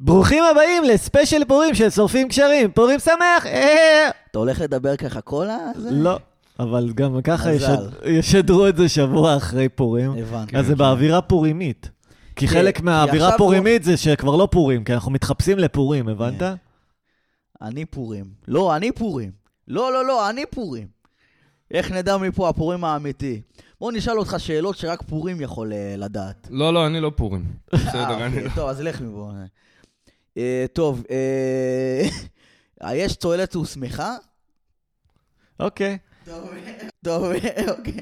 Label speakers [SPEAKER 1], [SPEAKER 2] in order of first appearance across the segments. [SPEAKER 1] ברוכים הבאים לספיישל פורים של שורפים קשרים. פורים שמח! אה!
[SPEAKER 2] אתה הולך לדבר ככה כל ה... זה?
[SPEAKER 1] לא, אבל גם ככה
[SPEAKER 2] מזל. אה,
[SPEAKER 1] ישד- ישדרו את זה שבוע אחרי פורים.
[SPEAKER 2] הבנתי.
[SPEAKER 1] אז זה באווירה פורימית. כי חלק
[SPEAKER 2] כן, כי
[SPEAKER 1] מהאווירה
[SPEAKER 2] עכשיו
[SPEAKER 1] הפורימית זה שכבר לא פורים, כי אנחנו מתחפשים לפורים, הבנת?
[SPEAKER 2] אה. אני פורים. לא, אני פורים. לא, לא, לא, אני פורים. איך נדע מפה הפורים האמיתי? בוא נשאל אותך שאלות שרק פורים יכול אה, לדעת.
[SPEAKER 3] לא, לא, אני לא פורים. בסדר,
[SPEAKER 2] אה,
[SPEAKER 3] אני לא...
[SPEAKER 2] אוקיי, טוב, אז לך מפה. אה, טוב, אה, היש צוהלת ושמחה?
[SPEAKER 1] אוקיי.
[SPEAKER 2] טוב, אוקיי.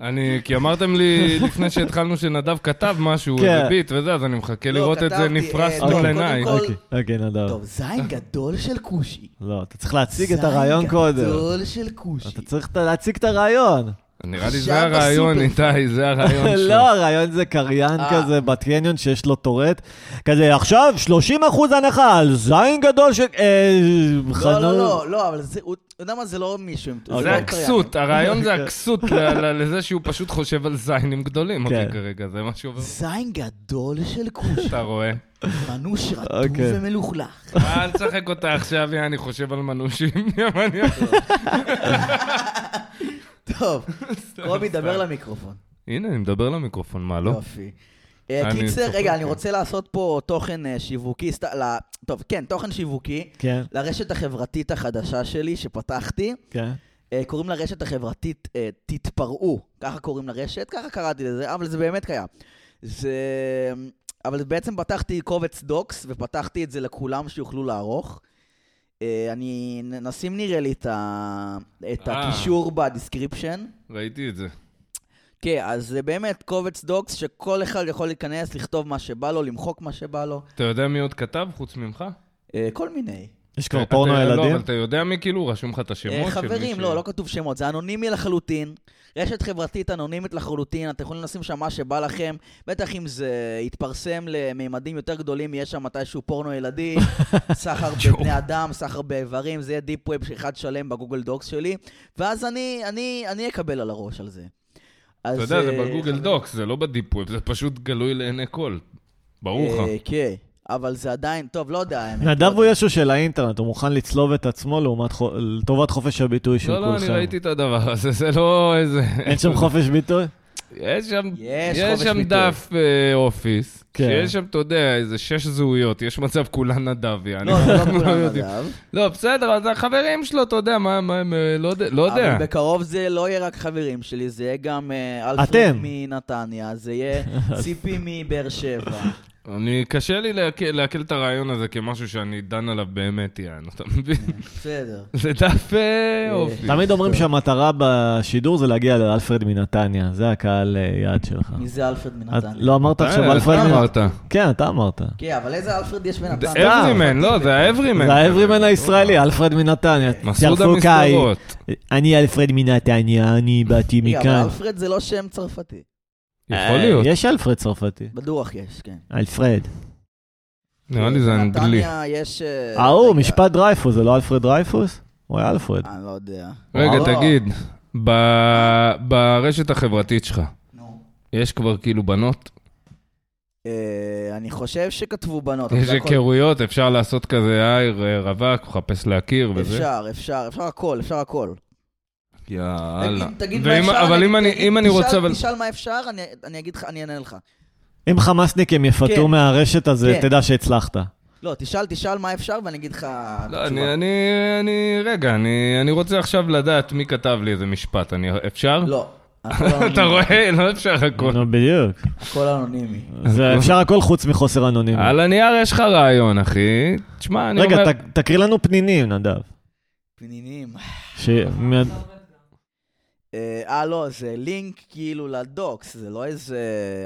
[SPEAKER 3] אני, כי אמרתם לי לפני שהתחלנו שנדב כתב משהו,
[SPEAKER 1] כן.
[SPEAKER 3] איזה ביט וזה, אז אני מחכה
[SPEAKER 2] לא,
[SPEAKER 3] לראות את זה
[SPEAKER 2] כתבתי,
[SPEAKER 3] נפרס
[SPEAKER 2] אה,
[SPEAKER 1] טוב,
[SPEAKER 3] מול
[SPEAKER 1] קודם
[SPEAKER 3] עיניי.
[SPEAKER 2] כל-
[SPEAKER 1] אוקיי, אוקיי, נדב.
[SPEAKER 2] טוב, זין גדול של כושי.
[SPEAKER 1] לא, אתה צריך להציג את הרעיון קודם.
[SPEAKER 2] זין גדול של כושי.
[SPEAKER 1] אתה צריך את- להציג את הרעיון.
[SPEAKER 3] נראה לי
[SPEAKER 2] שם
[SPEAKER 3] זה הרעיון,
[SPEAKER 2] בסופר.
[SPEAKER 3] איתי, זה הרעיון שלו.
[SPEAKER 1] לא, הרעיון זה קריין
[SPEAKER 2] אה.
[SPEAKER 1] כזה בקניון שיש לו טורט. כזה, עכשיו 30% הנחה על זין גדול של... אה,
[SPEAKER 2] לא, לא,
[SPEAKER 1] חנות.
[SPEAKER 2] לא, לא, אבל זה, הוא, אתה יודע מה, זה לא מישהו, עם-
[SPEAKER 1] אוקיי.
[SPEAKER 3] זה
[SPEAKER 2] לא
[SPEAKER 3] הכסות, הרעיון זה
[SPEAKER 1] אוקיי.
[SPEAKER 3] הכסות ל- ל- לזה שהוא פשוט חושב על זיינים גדולים, אחי,
[SPEAKER 1] כן.
[SPEAKER 3] כרגע, זה מה שעובר.
[SPEAKER 2] זין גדול של כושי,
[SPEAKER 3] אתה רואה?
[SPEAKER 2] מנוש רטוב
[SPEAKER 1] אוקיי.
[SPEAKER 2] ומלוכלך.
[SPEAKER 3] אל תשחק אותה עכשיו, יא, אני חושב על מנושים. יא, מה אני יכול?
[SPEAKER 2] טוב, קובי, דבר למיקרופון.
[SPEAKER 3] הנה, אני מדבר למיקרופון, מה לא?
[SPEAKER 2] יופי. אה,
[SPEAKER 3] אני
[SPEAKER 2] קיצר,
[SPEAKER 3] צוחק,
[SPEAKER 2] רגע, אני
[SPEAKER 3] כן.
[SPEAKER 2] רוצה לעשות פה תוכן אה, שיווקי, סת- ל- טוב, כן, תוכן שיווקי,
[SPEAKER 1] כן,
[SPEAKER 2] לרשת החברתית החדשה שלי שפתחתי.
[SPEAKER 1] כן.
[SPEAKER 2] אה, קוראים לרשת החברתית אה, תתפרעו, ככה קוראים לרשת, ככה קראתי לזה, אבל זה באמת קיים. זה... אבל בעצם פתחתי קובץ דוקס ופתחתי את זה לכולם שיוכלו לערוך. אה, אני... נ- נשים נראה לי את, ה... את
[SPEAKER 3] אה.
[SPEAKER 2] הקישור בדיסקריפשן.
[SPEAKER 3] ראיתי את זה.
[SPEAKER 2] כן, אז זה באמת קובץ דוקס שכל אחד יכול להיכנס, לכתוב מה שבא לו, למחוק מה שבא לו,
[SPEAKER 3] אתה יודע מי עוד כתב חוץ ממך?
[SPEAKER 2] אה, כל מיני.
[SPEAKER 1] יש כבר
[SPEAKER 3] אתה-
[SPEAKER 1] פורנו
[SPEAKER 3] לא,
[SPEAKER 1] ילדים?
[SPEAKER 3] אבל אתה יודע מי כאילו רשום לך את השמות
[SPEAKER 2] אה,
[SPEAKER 3] של מי
[SPEAKER 2] חברים,
[SPEAKER 3] ש-
[SPEAKER 2] לא, לא כתוב שמות, זה אנונימי לחלוטין. רשת חברתית אנונימית לחלוטין, אתם יכולים לשים שם מה שבא לכם, בטח אם זה יתפרסם לממדים יותר גדולים, יהיה שם מתישהו פורנו ילדים, סחר
[SPEAKER 3] יואו.
[SPEAKER 2] בבני אדם, סחר באיברים, זה יהיה דיפ ווב אחד שלם בגוגל דוקס שלי, ואז אני, אני, אני אקבל על הראש על זה. אז,
[SPEAKER 3] אתה יודע, זה
[SPEAKER 2] אה,
[SPEAKER 3] בגוגל
[SPEAKER 2] חברים,
[SPEAKER 3] דוקס, זה לא בדיפ ווב, זה פשוט גלוי לעיני כל. ברור לך. לא,
[SPEAKER 2] אה, כן, אבל זה עדיין, טוב, לא יודע, האמת. לא
[SPEAKER 1] נדב
[SPEAKER 2] יודע.
[SPEAKER 1] הוא ישו של האינטרנט, הוא מוכן לצלוב את עצמו לעומת חו- לטובת חופש הביטוי של
[SPEAKER 3] לא,
[SPEAKER 1] כולכם.
[SPEAKER 3] לא, אני ראיתי את הדבר הזה, זה לא איזה...
[SPEAKER 1] אין שם חופש ביטוי?
[SPEAKER 3] יש שם,
[SPEAKER 2] יש
[SPEAKER 3] יש
[SPEAKER 2] חופש
[SPEAKER 3] שם
[SPEAKER 2] ביטוי.
[SPEAKER 3] דף אה, אופיס,
[SPEAKER 1] כן.
[SPEAKER 3] שיש שם, אתה יודע, איזה שש זהויות, יש מצב כולן נדביה.
[SPEAKER 2] לא, זה לא כולם נדב.
[SPEAKER 3] לא, בסדר, אז החברים שלו, אתה יודע, מה, מה הם, אה, לא יודע- לא יודע.
[SPEAKER 2] אבל בקרוב זה לא יהיה רק חברים שלי, זה יהיה גם אה, אלפרד
[SPEAKER 1] אתם.
[SPEAKER 2] מנתניה, זה יהיה ציפי מבאר שבע.
[SPEAKER 3] אני, קשה לי לעכל- לעכל את הרעיון הזה כמשהו שאני דן עליו באמת, יענו, אתה מבין?
[SPEAKER 2] כן. בסדר.
[SPEAKER 3] זה דף אה, אופיס.
[SPEAKER 1] תמיד אומרים שהמטרה בשידור זה להגיע לאלפרד מנתניה, זה הקהל אה, יעד שלך.
[SPEAKER 2] מי זה אלפרד
[SPEAKER 1] את
[SPEAKER 2] מנתניה?
[SPEAKER 1] לא אמרת עכשיו
[SPEAKER 3] אה,
[SPEAKER 1] אלפרד
[SPEAKER 3] אתה
[SPEAKER 1] מנתניה?
[SPEAKER 3] אמרת. אה,
[SPEAKER 1] כן, אתה אמרת.
[SPEAKER 2] כן, אבל איזה אלפרד יש
[SPEAKER 3] זה
[SPEAKER 2] בנתניה?
[SPEAKER 3] אברימן, לא, זה האברימן.
[SPEAKER 1] זה
[SPEAKER 3] אה,
[SPEAKER 1] האברימן הישראלי, אלפרד מנתניה.
[SPEAKER 3] מסעוד
[SPEAKER 1] צרפוקאי.
[SPEAKER 3] המסדרות.
[SPEAKER 1] אני אלפרד מנתניה, אני באתי
[SPEAKER 2] רגע, אבל
[SPEAKER 1] מכאן.
[SPEAKER 2] אלפרד זה לא שם צרפתי.
[SPEAKER 3] יכול
[SPEAKER 1] אה,
[SPEAKER 3] להיות.
[SPEAKER 1] יש אלפרד צרפתי.
[SPEAKER 2] בטוח יש, כן.
[SPEAKER 1] אלפרד.
[SPEAKER 3] נראה לי זה אנגלי.
[SPEAKER 2] בנתניה יש... אה,
[SPEAKER 1] ההוא,
[SPEAKER 2] רגע,
[SPEAKER 1] משפט דרייפוס, זה לא אלפרד דרייפוס? הוא היה אלפרד.
[SPEAKER 2] אני לא יודע.
[SPEAKER 3] רגע,
[SPEAKER 2] לא.
[SPEAKER 3] תגיד, ב- ברשת החברתית שלך,
[SPEAKER 2] נו.
[SPEAKER 3] יש כבר כאילו בנות?
[SPEAKER 2] אה, אני חושב שכתבו בנות.
[SPEAKER 3] יש
[SPEAKER 2] זה הכל.
[SPEAKER 3] היכרויות, אפשר לעשות כזה, היי, ר- רווק, מחפש להכיר וזה.
[SPEAKER 2] אפשר, אפשר, אפשר הכל, אפשר הכל.
[SPEAKER 3] יאללה.
[SPEAKER 2] תגיד- תגיד מה
[SPEAKER 3] ואם-
[SPEAKER 2] אפשר,
[SPEAKER 3] אבל
[SPEAKER 2] אני-
[SPEAKER 3] אם אני-
[SPEAKER 2] תגיד-
[SPEAKER 3] אם אני
[SPEAKER 2] תשאל-
[SPEAKER 3] רוצה, אבל...
[SPEAKER 2] תשאל מה אפשר, אני- אני אגיד לך, אני אענה לך.
[SPEAKER 1] אם חמאסניקים יפטרו
[SPEAKER 2] כן.
[SPEAKER 1] מהרשת, אז אה,
[SPEAKER 2] כן.
[SPEAKER 1] תדע שהצלחת.
[SPEAKER 2] לא, תשאל, תשאל מה אפשר ואני אגיד לך
[SPEAKER 3] לא,
[SPEAKER 2] תשובה.
[SPEAKER 3] אני, אני, אני, רגע, אני, אני רוצה עכשיו לדעת מי כתב לי איזה משפט, אני, אפשר?
[SPEAKER 2] לא. הכל אנונימי.
[SPEAKER 3] אתה רואה? לא אפשר הכל.
[SPEAKER 1] נו, בדיוק.
[SPEAKER 2] הכל אנונימי.
[SPEAKER 1] זה אפשר הכל חוץ מחוסר אנונימי.
[SPEAKER 3] על הנייר יש לך רעיון, אחי. תשמע, אני
[SPEAKER 1] רגע,
[SPEAKER 3] אומר...
[SPEAKER 1] ת- תקריא לנו פנינים, נדב.
[SPEAKER 2] פנינים.
[SPEAKER 1] ש- מיד-
[SPEAKER 2] אה, אה, לא, זה לינק כאילו לדוקס, זה לא איזה...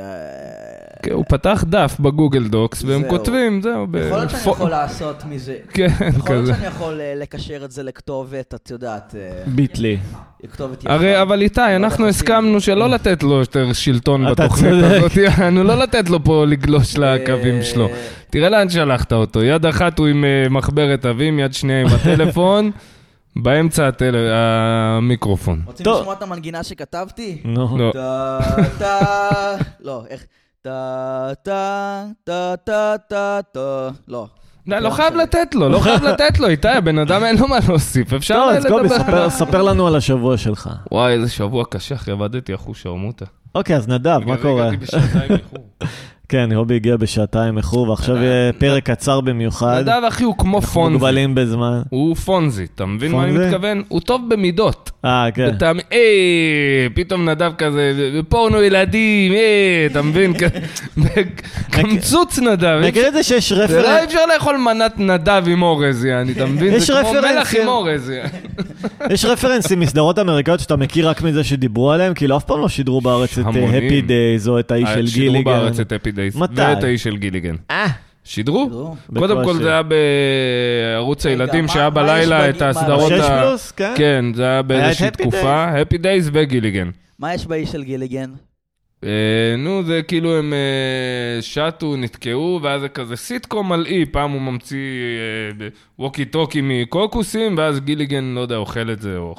[SPEAKER 2] אה,
[SPEAKER 3] כן, הוא פתח דף בגוגל דוקס, והם
[SPEAKER 2] זהו.
[SPEAKER 3] כותבים, זהו. ב-
[SPEAKER 2] יכול להיות שאני
[SPEAKER 3] פו-
[SPEAKER 2] יכול לעשות מזה...
[SPEAKER 3] כן,
[SPEAKER 2] יכול להיות
[SPEAKER 3] כזה.
[SPEAKER 2] שאני יכול אה, לקשר את זה לכתובת, את יודעת, אה,
[SPEAKER 1] ביטלי.
[SPEAKER 2] לכתובת יפה.
[SPEAKER 3] הרי, אבל
[SPEAKER 2] לא
[SPEAKER 3] איתי, אנחנו
[SPEAKER 2] חצי.
[SPEAKER 3] הסכמנו שלא לתת לו יותר שלטון
[SPEAKER 1] אתה
[SPEAKER 3] בתוכנית
[SPEAKER 1] צודק.
[SPEAKER 3] הזאת, יענו, לא לתת לו פה לגלוש לקווים
[SPEAKER 2] אה,
[SPEAKER 3] שלו. תראה לאן שלחת אותו, יד אחת הוא עם אה, מחברת עבים, יד שנייה עם הטלפון, באמצע הטל- המיקרופון.
[SPEAKER 2] רוצים
[SPEAKER 1] טוב. אה,
[SPEAKER 2] לשמוע את המנגינה שכתבתי?
[SPEAKER 1] נו.
[SPEAKER 3] לא.
[SPEAKER 2] טה... טה... לא, איך... טה, טה טה טה טה טה טה. לא.
[SPEAKER 3] לא, לא חייב לתת לו, לא חייב לתת לו, איתי, הבן אדם אין לו מה להוסיף, אפשר
[SPEAKER 1] טוב, לא, אז קובי,
[SPEAKER 3] לדבר.
[SPEAKER 1] ספר- ספר לנו על השבוע שלך.
[SPEAKER 3] וואי, איזה שבוע קשה, אחי, עבדתי אחוש שרמוטה.
[SPEAKER 1] אוקיי, אז נדב, מה קורה? כן, רובי הגיע בשעתיים איחור, ועכשיו יהיה פרק קצר במיוחד.
[SPEAKER 3] אה, נדב, אחי, הוא כמו
[SPEAKER 1] אנחנו
[SPEAKER 3] פונזי.
[SPEAKER 1] מוגבלים בזמן.
[SPEAKER 3] הוא פונזי, אתה מבין מה אני
[SPEAKER 1] פונזי?
[SPEAKER 3] מתכוון? הוא טוב במידות.
[SPEAKER 1] אה, כן.
[SPEAKER 3] אתה, היי, פתאום נדב כזה, פורנו ילדים, היי, אתה מבין? כ- קמצוץ נדב.
[SPEAKER 1] מכיר את זה שיש
[SPEAKER 3] זה לא
[SPEAKER 1] רפרנס,
[SPEAKER 3] אפשר לאכול מנת נדב עם אורז, יעני, אתה מבין?
[SPEAKER 1] יש כן.
[SPEAKER 3] זה כמו
[SPEAKER 1] רפרנסים.
[SPEAKER 3] מלח עם אורז, יעני.
[SPEAKER 1] יש רפרנסים מסדרות אמריקאיות שאתה מכיר רק מזה שדיברו עליהם, כאילו אף פעם לא שידרו בארץ את
[SPEAKER 3] המונים. אה,
[SPEAKER 1] הפי דייז או את האיש של
[SPEAKER 3] שידרו
[SPEAKER 1] גיליגן.
[SPEAKER 3] בארץ את אפי דייס.
[SPEAKER 1] מתי?
[SPEAKER 3] ואת האיש של גיליגן.
[SPEAKER 1] אה,
[SPEAKER 3] שידרו?
[SPEAKER 2] שידרו.
[SPEAKER 1] בכל
[SPEAKER 3] קודם כל
[SPEAKER 1] השיר.
[SPEAKER 3] זה היה בערוץ
[SPEAKER 2] רגע,
[SPEAKER 3] הילדים,
[SPEAKER 2] מה-
[SPEAKER 3] שהיה
[SPEAKER 2] מה יש
[SPEAKER 3] בלילה
[SPEAKER 2] בגיל-
[SPEAKER 3] את
[SPEAKER 2] מה-
[SPEAKER 3] הסדרות
[SPEAKER 1] שש
[SPEAKER 3] ה...
[SPEAKER 1] פלוס, כן.
[SPEAKER 3] כן, זה היה באיזושהי
[SPEAKER 1] Happy
[SPEAKER 3] תקופה. הפי דייס וגיליגן.
[SPEAKER 2] מה יש באיש של גיליגן?
[SPEAKER 3] אה, נו, זה כאילו הם אה, שטו, נתקעו, ואז זה כזה סיטקום על אי, פעם הוא ממציא אה, ב- ווקי טוקי מקוקוסים, ואז גיליגן, לא יודע, אוכל את זה. או...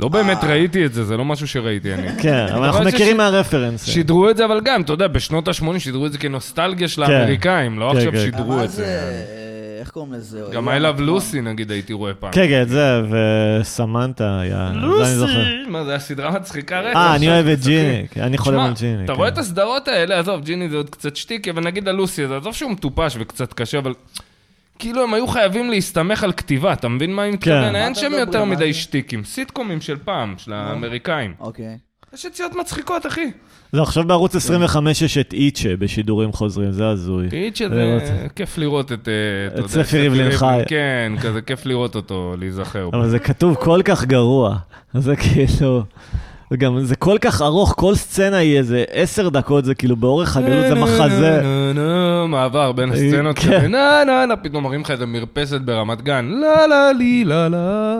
[SPEAKER 3] לא באמת ראיתי את זה, זה לא משהו שראיתי אני.
[SPEAKER 1] כן, אבל אנחנו
[SPEAKER 3] אבל זה
[SPEAKER 1] מכירים
[SPEAKER 3] ש-
[SPEAKER 1] מהרפרנס.
[SPEAKER 3] שידרו את זה, אבל גם, אתה יודע, בשנות ה-80 שידרו את זה כנוסטלגיה של האמריקאים, לא
[SPEAKER 1] כן,
[SPEAKER 3] עכשיו
[SPEAKER 1] כן.
[SPEAKER 3] שידרו
[SPEAKER 2] אבל
[SPEAKER 3] את זה.
[SPEAKER 2] אה, איך קוראים לזה?
[SPEAKER 3] גם I
[SPEAKER 2] אוי,
[SPEAKER 3] Love
[SPEAKER 2] נכון.
[SPEAKER 3] Lucy, נגיד, הייתי רואה פעם.
[SPEAKER 1] כן, כן, זה, וסמנטה היה, זה אני זוכר.
[SPEAKER 3] לוסי! מה, זה היה סדרה מצחיקה רצח.
[SPEAKER 1] אה, אני
[SPEAKER 3] שם,
[SPEAKER 1] אוהב את
[SPEAKER 3] תשחקי.
[SPEAKER 1] ג'יני, אני חולם
[SPEAKER 3] שמע,
[SPEAKER 1] על ג'יני.
[SPEAKER 3] אתה
[SPEAKER 1] כן.
[SPEAKER 3] רואה את הסדרות האלה, עזוב, ג'יני זה עוד קצת שטיק, אבל נגיד הלוסי הזה, עזוב שהוא מטופש וקצת קשה, אבל... כאילו הם היו חייבים להסתמך על כתיבה, אתה מבין מה אני מתכוון?
[SPEAKER 1] כן. מה אה.
[SPEAKER 3] אין
[SPEAKER 2] אתם
[SPEAKER 3] שם
[SPEAKER 2] מדברים,
[SPEAKER 3] יותר
[SPEAKER 2] מה
[SPEAKER 3] מדי
[SPEAKER 2] זה?
[SPEAKER 3] שטיקים, סיטקומים של פעם, של האמריקאים.
[SPEAKER 2] אוקיי.
[SPEAKER 3] יש יציאות מצחיקות, אחי.
[SPEAKER 1] לא, עכשיו בערוץ 25 יש את איצ'ה בשידורים חוזרים, זה הזוי.
[SPEAKER 3] תגיד
[SPEAKER 1] זה
[SPEAKER 3] שזה
[SPEAKER 1] מצחיק.
[SPEAKER 3] כיף לראות את... אה, אתה יודע,
[SPEAKER 1] ספי ריבלין חי.
[SPEAKER 3] כן, כזה כיף לראות אותו, להיזכר בו.
[SPEAKER 1] אבל זה כתוב כל כך גרוע. זה כאילו... גם זה כל כך ארוך, כל סצנה היא איזה עשר דקות, זה כאילו באורך הגלות
[SPEAKER 3] לא,
[SPEAKER 1] זה מחזה.
[SPEAKER 3] נה, נה, נה, מעבר בין
[SPEAKER 1] אה,
[SPEAKER 3] הסצנות
[SPEAKER 1] כן.
[SPEAKER 3] כזה, נה נה נה, פתאום מראים לך איזה מרפסת ברמת גן, לה לה לי לה לה.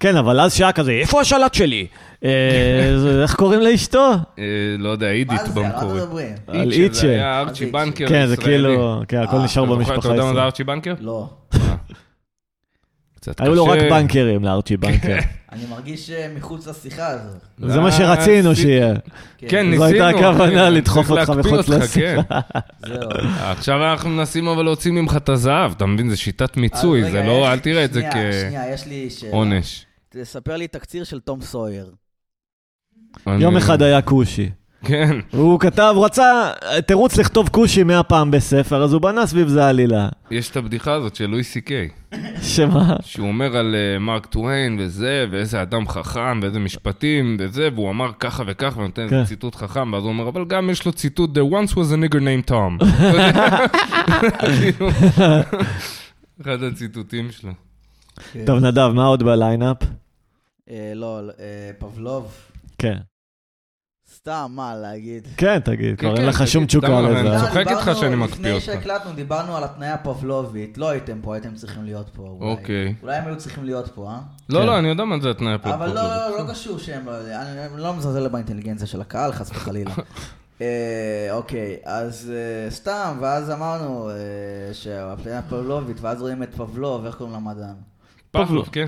[SPEAKER 1] כן, אבל אז שעה כזה, איפה השלט שלי? אה, זה- איך קוראים לאשתו?
[SPEAKER 3] אה, לא יודע,
[SPEAKER 2] מה
[SPEAKER 3] עידית
[SPEAKER 2] זה? על מה אתם
[SPEAKER 3] במקורי.
[SPEAKER 2] מדברים?
[SPEAKER 1] על
[SPEAKER 3] זה
[SPEAKER 1] איצ'ה.
[SPEAKER 3] היה ארצ'י
[SPEAKER 2] איצ'ה?
[SPEAKER 3] בנקר ישראלי.
[SPEAKER 1] כן, זה כאילו, כן, הכל
[SPEAKER 2] אה,
[SPEAKER 1] נשאר
[SPEAKER 3] אתה זוכר,
[SPEAKER 1] במשפחה
[SPEAKER 3] אתה יודע מה
[SPEAKER 1] הישראלית.
[SPEAKER 3] זה ארצ'י בנקר?
[SPEAKER 2] לא.
[SPEAKER 3] קצת
[SPEAKER 1] היו לו רק
[SPEAKER 3] קשה. כן.
[SPEAKER 1] בנקרים לארצ'י בנקר.
[SPEAKER 2] אני מרגיש אה, מחוץ לשיחה הזו.
[SPEAKER 1] זה מה שרצינו
[SPEAKER 3] אה,
[SPEAKER 1] שיהיה.
[SPEAKER 3] כן,
[SPEAKER 1] זו
[SPEAKER 3] ניסינו.
[SPEAKER 1] הייתה הכוונה
[SPEAKER 3] אחי,
[SPEAKER 1] לדחוף
[SPEAKER 3] צריך
[SPEAKER 1] אותך
[SPEAKER 3] להקפיא
[SPEAKER 1] מחוץ
[SPEAKER 3] אותך,
[SPEAKER 1] לשיחה.
[SPEAKER 3] כן.
[SPEAKER 2] זהו.
[SPEAKER 3] עכשיו אנחנו מנסים אבל להוציא ממך את הזהב, אתה מבין? זה שיטת מיצוי,
[SPEAKER 2] אז
[SPEAKER 3] זה
[SPEAKER 2] אה, רגע,
[SPEAKER 3] לא,
[SPEAKER 2] איך-
[SPEAKER 3] אל תראה את זה
[SPEAKER 2] שנייה, שנייה, יש לי שאלה.
[SPEAKER 3] כעונש.
[SPEAKER 2] תספר לי תקציר של תום סויר.
[SPEAKER 1] יום
[SPEAKER 3] אני-
[SPEAKER 1] אחד היה כושי.
[SPEAKER 3] כן.
[SPEAKER 1] הוא כתב, הוא רצה אה, תירוץ לכתוב כושי מאה פעם בספר, אז הוא בנה סביב זה עלילה.
[SPEAKER 3] יש את הבדיחה הזאת של לואי סי קיי,
[SPEAKER 1] שמה?
[SPEAKER 3] שהוא אומר על אה, מרק טוויין וזה, ואיזה אדם חכם, ואיזה משפטים וזה, והוא אמר ככה וככה, ונותן איזה
[SPEAKER 1] כן.
[SPEAKER 3] ציטוט חכם, ואז הוא אומר, אבל גם יש לו ציטוט, The once was a nigger named Tom. כאילו, אחד הציטוטים שלו.
[SPEAKER 1] טוב, נדב, מה עוד בליינאפ?
[SPEAKER 2] אה, לא, לא, אה, פבלוב.
[SPEAKER 1] כן.
[SPEAKER 2] סתם, מה להגיד.
[SPEAKER 1] כן, תגיד,
[SPEAKER 3] כן,
[SPEAKER 1] כבר אין
[SPEAKER 3] כן,
[SPEAKER 1] לך שום
[SPEAKER 3] תגיד,
[SPEAKER 1] תשוקה
[SPEAKER 3] למה, אני
[SPEAKER 1] לזה.
[SPEAKER 3] צוחק
[SPEAKER 2] דיברנו-
[SPEAKER 3] איתך שאני מקפיא
[SPEAKER 2] לפני
[SPEAKER 3] אותך.
[SPEAKER 2] שהקלטנו, דיברנו על התניה פבלובית. לא הייתם פה, הייתם צריכים להיות פה. אולי.
[SPEAKER 3] אוקיי.
[SPEAKER 2] אולי הם היו צריכים להיות פה, אה?
[SPEAKER 3] לא,
[SPEAKER 1] כן.
[SPEAKER 3] לא, אני יודע מה זה התנאי הפרק.
[SPEAKER 2] אבל לא, לא, לא קשור שהם לא יודעים, אני אני לא מזלזל באינטליגנציה של הקהל, חס וחלילה. אה, אוקיי, אז אה, סתם, ואז אמרנו אה, שהפלנה פבלובית, ואז רואים את פבלוב, איך קוראים למדען?
[SPEAKER 3] פבלוב, כן.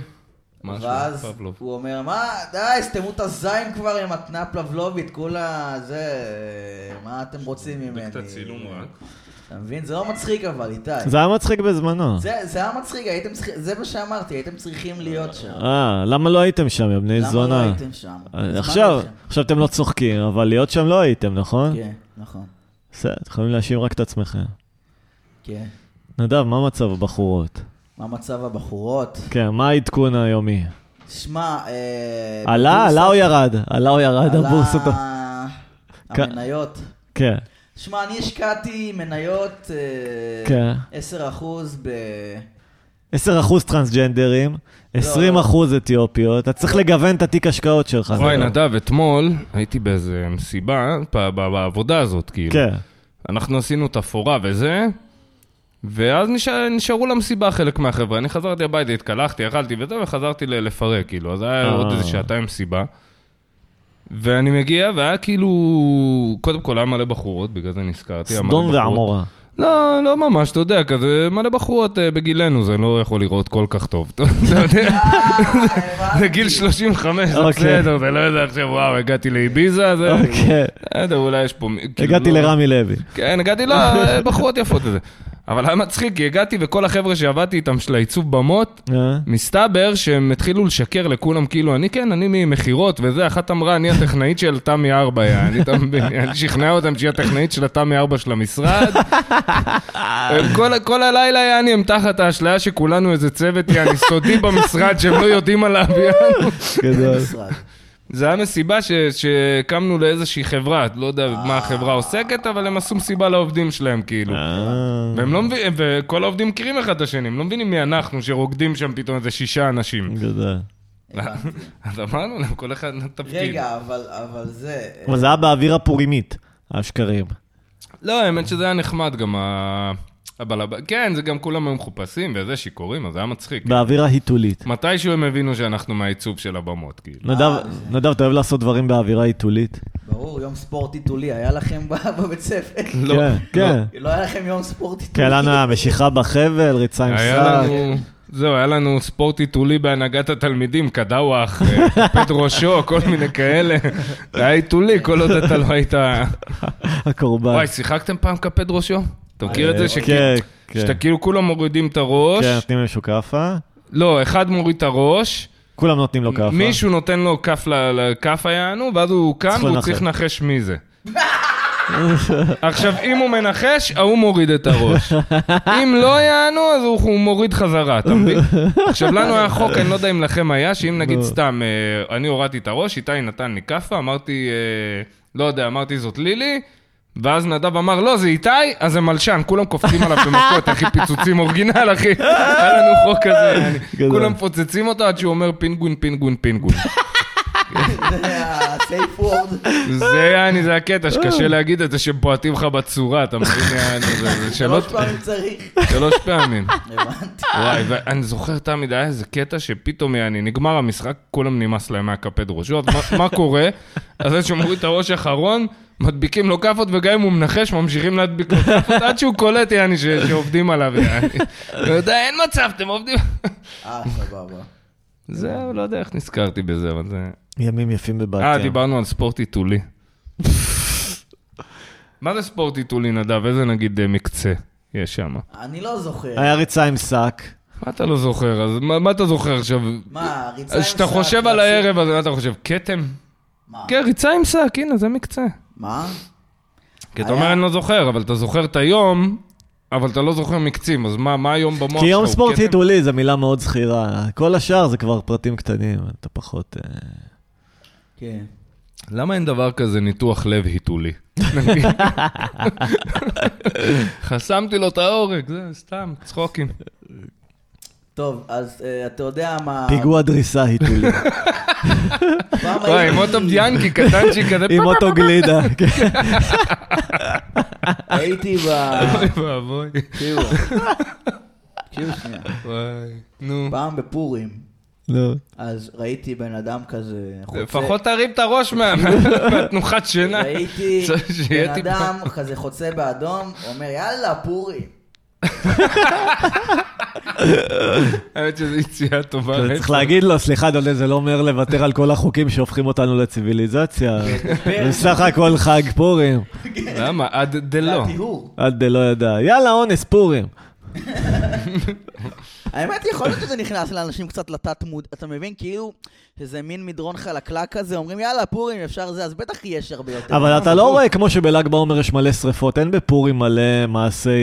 [SPEAKER 3] משהו,
[SPEAKER 2] ואז
[SPEAKER 3] פבלוב.
[SPEAKER 2] הוא אומר, מה, די, סתמו את הזין כבר עם התנה פבלובית, כולה, זה, אה, מה אתם רוצים ממני?
[SPEAKER 3] קצת צילום רק.
[SPEAKER 2] אתה מבין? זה לא מצחיק אבל, איתי.
[SPEAKER 1] זה היה מצחיק בזמנו.
[SPEAKER 2] זה זה היה מצחיק, הייתם צריכים, זה מה שאמרתי, הייתם צריכים להיות שם.
[SPEAKER 1] אה, למה לא הייתם שם, יא בני
[SPEAKER 2] למה לא
[SPEAKER 1] זונה?
[SPEAKER 2] הייתם שם?
[SPEAKER 1] אה,
[SPEAKER 2] הזמנו
[SPEAKER 1] עכשיו,
[SPEAKER 2] אתכם.
[SPEAKER 1] עכשיו אתם לא צוחקים, אבל להיות שם לא הייתם, נכון?
[SPEAKER 2] כן, נכון.
[SPEAKER 1] בסדר, אתם יכולים להאשים רק את עצמכם.
[SPEAKER 2] כן.
[SPEAKER 1] נדב, מה מצב הבחורות?
[SPEAKER 2] מה מצב הבחורות?
[SPEAKER 1] כן, מה העדכון היומי?
[SPEAKER 2] שמע, אה...
[SPEAKER 1] עלה,
[SPEAKER 2] בבורסה-
[SPEAKER 1] עלה או ירד? עלה או ירד הבורסות?
[SPEAKER 2] עלה המניות.
[SPEAKER 1] כן,
[SPEAKER 2] שמע, אני השקעתי מניות אה,
[SPEAKER 1] כן.
[SPEAKER 2] 10% ב...
[SPEAKER 1] 10% טרנסג'נדרים, 20% אתיופיות, אתה צריך לגוון את התיק השקעות שלך.
[SPEAKER 3] וואי,
[SPEAKER 1] נדב.
[SPEAKER 3] נדב, אתמול הייתי באיזה מסיבה, ב- ב- בעבודה הזאת, כאילו.
[SPEAKER 1] כן.
[SPEAKER 3] אנחנו עשינו את הפורה וזה, ואז נשאר, נשארו למסיבה חלק מהחבר'ה. אני חזרתי הביתה, התקלחתי, אכלתי וזה, וחזרתי ל- לפרק, כאילו. אז היה
[SPEAKER 1] אה.
[SPEAKER 3] עוד איזה שעתיים מסיבה. ואני מגיע, והיה כאילו... קודם כל היה מלא בחורות, בגלל זה נזכרתי. היה מלא
[SPEAKER 1] סדום
[SPEAKER 3] בחורות.
[SPEAKER 1] ועמורה.
[SPEAKER 3] לא, לא ממש, אתה יודע, כזה מלא בחורות אה, בגילנו, זה לא יכול לראות כל כך טוב. אתה יודע, זה גיל 35, זה
[SPEAKER 1] אוקיי.
[SPEAKER 3] בסדר, זה לא יודע עכשיו, וואו, הגעתי לאביזה, זה...
[SPEAKER 1] אוקיי.
[SPEAKER 3] בסדר, אולי יש פה... מי- כאילו,
[SPEAKER 1] הגעתי
[SPEAKER 3] לא-
[SPEAKER 1] לרמי לוי.
[SPEAKER 3] כן, הגעתי, לא, בחורות יפות וזה. אבל היה מצחיק, כי הגעתי וכל החבר'ה שעבדתי איתם של העיצוב במות,
[SPEAKER 1] אה?
[SPEAKER 3] מסתבר שהם התחילו לשקר לכולם, כאילו, אני כן, אני ממכירות וזה, אחת אמרה, אני הטכנאית של תמי 4, אני, אני שכנע אותם שהיא הטכנאית של התמי 4 של המשרד. הם כל, כל הלילה, יעני, הם תחת האשליה שכולנו איזה צוות, יעני, סודי במשרד, שהם לא יודעים עליו, יעני.
[SPEAKER 1] גדול.
[SPEAKER 2] משרד.
[SPEAKER 3] זה היה מסיבה ש, שקמנו לאיזושהי חברה, לא יודע מה החברה עוסקת, אבל הם עשו מסיבה לעובדים שלהם, כאילו.
[SPEAKER 1] אה,
[SPEAKER 3] והם לא מבינים, וכל העובדים מכירים אחד את השני, הם לא מבינים מי אנחנו, שרוקדים שם פתאום איזה שישה אנשים.
[SPEAKER 1] גדול.
[SPEAKER 2] הבנתי.
[SPEAKER 3] אז אמרנו להם, כל אחד נתן תפקיד.
[SPEAKER 2] רגע, אבל- אבל זה...
[SPEAKER 1] אבל זה היה באוויר הפורימית, השקרים.
[SPEAKER 3] לא, האמת שזה היה נחמד גם ה... אבל כן, זה גם כולם היו מחופשים וזה, שיכורים, אז זה היה מצחיק.
[SPEAKER 1] באוויר ההיתולית.
[SPEAKER 3] מתישהו הם הבינו שאנחנו מהעיצוב של הבמות, כאילו.
[SPEAKER 1] נדב, נדב, אתה אוהב לעשות דברים באווירה היתולית?
[SPEAKER 2] ברור, יום ספורט היתולי היה לכם ב- בבית ספר.
[SPEAKER 3] לא,
[SPEAKER 1] כן, כן.
[SPEAKER 2] לא היה לכם יום ספורט היתולי.
[SPEAKER 1] כן, לנו היה משיכה בחבל, ריצה עם
[SPEAKER 3] היה
[SPEAKER 1] שק.
[SPEAKER 3] לנו... זהו, היה לנו ספורט היתולי בהנהגת התלמידים, קדאווח, פט ראשו, כל מיני כאלה. זה היה היתולי, כל עוד אתה לא היית...
[SPEAKER 1] הקורבן.
[SPEAKER 3] וואי, שיחקתם פעם כפד ראשו? אתה מכיר את
[SPEAKER 1] אה,
[SPEAKER 3] זה?
[SPEAKER 1] כן,
[SPEAKER 3] שכאילו-
[SPEAKER 1] כן.
[SPEAKER 3] שאתה כאילו כולם מורידים את הראש.
[SPEAKER 1] כן, נותנים למישהו כאפה.
[SPEAKER 3] לא, אחד מוריד את הראש,
[SPEAKER 1] כולם נותנים לו כאפה.
[SPEAKER 3] מישהו נותן לו כף ל- לכף היענו, ואז הוא קם
[SPEAKER 1] צריך
[SPEAKER 3] והוא
[SPEAKER 1] לנחש.
[SPEAKER 3] צריך לנחש מי זה. עכשיו, אם הוא מנחש, ההוא מוריד את הראש. אם לא יענו, אז הוא הוא מוריד חזרה, אתה מבין? עכשיו, לנו היה חוק, אני לא יודע אם לכם היה, שאם נגיד סתם, אה, אני הורדתי את הראש, איתי נתן לי כאפה, אמרתי, אה, לא יודע, אמרתי זאת לילי. ואז נדב אמר, לא, זה איתי, אז זה מלשן, כולם קופצים עליו במכות, אחי, פיצוצים אורגינל, אחי. היה לנו חוק כזה, יעני.
[SPEAKER 1] גדול.
[SPEAKER 3] כולם מפוצצים אותו עד שהוא אומר פינגווין, פינגווין, פינגווין.
[SPEAKER 2] זה הסייף וורד.
[SPEAKER 3] זה יעני, זה הקטע שקשה להגיד את זה שבועטים לך בצורה, אתה מבין? יעני, זה- זה
[SPEAKER 2] שלוש
[SPEAKER 3] שלוש-
[SPEAKER 2] פעמים צריך.
[SPEAKER 3] שלוש פעמים.
[SPEAKER 2] הבנתי.
[SPEAKER 3] וואי, ואני זוכר תמיד, היה איזה קטע שפתאום, יעני, נגמר המשחק, כולם נמאס להם מהקפד ראשו, אז מה- מה קורה? אז זה שמוריד את הראש האחרון, מדביקים לו כאפות, וגם אם הוא מנחש, ממשיכים להדביק לו כאפות, עד שהוא קולט, יעני, ש- שעובדים עליו, יעני. הוא יודע, אין מצב, אתם עובדים...
[SPEAKER 2] אה, סבבה.
[SPEAKER 3] זהו, לא יודע איך נזכרתי בזה, אבל זה...
[SPEAKER 1] ימים יפים בבת
[SPEAKER 3] אה,
[SPEAKER 1] ים.
[SPEAKER 3] דיברנו על ספורט היתולי. מה זה ספורט היתולי, נדב? איזה נגיד אה, מקצה יש שם?
[SPEAKER 2] אני לא זוכר.
[SPEAKER 1] היה ריצה עם שק.
[SPEAKER 3] מה אתה לא זוכר? אז מה מה אתה זוכר עכשיו?
[SPEAKER 2] מה, ריצה עם
[SPEAKER 3] אז כשאתה
[SPEAKER 2] שק,
[SPEAKER 3] חושב על
[SPEAKER 2] רצים-
[SPEAKER 3] הערב הזה, מה אתה חושב? כתם?
[SPEAKER 2] מה?
[SPEAKER 3] כן, ריצה עם שק, הנה, זה מקצה.
[SPEAKER 2] מה?
[SPEAKER 3] כי אתה
[SPEAKER 2] היה-
[SPEAKER 3] אומר, אני לא זוכר, אבל אתה זוכר את היום, אבל אתה לא זוכר מקצים, אז מה מה היום במוח שלך?
[SPEAKER 1] כי יום
[SPEAKER 3] הוא
[SPEAKER 1] ספורט
[SPEAKER 3] כתם?
[SPEAKER 1] היתולי זו מילה מאוד זכירה. כל השאר זה כבר פרטים קטנים, אתה פחות... אה,
[SPEAKER 2] כן.
[SPEAKER 3] למה אין דבר כזה ניתוח לב היתולי? חסמתי לו את העורק, זה סתם, צחוקים.
[SPEAKER 2] טוב, אז אה, אתה יודע מה...
[SPEAKER 1] פיגוע דריסה היתולי.
[SPEAKER 2] פעם
[SPEAKER 3] וואי,
[SPEAKER 2] הייתי-
[SPEAKER 3] עם אוטו ביאנקי קטנצ'יק כזה,
[SPEAKER 1] עם אוטו גלידה. כן.
[SPEAKER 2] הייתי ב...
[SPEAKER 3] אוי ואבוי.
[SPEAKER 2] תקשיבו. תקשיבו שנייה.
[SPEAKER 3] וואי, נו.
[SPEAKER 2] פעם בפורים,
[SPEAKER 1] נו.
[SPEAKER 2] אז ראיתי בן אדם כזה חוצה...
[SPEAKER 3] לפחות
[SPEAKER 1] אה.
[SPEAKER 3] תרים את הראש מה- מהתנוחת שינה.
[SPEAKER 2] ראיתי
[SPEAKER 3] צריך שיהיה
[SPEAKER 2] בן
[SPEAKER 3] טיפה-
[SPEAKER 2] אדם כזה חוצה באדום, אומר יאללה פורים.
[SPEAKER 3] האמת שזו יציאה טובה.
[SPEAKER 1] לא, צריך להגיד לו, סליחה, דולד, זה לא אומר לוותר על כל החוקים שהופכים אותנו לציוויליזציה. בסך הכל חג פורים.
[SPEAKER 3] למה? עד לא. דלא.
[SPEAKER 2] הטיהור.
[SPEAKER 1] עד דלא ידע. יאללה, אונס פורים.
[SPEAKER 2] האמת, יכול להיות שזה נכנס לאנשים קצת לתת מוד... אתה מבין? כאילו, שזה מין מדרון חלקלק כזה, אומרים יאללה פורים, אפשר זה, אז בטח יש הרבה יותר.
[SPEAKER 1] אבל אתה לא רואה, כמו שבל"ג בעומר יש מלא שרפות, אין בפורים מלא מעשי... אה,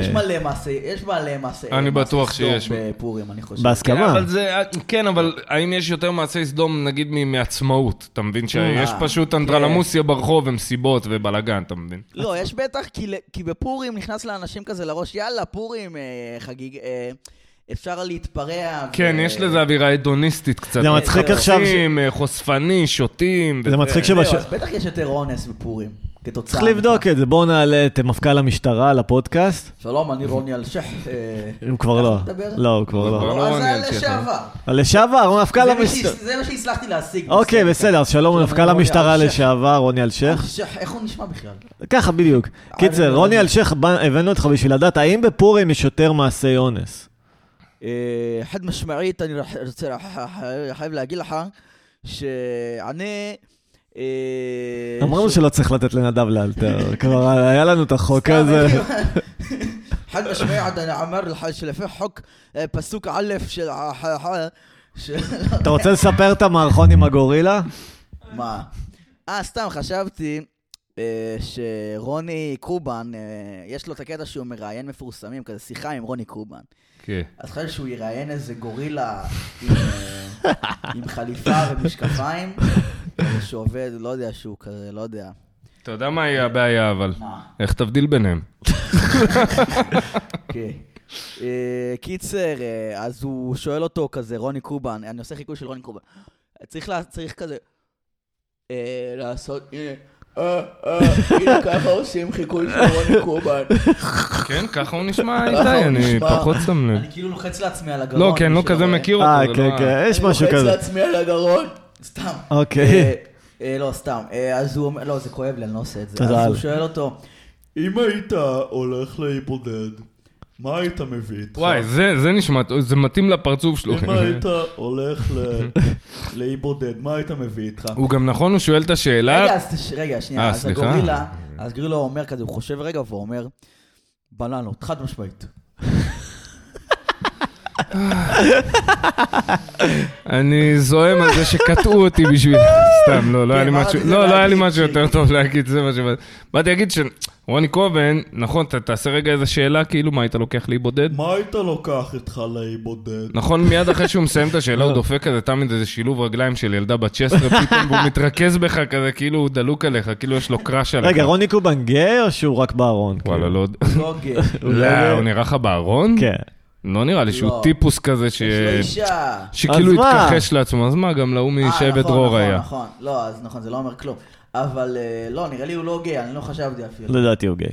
[SPEAKER 2] יש מלא מעשה, יש מלא מעשה.
[SPEAKER 3] אני
[SPEAKER 2] מעשה
[SPEAKER 3] בטוח
[SPEAKER 2] סדום
[SPEAKER 3] שיש.
[SPEAKER 2] בפורים, אני חושב.
[SPEAKER 3] כן,
[SPEAKER 1] בהסכמה.
[SPEAKER 3] אבל זה, כן, אבל האם יש יותר מעשי סדום, נגיד, מ- מעצמאות? אתה מבין שיש
[SPEAKER 2] אה,
[SPEAKER 3] פשוט אנדרלמוסיה
[SPEAKER 1] כן.
[SPEAKER 3] ברחוב ומסיבות ובלאגן, אתה מבין?
[SPEAKER 2] לא, יש בטח, כי ל- כי בפורים נכנס לאנשים כזה לראש, יאללה, פורים, אה, חגיג, אה, אפשר להתפרע.
[SPEAKER 3] כן,
[SPEAKER 2] ו-
[SPEAKER 3] יש לזה אווירה הדוניסטית קצת.
[SPEAKER 1] אה, זה מצחיק עכשיו ש-
[SPEAKER 3] חופשים, חושפני, שותים.
[SPEAKER 1] זה
[SPEAKER 3] וזה.
[SPEAKER 1] מצחיק
[SPEAKER 2] זהו,
[SPEAKER 1] שבש...
[SPEAKER 2] אז בטח יש יותר אונס בפורים. כתוצאה.
[SPEAKER 1] צריך
[SPEAKER 2] מכך.
[SPEAKER 1] לבדוק את זה. בואו נעלה את מפכ"ל המשטרה לפודקאסט.
[SPEAKER 2] שלום, אני רוני אלשיך. אה,
[SPEAKER 1] הוא כבר לא.
[SPEAKER 2] אתה מדבר?
[SPEAKER 1] לא, הוא כבר
[SPEAKER 3] כבר
[SPEAKER 1] לא.
[SPEAKER 3] לא.
[SPEAKER 2] אז
[SPEAKER 3] רוני
[SPEAKER 2] זה
[SPEAKER 3] אלשיך. אה.
[SPEAKER 2] לשעבר.
[SPEAKER 1] לשעבר, מפכ"ל
[SPEAKER 2] זה מה שהצ-
[SPEAKER 1] המשטרה.
[SPEAKER 2] זה מה שהצלחתי להשיג.
[SPEAKER 1] אוקיי,
[SPEAKER 2] בסדר.
[SPEAKER 1] בסדר, אז שלום
[SPEAKER 2] שלום,
[SPEAKER 1] למפכ"ל
[SPEAKER 2] רוני
[SPEAKER 1] המשטרה
[SPEAKER 2] אלשיך.
[SPEAKER 1] לשעבר, רוני אלשיך.
[SPEAKER 2] אלשיך, איך הוא נשמע בכלל?
[SPEAKER 1] ככה בדיוק. קיצר,
[SPEAKER 2] אני-
[SPEAKER 1] רוני אלשיך, בא- הבאנו אותך בשביל לדעת, האם בפורים יש יותר מעשי אונס?
[SPEAKER 2] אה, חד משמעית, אני רח- רוצה, רח- חייב להגיד לך, שאני... אה,
[SPEAKER 1] אמרנו
[SPEAKER 2] ש-
[SPEAKER 1] שלא אה, צריך לתת לנדב לאלתר, כבר היה לנו את החוק הזה.
[SPEAKER 2] حد مش قاعد انا عمر الحاج اللي فيه حك بسوك علف ش... ש...
[SPEAKER 1] אתה רוצה לספר את המערכון עם הגורילה?
[SPEAKER 2] מה? אה, סתם חשבתי אה, שרוני קובן, אה, יש לו את הקטע שהוא מראיין מפורסמים, כזה שיחה עם רוני קובן.
[SPEAKER 3] כן.
[SPEAKER 2] אז חשבתי שהוא יראיין איזה גורילה עם, אה, עם חליפה ומשקפיים, כזה שעובד, לא יודע שהוא כזה, לא יודע.
[SPEAKER 3] אתה יודע מה היא הבעיה, אבל?
[SPEAKER 2] מה?
[SPEAKER 3] איך תבדיל ביניהם?
[SPEAKER 2] כן. אה, קיצר, אה, אז הוא שואל אותו כזה, רוני קובן, אני עושה חיקוי של רוני קובן. צריך לה- צריך כזה... אה, לעשות... הנה, אה, אה, הנה ככה עושים חיקוי של רוני קובן.
[SPEAKER 3] כן, ככה הוא נשמע,
[SPEAKER 2] ככה הוא
[SPEAKER 3] איתי, אני
[SPEAKER 2] נשמע.
[SPEAKER 3] פחות שם לב.
[SPEAKER 2] אני כאילו לוחץ לעצמי על הגרון.
[SPEAKER 3] לא, כי אני לא
[SPEAKER 2] בשביל
[SPEAKER 3] כזה
[SPEAKER 2] הרעיון.
[SPEAKER 3] מכיר
[SPEAKER 1] אה,
[SPEAKER 3] אותו. זה
[SPEAKER 1] כן,
[SPEAKER 3] לא ה-
[SPEAKER 1] כן, יש משהו
[SPEAKER 2] אני
[SPEAKER 1] כזה.
[SPEAKER 2] לוחץ לעצמי על הגרון. סתם. אה,
[SPEAKER 1] אוקיי.
[SPEAKER 2] אה, לא, סתם. אה, אז הוא אומר, לא, זה כואב לי, אני לא עושה את זה.
[SPEAKER 1] תודה,
[SPEAKER 2] אז הוא
[SPEAKER 1] אלף.
[SPEAKER 2] שואל אותו,
[SPEAKER 4] אם היית הולך לאי בודד, מה היית מביא איתך?
[SPEAKER 3] וואי, זה לא- זה נשמע, זה מתאים לפרצוף שלו.
[SPEAKER 4] אם היית הולך ל- לאי בודד, מה היית מביא איתך?
[SPEAKER 3] הוא גם נכון, הוא שואל את השאלה.
[SPEAKER 2] רגע, אז תש- רגע, שנייה,
[SPEAKER 3] אה,
[SPEAKER 2] אז
[SPEAKER 3] סליחה.
[SPEAKER 2] הגורילה, אז גורילה אומר כזה, הוא חושב רגע והוא אומר, בננות, חד משמעית.
[SPEAKER 3] אני זועם על זה שקטעו אותי בשביל... סתם, לא, לא היה לי
[SPEAKER 2] כן,
[SPEAKER 3] משהו,
[SPEAKER 2] אמרתי, זה
[SPEAKER 3] לא, לא היה לי
[SPEAKER 2] להגיד
[SPEAKER 3] משהו יותר טוב להגיד, זה מה ש... באתי להגיד שרוני קובן, נכון, אתה תעשה רגע איזה שאלה, כאילו, מה היית לוקח לי בודד?
[SPEAKER 4] מה היית לוקח איתך לאי בודד?
[SPEAKER 3] נכון, מיד אחרי שהוא מסיים את השאלה, הוא דופק כזה תמיד איזה שילוב רגליים של ילדה בת 16 פתאום, והוא מתרכז בך כזה, כאילו הוא דלוק עליך, כאילו יש לו קראש עליך.
[SPEAKER 1] רגע, רוני קובן גיי או שהוא רק בארון?
[SPEAKER 3] וואלה, לא...
[SPEAKER 2] לא גיי.
[SPEAKER 1] אולי-
[SPEAKER 3] לא, הוא נראה לך בארון?
[SPEAKER 1] כן.
[SPEAKER 3] לא נראה לי
[SPEAKER 2] לא.
[SPEAKER 3] שהוא טיפוס כזה ש...
[SPEAKER 2] יש לו אישה.
[SPEAKER 3] שכאילו
[SPEAKER 1] אז מה?
[SPEAKER 3] התכחש לעצמו, אז מה, גם להוא
[SPEAKER 2] אה, נכון,
[SPEAKER 3] משבט דרור
[SPEAKER 2] נכון,
[SPEAKER 3] היה.
[SPEAKER 2] נכון, לא, אז נכון, זה לא אומר כלום. אבל אה, לא, נראה לי הוא לא גיי, אני לא חשבתי אפילו.
[SPEAKER 1] לדעתי הוא גיי.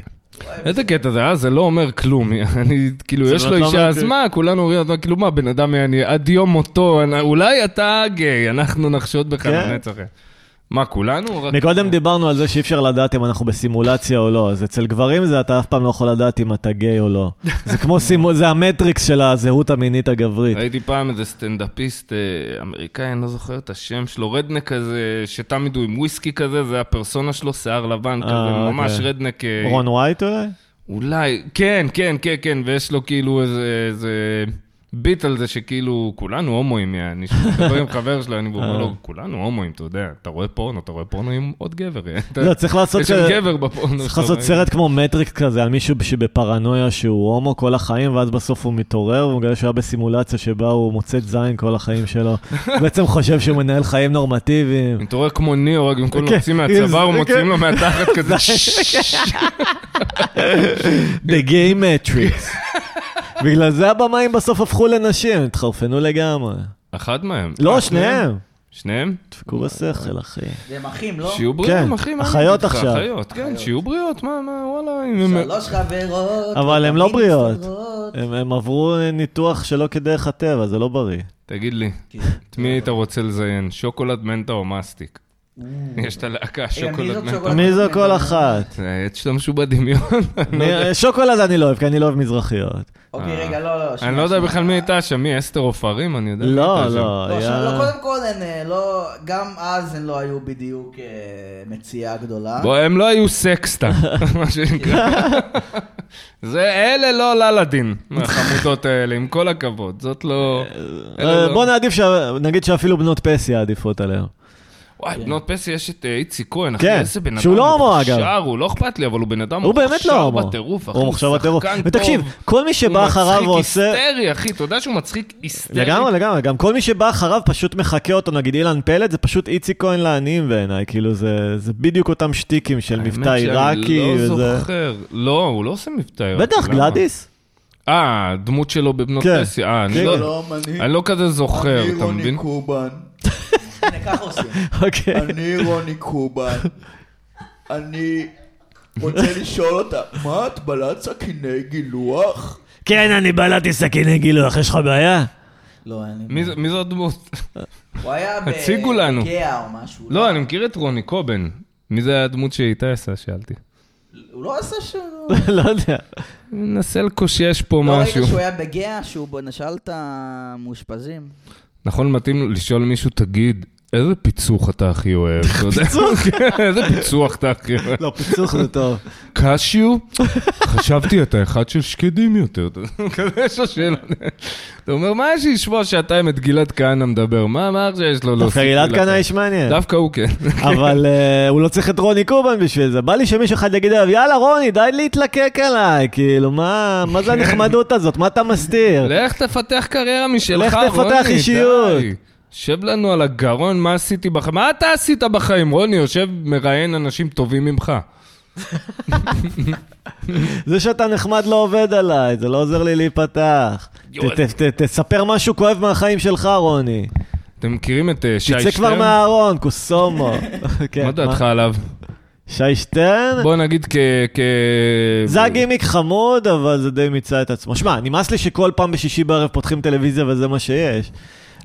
[SPEAKER 3] איזה קטע זה, אה? זה לא אומר כלום. אני, כאילו,
[SPEAKER 1] זאת
[SPEAKER 3] יש לו
[SPEAKER 1] אומרת, לא
[SPEAKER 3] אישה,
[SPEAKER 1] אומר
[SPEAKER 3] אז
[SPEAKER 1] כלום.
[SPEAKER 3] מה, כולנו אומרים, אז מה, כאילו, מה, בן אדם, אני עד יום מותו, אני- אולי אתה גיי, אנחנו נחשוד בך
[SPEAKER 1] כן.
[SPEAKER 3] לנצח. מה, כולנו? או רק-
[SPEAKER 1] מקודם דיברנו על זה שאי אפשר לדעת אם אנחנו בסימולציה או לא, אז אצל גברים זה אתה אף פעם לא יכול לדעת אם אתה גיי או לא. זה כמו סימול, זה המטריקס של הזהות המינית הגברית.
[SPEAKER 3] ראיתי פעם איזה סטנדאפיסט אה, אמריקאי, אני לא זוכר את השם שלו, רדנק כזה, שתמיד הוא עם וויסקי כזה, זה הפרסונה שלו, שיער לבן
[SPEAKER 1] אה,
[SPEAKER 3] כזה, ממש
[SPEAKER 1] אוקיי.
[SPEAKER 3] רדנק. אה,
[SPEAKER 1] רון ווייט אולי?
[SPEAKER 3] אולי, כן, כן, כן, כן, ויש לו כאילו איזה, איזה ביט על זה שכאילו, כולנו הומואים, אני מדבר עם חבר שלו, אני אומר
[SPEAKER 1] אה.
[SPEAKER 3] לו, כולנו הומואים, אתה יודע, אתה רואה פורנו, אתה רואה פורנו עם עוד גבר. אה? אתה-
[SPEAKER 1] לא, צריך לעשות
[SPEAKER 3] יש שם
[SPEAKER 1] כזה-
[SPEAKER 3] גבר בפורנו. אה?
[SPEAKER 1] צריך
[SPEAKER 3] שאתה
[SPEAKER 1] לעשות
[SPEAKER 3] רואה.
[SPEAKER 1] סרט כמו מטריקס כזה, על מישהו שבפרנויה שהוא הומו כל החיים, ואז בסוף הוא מתעורר, והוא מגלה שהוא היה בסימולציה שבה הוא מוצא זין כל החיים שלו. הוא בעצם חושב שהוא מנהל חיים נורמטיביים.
[SPEAKER 3] אתה רואה כמו ניאו, רק במקום
[SPEAKER 1] כן,
[SPEAKER 3] להוציא
[SPEAKER 1] כן,
[SPEAKER 3] מהצוואר,
[SPEAKER 1] כן.
[SPEAKER 3] מוציאים לו מהתחת כזה. "ששש".
[SPEAKER 1] The Game Matrix. בגלל זה הבמאים בסוף הפכו לנשים, התחרפנו לגמרי.
[SPEAKER 3] אחד מהם. אה,
[SPEAKER 1] לא, שניהם.
[SPEAKER 3] שניהם?
[SPEAKER 1] דפקו בשכל, אחי.
[SPEAKER 2] והם אחים, לא?
[SPEAKER 3] שיהיו בריאים,
[SPEAKER 1] כן.
[SPEAKER 3] אחי, מה אני
[SPEAKER 1] אחיות
[SPEAKER 3] אגיד לך?
[SPEAKER 1] עכשיו.
[SPEAKER 3] אחיות, כן,
[SPEAKER 2] אחיות.
[SPEAKER 3] שיהיו בריאות, מה, מה, וואלה, אם הם...
[SPEAKER 2] שלוש חברות.
[SPEAKER 1] אבל הן לא
[SPEAKER 2] תמיד
[SPEAKER 1] בריאות.
[SPEAKER 2] מסתדרות.
[SPEAKER 1] הם הם עברו ניתוח שלא כדרך הטבע, זה לא בריא.
[SPEAKER 3] תגיד לי,
[SPEAKER 2] כן.
[SPEAKER 3] את מי היית רוצה לזיין? שוקולד מנטה או מסטיק? יש את הלהקה,
[SPEAKER 2] מי
[SPEAKER 3] שוקולד
[SPEAKER 2] זאת
[SPEAKER 3] מנטה.
[SPEAKER 2] שוקולד?
[SPEAKER 1] מי זו כל אחת?
[SPEAKER 3] זה, תשתמשו בדמיון.
[SPEAKER 1] מי- שוקולד אני לא אוהב, כי אני לא אוהב מזרחיות.
[SPEAKER 2] אוקיי,
[SPEAKER 3] אה.
[SPEAKER 2] רגע, לא, לא, שנייה,
[SPEAKER 3] אני לא יודע
[SPEAKER 2] שנייה.
[SPEAKER 3] בכלל מי הייתה שם, מי אסתר עופרים? אני יודע. מי
[SPEAKER 1] לא,
[SPEAKER 3] הייתה שם.
[SPEAKER 1] לא,
[SPEAKER 2] לא,
[SPEAKER 1] היה...
[SPEAKER 2] עכשיו, לא, קודם כל הן אה, לא, גם אז הן לא היו בדיוק אה, מציאה גדולה.
[SPEAKER 3] בוא, הם לא היו סקסטה, מה שנקרא. זה, אלה לא ללדין, החמודות האלה, עם כל הכבוד. זאת לא... אלה
[SPEAKER 1] אה,
[SPEAKER 3] לא-
[SPEAKER 1] בוא נעדיף, שה- נגיד שאפילו בנות פסיה עדיפות עליהם.
[SPEAKER 3] וואי, בנות פסי יש את אה, איציק כהן, אחי,
[SPEAKER 1] כן,
[SPEAKER 3] איזה בן אדם
[SPEAKER 1] שהוא לא הומו, אגב.
[SPEAKER 3] מוכשר, הוא לא אכפת לי, אבל הוא בן אדם
[SPEAKER 1] הוא באמת לא הומו.
[SPEAKER 3] בטירוף, אחי,
[SPEAKER 1] הוא מוכשר בטירוף.
[SPEAKER 3] שחקן
[SPEAKER 1] ותקשיב,
[SPEAKER 3] טוב.
[SPEAKER 1] כל מי שבא אחריו
[SPEAKER 3] הוא
[SPEAKER 1] ועושה...
[SPEAKER 3] מצחיק היסטרי, אחי, אתה יודע שהוא מצחיק היסטרי.
[SPEAKER 1] לגמרי, לגמרי. גם כל מי שבא אחריו פשוט מחקה אותו, נגיד אילן פלד, זה פשוט איציק כהן לעניים בעיניי, כאילו זה, זה בדיוק אותם שטיקים של מבטא עיראקי
[SPEAKER 3] האמת שאני
[SPEAKER 1] וזה...
[SPEAKER 3] לא זוכר. לא, הוא לא עושה מבטא עיראקי.
[SPEAKER 1] בטח,
[SPEAKER 3] למה?
[SPEAKER 1] גלאדיס.
[SPEAKER 3] אה, הדמות שלו בבנות
[SPEAKER 1] כן.
[SPEAKER 3] פסי. אה, אני
[SPEAKER 1] כן.
[SPEAKER 3] לא...
[SPEAKER 4] שלום, אני-
[SPEAKER 3] אני לא כזה זוכר,
[SPEAKER 4] אני
[SPEAKER 3] אתה מבין?
[SPEAKER 4] רוני קובן.
[SPEAKER 2] הנה, ככה עושים.
[SPEAKER 1] אוקיי.
[SPEAKER 4] אני רוני קובן. אני רוצה לשאול אותה, מה את בלעת סכיני גילוח?
[SPEAKER 1] כן, אני בלעתי סכיני גילוח, יש לך בעיה?
[SPEAKER 2] לא, אין לי...
[SPEAKER 3] מי זה- מי זו הדמות?
[SPEAKER 2] הוא היה ב...
[SPEAKER 3] הציגו לנו.
[SPEAKER 2] גאה או משהו.
[SPEAKER 3] לא, אני מכיר את רוני קובן. מי זה הדמות שאיתה עשה? שאלתי.
[SPEAKER 2] הוא לא עשה ש...
[SPEAKER 1] לא יודע.
[SPEAKER 3] אני מנסה לקושש פה
[SPEAKER 2] לא ראית
[SPEAKER 3] משהו.
[SPEAKER 2] שהוא היה בגאה, שהוא ב- נשאל את המאושפזים.
[SPEAKER 3] נכון, מתאים לו לשאול מישהו, תגיד, איזה פיצוח אתה הכי אוהב? אתה יודע? כן, איזה פיצוח אתה הכי אוהב?
[SPEAKER 1] לא, פיצוח זה טוב.
[SPEAKER 3] קשיו? חשבתי, אתה אחד של שקדים יותר. אתה יודע, כזה יש לו שאלה. אתה אומר, מה יש לי לשמוע שעתיים את גלעד כהנא מדבר? מה מה עכשיו יש לו להוסיף?
[SPEAKER 1] דווקא גלעד כהנא איש מעניין.
[SPEAKER 3] דווקא הוא כן.
[SPEAKER 1] אבל אה, הוא לא צריך את רוני קובן בשביל זה. בא לי שמישהו אחד יגיד עליו, יאללה רוני, די להתלקק עליי. כאילו, מה מה זה הנחמדות הזאת? מה אתה מסתיר?
[SPEAKER 3] לך תפתח קריירה משלך,
[SPEAKER 1] לך
[SPEAKER 3] רוני.
[SPEAKER 1] תפתח אישיות.
[SPEAKER 3] די. שב לנו על הגרון, מה עשיתי בחיים? מה אתה עשית בחיים, רוני? יושב, מראיין אנשים טובים ממך.
[SPEAKER 1] זה שאתה נחמד לא עובד עליי, זה לא עוזר לי להיפתח. ת- ת- ת- תספר משהו כואב מהחיים שלך, רוני.
[SPEAKER 3] אתם מכירים את אה, שי שטרן?
[SPEAKER 1] תצא כבר מהארון, קוסומו. כן,
[SPEAKER 3] מה דעתך עליו?
[SPEAKER 1] שי שטרן?
[SPEAKER 3] בוא נגיד כ... כ...
[SPEAKER 1] זה הגימיק חמוד, אבל זה די מיצה את עצמו. שמע, נמאס לי שכל פעם בשישי בערב פותחים טלוויזיה וזה מה שיש.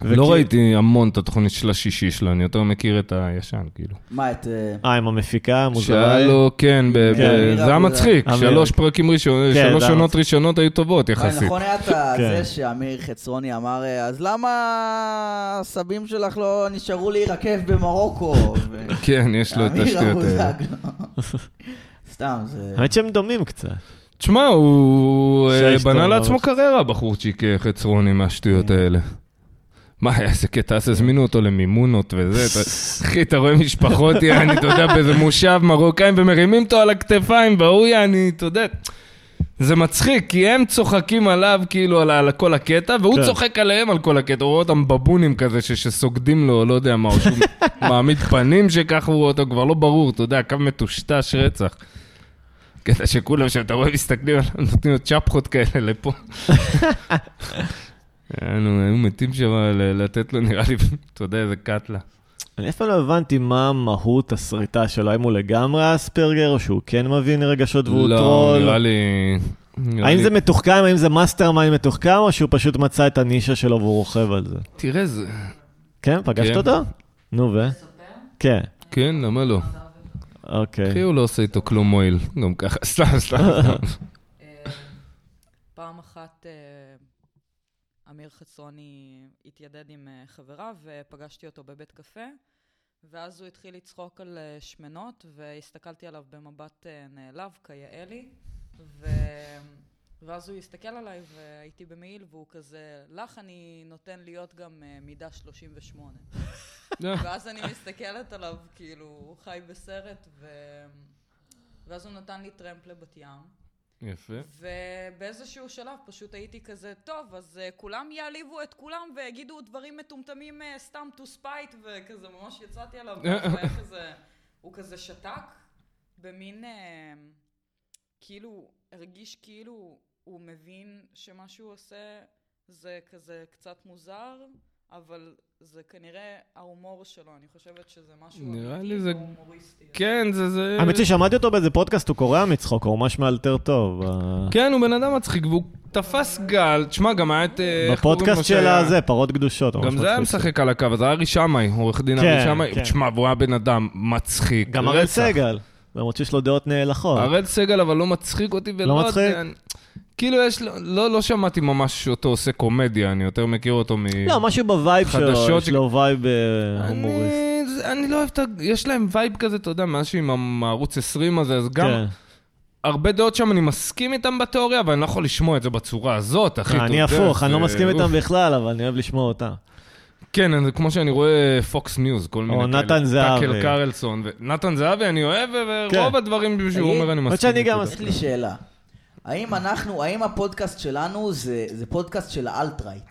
[SPEAKER 3] לא
[SPEAKER 1] וכי-
[SPEAKER 3] ראיתי המון את התוכנית של השישי שלו, אני יותר מכיר את הישן, כאילו.
[SPEAKER 2] מה, את... אה,
[SPEAKER 1] אה, עם המפיקה המוזרה.
[SPEAKER 3] שהיה לו, כן, ב- ב-
[SPEAKER 1] כן.
[SPEAKER 3] זה היה מצחיק,
[SPEAKER 1] אמירה.
[SPEAKER 3] שלוש פרקים ראשונים,
[SPEAKER 1] כן,
[SPEAKER 3] שלוש
[SPEAKER 1] זה היה
[SPEAKER 3] עונות
[SPEAKER 1] מצחיק.
[SPEAKER 3] ראשונות היו טובות
[SPEAKER 2] אה,
[SPEAKER 3] יחסית.
[SPEAKER 2] נכון היה את ה-
[SPEAKER 1] כן.
[SPEAKER 2] זה שאמיר חצרוני אמר, אה, אז למה הסבים שלך לא נשארו להירקב במרוקו? ו-
[SPEAKER 3] כן, יש לו את
[SPEAKER 2] אמיר
[SPEAKER 3] השטויות האלה.
[SPEAKER 2] אבוזג, לא. סתם, זה...
[SPEAKER 1] כן. האמת שהם דומים קצת.
[SPEAKER 3] תשמע, הוא אה,
[SPEAKER 1] שיש
[SPEAKER 3] בנה
[SPEAKER 1] טוב,
[SPEAKER 3] לעצמו
[SPEAKER 1] ממש.
[SPEAKER 3] קריירה, בחורצ'יק אה, חצרוני מהשטויות האלה. מה, איזה קטע, אז הזמינו אותו למימונות וזה, אתה- אחי, אתה רואה משפחות, יעני, אתה יודע, באיזה מושב מרוקאים, ומרימים אותו על הכתפיים, והוא יעני, אתה יודע, זה מצחיק, כי הם צוחקים עליו, כאילו, על, על כל הקטע, והוא
[SPEAKER 1] כן.
[SPEAKER 3] צוחק עליהם על כל הקטע, הוא רואה אותם בבונים כזה, ש, שסוגדים לו, לא יודע מה, או שהוא מעמיד פנים שככה הוא רואה אותו, כבר לא ברור, אתה יודע, קו מטושטש רצח. קטע שכולם, שאתה רואה, מסתכלים עליו, נותנים לו צ'פחות כאלה לפה. היינו היו מתים שם ל- לתת לו, נראה לי, אתה יודע, איזה קאטלה.
[SPEAKER 1] אני אף פעם לא הבנתי מה מהות הסריטה שלו, האם הוא לגמרי אספרגר, או שהוא כן מבין רגשות והוא
[SPEAKER 3] לא, נראה
[SPEAKER 1] טרול.
[SPEAKER 3] לי... נראה
[SPEAKER 1] האם
[SPEAKER 3] לי-
[SPEAKER 1] זה מתוחכם, האם זה מאסטר מיינד מתוחכם, או שהוא פשוט מצא את הנישה שלו והוא רוכב על זה?
[SPEAKER 3] תראה, זה...
[SPEAKER 1] כן, פגשת
[SPEAKER 3] כן.
[SPEAKER 1] אותו? נו ו? כן,
[SPEAKER 3] כן, למה לא? אחי,
[SPEAKER 1] אוקיי.
[SPEAKER 3] הוא לא עושה איתו כלום מועיל. גם ככה, סתם, סתם. סתם.
[SPEAKER 5] אה, פעם אחת אה, אמיר חצרוני התיידד עם אה, חברה ופגשתי אותו בבית קפה, ואז הוא התחיל לצחוק על אה, שמנות, והסתכלתי עליו במבט אה, נעלב, כיאה לי, ו... ואז הוא הסתכל עליי והייתי במעיל, והוא כזה, לך אני נותן להיות גם אה, מידה 38. ואז אני מסתכלת עליו, כאילו, הוא חי בסרט, ו... ואז הוא נתן לי טרמפ לבת ים.
[SPEAKER 3] יפה.
[SPEAKER 5] ובאיזשהו שלב פשוט הייתי כזה, טוב, אז uh, כולם יעליבו את כולם ויגידו דברים מטומטמים uh, סתם to spite, וכזה ממש יצאתי עליו, ואז הוא היה כזה, הוא כזה שתק, במין, uh, כאילו, הרגיש כאילו הוא מבין שמה שהוא עושה זה כזה קצת מוזר, אבל זה כנראה ההומור שלו, אני חושבת שזה משהו
[SPEAKER 3] נראה
[SPEAKER 5] אמיתי
[SPEAKER 3] לי זה-
[SPEAKER 5] והומוריסטי.
[SPEAKER 3] כן, זה... זה...
[SPEAKER 1] האמת ששמעתי אותו באיזה פודקאסט, הוא קורע מצחוק, הוא ממש מאלתר טוב. ה-
[SPEAKER 3] כן, הוא בן אדם מצחיק, והוא תפס גל. תשמע, גם היה את... אה, איך קוראים לו
[SPEAKER 1] בפודקאסט של
[SPEAKER 3] שהיה?
[SPEAKER 1] הזה, פרות קדושות. הוא
[SPEAKER 3] גם
[SPEAKER 1] ממש
[SPEAKER 3] זה היה
[SPEAKER 1] מצחיק.
[SPEAKER 3] משחק על הקו, אז ארי שמאי, עורך דין ארי
[SPEAKER 1] כן,
[SPEAKER 3] שמאי.
[SPEAKER 1] כן.
[SPEAKER 3] תשמע, והוא היה בן אדם מצחיק.
[SPEAKER 1] גם אראל
[SPEAKER 3] רצח.
[SPEAKER 1] סגל, למרות שיש לו דעות נאלחות.
[SPEAKER 3] הראל סגל אבל לא מצחיק אותי ולא...
[SPEAKER 1] לא מצחיק?
[SPEAKER 3] אני- כאילו יש לו... לא, לא שמעתי ממש שאותו עושה קומדיה, אני יותר מכיר אותו מ...
[SPEAKER 1] לא, משהו בווייב שלו,
[SPEAKER 3] חדשות
[SPEAKER 1] יש לו וייב אה, הומוריסט.
[SPEAKER 3] אני, זה- אני לא אוהב את ה... יש להם וייב כזה, אתה יודע, מאז שעם המ- הערוץ 20 הזה, אז גם
[SPEAKER 1] כן.
[SPEAKER 3] הרבה דעות שם, אני מסכים איתם בתיאוריה, אבל אני לא יכול לשמוע את זה בצורה הזאת, אחי. אתה
[SPEAKER 1] אני
[SPEAKER 3] יודע,
[SPEAKER 1] הפוך, אני לא
[SPEAKER 3] זה-
[SPEAKER 1] מסכים
[SPEAKER 3] אה, אוף.
[SPEAKER 1] איתם בכלל, אבל אני אוהב לשמוע אותם.
[SPEAKER 3] כן, אני- כמו שאני רואה פוקס ניוז, כל מיני
[SPEAKER 1] או נתן זהבי.
[SPEAKER 3] טאקל קרלסון. ו- נתן זהבי, אני אוהב, ו-
[SPEAKER 1] כן.
[SPEAKER 3] ורוב הדברים שהוא
[SPEAKER 2] תגיד,
[SPEAKER 3] אומר, אני
[SPEAKER 1] למרות
[SPEAKER 3] מסכים.
[SPEAKER 1] שאני גם
[SPEAKER 3] איתו.
[SPEAKER 2] יש לי שאלה. האם אנחנו, האם הפודקאסט שלנו זה זה פודקאסט של האלטרייט?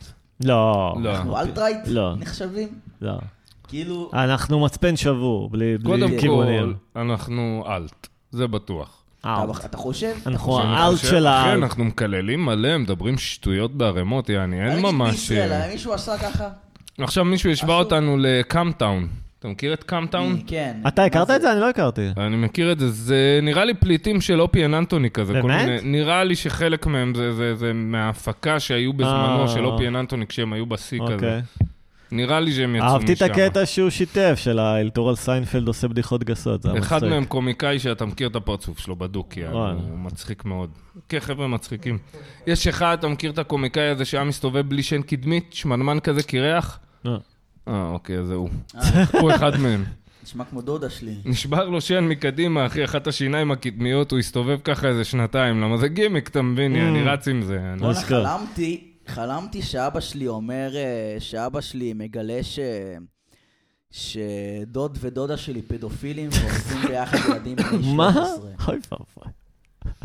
[SPEAKER 1] לא,
[SPEAKER 3] לא.
[SPEAKER 2] אנחנו אלטרייט
[SPEAKER 1] לא.
[SPEAKER 2] נחשבים?
[SPEAKER 1] לא.
[SPEAKER 2] כאילו...
[SPEAKER 1] אנחנו מצפן שבור, בלי בלי
[SPEAKER 3] קודם כל,
[SPEAKER 1] כיוונים.
[SPEAKER 3] אנחנו אלט, זה בטוח.
[SPEAKER 1] אה, נכון.
[SPEAKER 2] אתה- אתה חושב?
[SPEAKER 1] אנחנו
[SPEAKER 3] שאני
[SPEAKER 1] האלט
[SPEAKER 3] חושב-
[SPEAKER 1] של
[SPEAKER 3] אחי,
[SPEAKER 1] האלט.
[SPEAKER 3] אנחנו מקללים מלא, מדברים שטויות בערימות, יעני, אין
[SPEAKER 2] נגיד
[SPEAKER 3] ממש...
[SPEAKER 2] בישראל,
[SPEAKER 3] אה,
[SPEAKER 2] מישהו עשה ככה?
[SPEAKER 3] עכשיו מישהו השווה
[SPEAKER 2] אסור.
[SPEAKER 3] אותנו לקאמטאון. אתה מכיר את קאמטאון?
[SPEAKER 2] כן.
[SPEAKER 1] אתה
[SPEAKER 2] מה
[SPEAKER 1] הכרת את זה? אני לא הכרתי.
[SPEAKER 3] אני מכיר את זה, זה נראה לי פליטים של אופי אננטוני כזה. כל
[SPEAKER 1] באמת?
[SPEAKER 3] מיני- נראה לי שחלק מהם זה, זה, זה מההפקה שהיו
[SPEAKER 1] אה.
[SPEAKER 3] בזמנו של אופי אננטוני כשהם היו בשיא כזה.
[SPEAKER 1] אוקיי.
[SPEAKER 3] נראה לי שהם יצאו משם.
[SPEAKER 1] אהבתי את הקטע שהוא שיתף, של האלתור על סיינפלד עושה בדיחות גסות, זה היה מצחיק.
[SPEAKER 3] אחד מהם קומיקאי שאתה מכיר את הפרצוף שלו בדוק, יעני,
[SPEAKER 1] וואלה.
[SPEAKER 3] הוא מצחיק מאוד. כן, חבר'ה מצחיקים. יש אחד, אתה מכיר את הקומיקאי הזה שהיה מסתובב בלי שן קדמית, שמנמן כזה קירח?
[SPEAKER 1] אה.
[SPEAKER 3] אה, אוקיי, אז זה הוא.
[SPEAKER 2] אה,
[SPEAKER 3] הוא אחד מהם.
[SPEAKER 2] נשמע כמו דודה שלי.
[SPEAKER 3] נשבר לו שן מקדימה, אחי, אחת השיניים הקדמיות, הוא הסתובב ככה איזה שנתיים. למה זה גימיק, אתה מבין?
[SPEAKER 1] Mm.
[SPEAKER 3] אני רץ עם זה. אני-
[SPEAKER 1] לא
[SPEAKER 2] בואנה,
[SPEAKER 1] נזכר.
[SPEAKER 2] חלמתי, חלמתי שאבא שלי אומר, אה, שאבא שלי מגלה ש... שדוד ודודה שלי פדופילים ועושים ביחד ילדים בני 13.
[SPEAKER 1] מה? אוי ואבוי.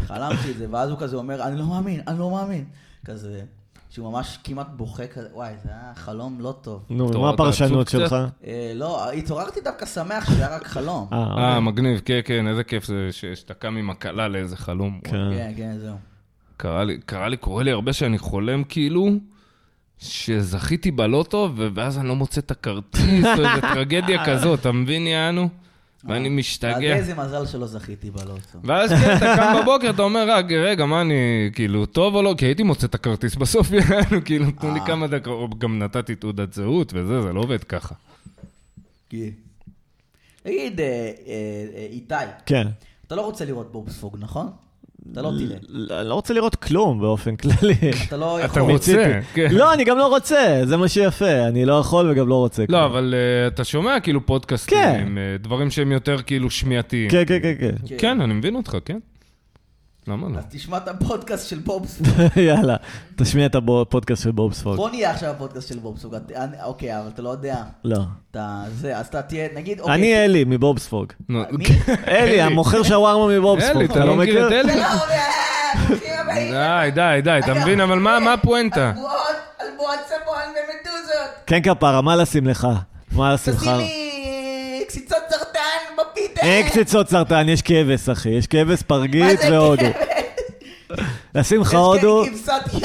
[SPEAKER 2] חלמתי את זה, ואז הוא כזה אומר, אני לא מאמין, אני לא מאמין. כזה, שהוא ממש כמעט בוכה כזה, וואי, זה היה חלום לא טוב.
[SPEAKER 1] נו,
[SPEAKER 3] טוב,
[SPEAKER 1] מה
[SPEAKER 3] אתה
[SPEAKER 1] הפרשנות
[SPEAKER 3] עצוב
[SPEAKER 1] שלך?
[SPEAKER 2] אה, לא, התעוררתי דווקא שמח שהיה רק חלום.
[SPEAKER 1] אה,
[SPEAKER 3] אה,
[SPEAKER 1] אוקיי.
[SPEAKER 3] מגניב, כן, כן, איזה כיף זה ש- שאתה קם עם הקלה לאיזה חלום.
[SPEAKER 1] כן.
[SPEAKER 2] כן, כן, זהו.
[SPEAKER 3] קרה לי, קרה לי, קורה לי הרבה שאני חולם כאילו, שזכיתי בלוטו, ו- ואז אני לא מוצא את הכרטיס, או איזה טרגדיה כזאת, אתה מבין, יענו? ואני
[SPEAKER 2] אז
[SPEAKER 3] משתגע.
[SPEAKER 2] איזה מזל שלא זכיתי בלוטו.
[SPEAKER 3] ואז כן, אתה קם בבוקר, אתה אומר, "רק, רגע, מה אני, כאילו, טוב או לא? כי הייתי מוצא את הכרטיס בסוף, יענו, כאילו, תנו לי
[SPEAKER 2] אה.
[SPEAKER 3] כמה דקות, או גם נתתי תעודת זהות וזה, זה לא עובד ככה.
[SPEAKER 2] כן. תגיד, אה, אה, אה, איתי,
[SPEAKER 1] כן.
[SPEAKER 2] אתה לא רוצה לראות בובספוג, נכון? אתה לא תראה.
[SPEAKER 1] ל- אני לא רוצה לראות כלום באופן כללי.
[SPEAKER 2] אתה לא
[SPEAKER 3] אתה
[SPEAKER 2] יכול.
[SPEAKER 3] רוצה, כן.
[SPEAKER 1] לא, אני גם לא רוצה, זה מה שיפה, אני לא יכול וגם לא רוצה.
[SPEAKER 3] לא,
[SPEAKER 1] כלום.
[SPEAKER 3] אבל אה, אתה שומע כאילו פודקאסטים,
[SPEAKER 1] כן.
[SPEAKER 3] אה, דברים שהם יותר כאילו שמיעתיים.
[SPEAKER 1] כן, כן, כן, כן.
[SPEAKER 2] כן.
[SPEAKER 3] כן, אני מבין אותך, כן. למה לא?
[SPEAKER 2] אז תשמע את הפודקאסט של בובספוג.
[SPEAKER 1] יאללה, תשמיע את הפודקאסט של בוב ספוג.
[SPEAKER 2] בוא נהיה עכשיו הפודקאסט של בובספוג. את- אני- אוקיי, אבל אתה לא יודע.
[SPEAKER 1] לא.
[SPEAKER 2] אתה זה, אז אתה תהיה, נגיד, אוקיי.
[SPEAKER 1] אני אלי מבוב ספוג.
[SPEAKER 3] נו,
[SPEAKER 2] מי?
[SPEAKER 1] אלי, המוכר שווארמה מבוב ספוג.
[SPEAKER 3] אלי, אתה לא מכיר את אלי?
[SPEAKER 2] אתה לא יודע, אחי, הבאים.
[SPEAKER 3] די, די, די, אתה מבין, אבל מה מה הפואנטה?
[SPEAKER 2] בועות, על בועות סבון ומדוזות.
[SPEAKER 1] כן, כפרה, מה לשים לך? מה לשים לך?
[SPEAKER 2] תשים לי קציצות סרטן בפיתה.
[SPEAKER 1] אין אה, קציצות סרטן, יש כבש, אחי. יש כבש,
[SPEAKER 2] מה
[SPEAKER 1] פרגית
[SPEAKER 2] זה
[SPEAKER 1] והודו. נשים לך הודו,
[SPEAKER 2] יש כבשת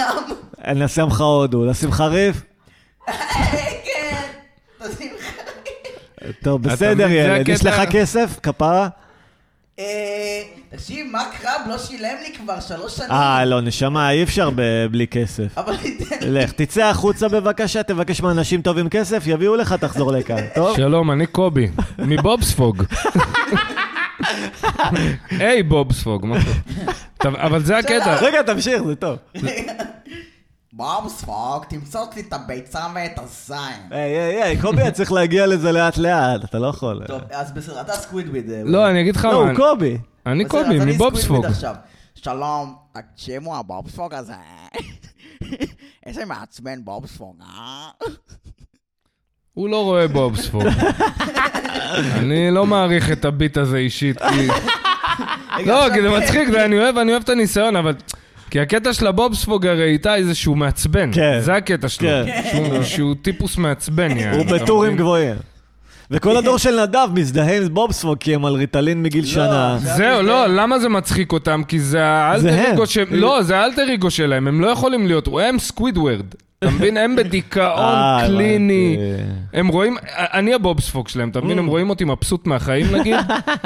[SPEAKER 2] ים.
[SPEAKER 1] נשים לך הודו. לשים לך ריף?
[SPEAKER 2] כן. תשים לך.
[SPEAKER 1] טוב,
[SPEAKER 3] אתה
[SPEAKER 1] בסדר,
[SPEAKER 3] מבין, זה
[SPEAKER 1] ילד. יש לך
[SPEAKER 3] הקטע.
[SPEAKER 1] כסף, כפרה?
[SPEAKER 2] אה, תקשיב, מה קרב לא שילם לי כבר שלוש שנים.
[SPEAKER 1] אה, לא, נשמה, אי אפשר ב- בלי כסף.
[SPEAKER 2] אבל ניתן לי.
[SPEAKER 1] לך, תצא החוצה בבקשה, תבקש מאנשים טובים כסף, יביאו לך, תחזור לכאן, טוב?
[SPEAKER 3] שלום, אני קובי, מבובספוג. היי, בובספוג, מה טוב, אבל זה הקטע.
[SPEAKER 1] רגע, תמשיך, זה טוב.
[SPEAKER 2] בום ספוג, תמצוץ לי את הביצה ואת הזין.
[SPEAKER 1] היי, היי, היי, קובי, צריך להגיע לזה לאט-לאט, אתה לא יכול.
[SPEAKER 2] טוב, אז בסדר, אתה סקווידוויד. אה,
[SPEAKER 3] לא, אני אגיד לך
[SPEAKER 1] לא,
[SPEAKER 3] מה,
[SPEAKER 1] הוא
[SPEAKER 3] אני-
[SPEAKER 1] קובי.
[SPEAKER 3] אני
[SPEAKER 2] בסדר, אז
[SPEAKER 3] קובי,
[SPEAKER 2] אני
[SPEAKER 3] מבובספוג.
[SPEAKER 2] סקווידוויד עכשיו. שלום, תקשיבו, הבובספוג הזה. איזה מעצבן בובספוג, אה?
[SPEAKER 3] הוא לא רואה בובספוג. אני לא מעריך את הביט הזה אישית, כי... לא,
[SPEAKER 2] עכשיו
[SPEAKER 3] כי זה
[SPEAKER 2] כן.
[SPEAKER 3] מצחיק, זה- אני אוהב, אני אוהב את הניסיון, אבל... כי הקטע של הבובספוג הרי איתי זה שהוא מעצבן.
[SPEAKER 1] כן.
[SPEAKER 3] זה הקטע שלו.
[SPEAKER 1] כן.
[SPEAKER 3] שהוא- שהוא טיפוס מעצבן, יעני.
[SPEAKER 1] הוא
[SPEAKER 3] אתה
[SPEAKER 1] בטורים
[SPEAKER 3] מבין?
[SPEAKER 1] גבוהים. וכל הדור של נדב מזדהה עם בובספוג כי הם על ריטלין מגיל שנה.
[SPEAKER 2] זה-
[SPEAKER 3] זהו, לא, למה זה מצחיק אותם? כי זה
[SPEAKER 1] זה
[SPEAKER 3] האלטר
[SPEAKER 1] הם.
[SPEAKER 3] איגו שהם... לא, זה האלטר איגו שלהם, הם לא יכולים להיות, הם סקווידוורד. אתה מבין? הם
[SPEAKER 1] אה,
[SPEAKER 3] בדיכאון
[SPEAKER 1] הבנתי.
[SPEAKER 3] קליני. הם כאילו, רואים, אני הבובספוג שלהם, אתה
[SPEAKER 2] Mm.
[SPEAKER 3] מבין? הם רואים אותי מבסוט מהחיים נגיד,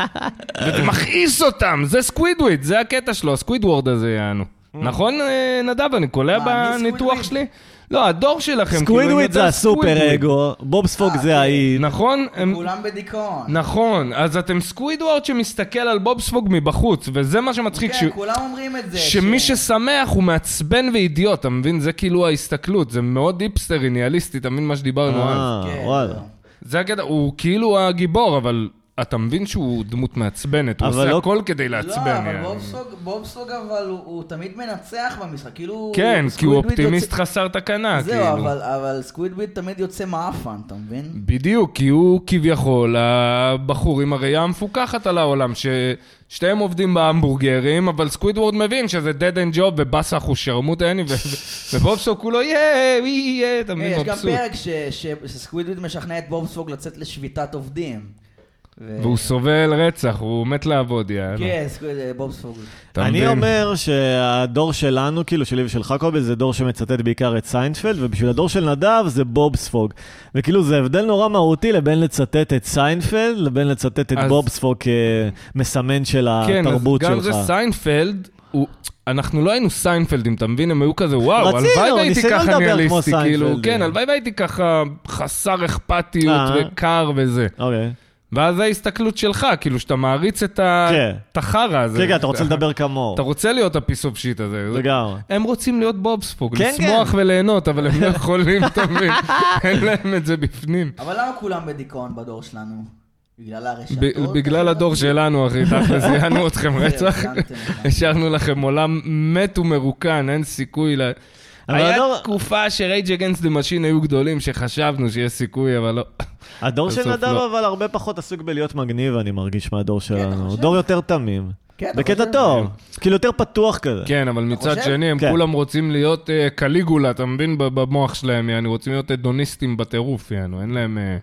[SPEAKER 3] וזה מכעיס אותם, זה סקווידוויד, זה הקטע שלו, הסקווידוורד הזה יענו. נכון, אה, נדב? אני קולע
[SPEAKER 2] Mm. מה, מי
[SPEAKER 3] בניתוח
[SPEAKER 2] סקווידוויד?
[SPEAKER 3] שלי? לא, הדור שלכם, כאילו, הם
[SPEAKER 1] סקווידוויד
[SPEAKER 3] יותר
[SPEAKER 1] זה
[SPEAKER 3] סקווידוויד.
[SPEAKER 1] הסופר אגו, בובספוג
[SPEAKER 2] אה, כן,
[SPEAKER 1] זה האי.
[SPEAKER 3] נכון? הם-
[SPEAKER 2] כולם בדיכאון.
[SPEAKER 3] נכון, אז אתם סקווידוורד שמסתכל על בובספוג מבחוץ, וזה מה שמצחיק, ש-
[SPEAKER 2] כן, כולם אומרים את זה.
[SPEAKER 3] שמי
[SPEAKER 2] ש-
[SPEAKER 3] ששמח הוא מעצבן ואידיוט, אתה מבין? זה כאילו ההסתכלות, זה מאוד היפסטרי, ניאליסטי, אתה מבין מה שדיברנו אז?
[SPEAKER 1] אה,
[SPEAKER 2] כן,
[SPEAKER 1] וואלה.
[SPEAKER 2] זהו.
[SPEAKER 3] זה הקטע, הוא כאילו הגיבור, אבל אתה מבין שהוא דמות מעצבנת, הוא
[SPEAKER 1] אבל
[SPEAKER 3] עושה
[SPEAKER 1] לא-
[SPEAKER 3] הכל כדי
[SPEAKER 2] לא,
[SPEAKER 3] לעצבן.
[SPEAKER 2] אבל
[SPEAKER 3] יעני.
[SPEAKER 2] בובסוג, בובסוג אבל הוא, הוא תמיד מנצח במשחק, כאילו...
[SPEAKER 3] כן, כי הוא
[SPEAKER 2] סקווידוויד
[SPEAKER 3] אופטימיסט
[SPEAKER 2] יוצא-
[SPEAKER 3] חסר תקנה,
[SPEAKER 2] זהו,
[SPEAKER 3] כאילו.
[SPEAKER 2] אבל, אבל סקווידוויד תמיד יוצא מעפן, אתה מבין?
[SPEAKER 3] בדיוק, כי הוא כביכול הבחור עם הראייה המפוקחת על העולם, ששתיהם עובדים בהמבורגרים, אבל סקווידוורד מבין שזה dead end job ובאסח הוא שרמוט עני, ובובסוק הוא לא יהיה, הוא יהיה, אתה
[SPEAKER 2] אה,
[SPEAKER 3] מבין,
[SPEAKER 2] יש גם
[SPEAKER 3] מבסוט.
[SPEAKER 2] פרק ש, ש, שסקווידוויד משכנע את בובספוג לצאת לשביתת עובדים. ו-
[SPEAKER 3] והוא סובל רצח, הוא מת לעבוד, יענו.
[SPEAKER 2] כן, סקו- בוב ספוג.
[SPEAKER 3] אתה
[SPEAKER 1] אני
[SPEAKER 3] מבין?
[SPEAKER 1] אומר שהדור שלנו, כאילו שלי ושלך קובי, זה דור שמצטט בעיקר את סיינפלד, ובשביל הדור של נדב זה בוב ספוג. וכאילו זה הבדל נורא מהותי לבין לצטט את סיינפלד, לבין לצטט את
[SPEAKER 3] אז-
[SPEAKER 1] בוב ספוג כמסמן של
[SPEAKER 3] כן, אז
[SPEAKER 1] התרבות
[SPEAKER 3] גם זה
[SPEAKER 1] שלך.
[SPEAKER 3] סיינפלד, הוא- אנחנו לא היינו סיינפלדים, אתה מבין? הם היו כזה, וואו,
[SPEAKER 1] רצינו,
[SPEAKER 3] הלוואי והייתי
[SPEAKER 1] ניסינו לא
[SPEAKER 3] ככה
[SPEAKER 1] לדבר כמו
[SPEAKER 3] ניאליסטי, כאילו,
[SPEAKER 1] סיינפלד.
[SPEAKER 3] כן, הלוואי והייתי ככה חסר אכפתיות
[SPEAKER 1] אה.
[SPEAKER 3] וקר וזה.
[SPEAKER 1] אוקיי.
[SPEAKER 3] ואז ההסתכלות שלך, כאילו, שאתה מעריץ את ה-
[SPEAKER 1] כן.
[SPEAKER 3] את החרא הזה.
[SPEAKER 1] כן, כן, אתה רוצה לדבר כמוהו.
[SPEAKER 3] אתה רוצה להיות הפיס אוף שיט הזה. זה-
[SPEAKER 1] לגמרי.
[SPEAKER 3] הם רוצים להיות בובספוג,
[SPEAKER 1] כן,
[SPEAKER 3] לשמוח
[SPEAKER 1] כן.
[SPEAKER 3] וליהנות, אבל הם לא יכולים, אתה מבין? אין להם את זה בפנים.
[SPEAKER 2] אבל למה כולם בדיכאון בדור שלנו? בגלל
[SPEAKER 3] ב-
[SPEAKER 2] הרשתות? כן,
[SPEAKER 3] בגלל הדור שלנו, אחי, תכל'ס, זיינו אתכם רצח.
[SPEAKER 2] הרצנתם אותם.
[SPEAKER 3] השארנו לכם עולם מת ומרוקן, אין סיכוי ל...
[SPEAKER 1] אבל לא-
[SPEAKER 3] היה
[SPEAKER 1] הדור-
[SPEAKER 3] תקופה ש-Rage Against the Machine היו גדולים, שחשבנו שיש סיכוי, אבל לא.
[SPEAKER 1] הדור של
[SPEAKER 3] בסוף
[SPEAKER 1] נדב
[SPEAKER 3] לא. כן,
[SPEAKER 1] אבל הרבה פחות עסוק בלהיות מגניב, אני מרגיש, מהדור שלנו. הוא
[SPEAKER 2] חושב?
[SPEAKER 1] דור יותר תמים.
[SPEAKER 2] כן, אתה
[SPEAKER 1] בקטע
[SPEAKER 2] חושב?
[SPEAKER 1] טוב. כאילו יותר פתוח כזה.
[SPEAKER 3] כן, אבל מצד
[SPEAKER 2] חושב?
[SPEAKER 3] שני, הם
[SPEAKER 1] כן.
[SPEAKER 3] כולם רוצים להיות אה, קליגולה, אתה מבין? ב- במוח שלהם, יענו, רוצים להיות אדוניסטים בטירוף, יענו, אין להם... אה,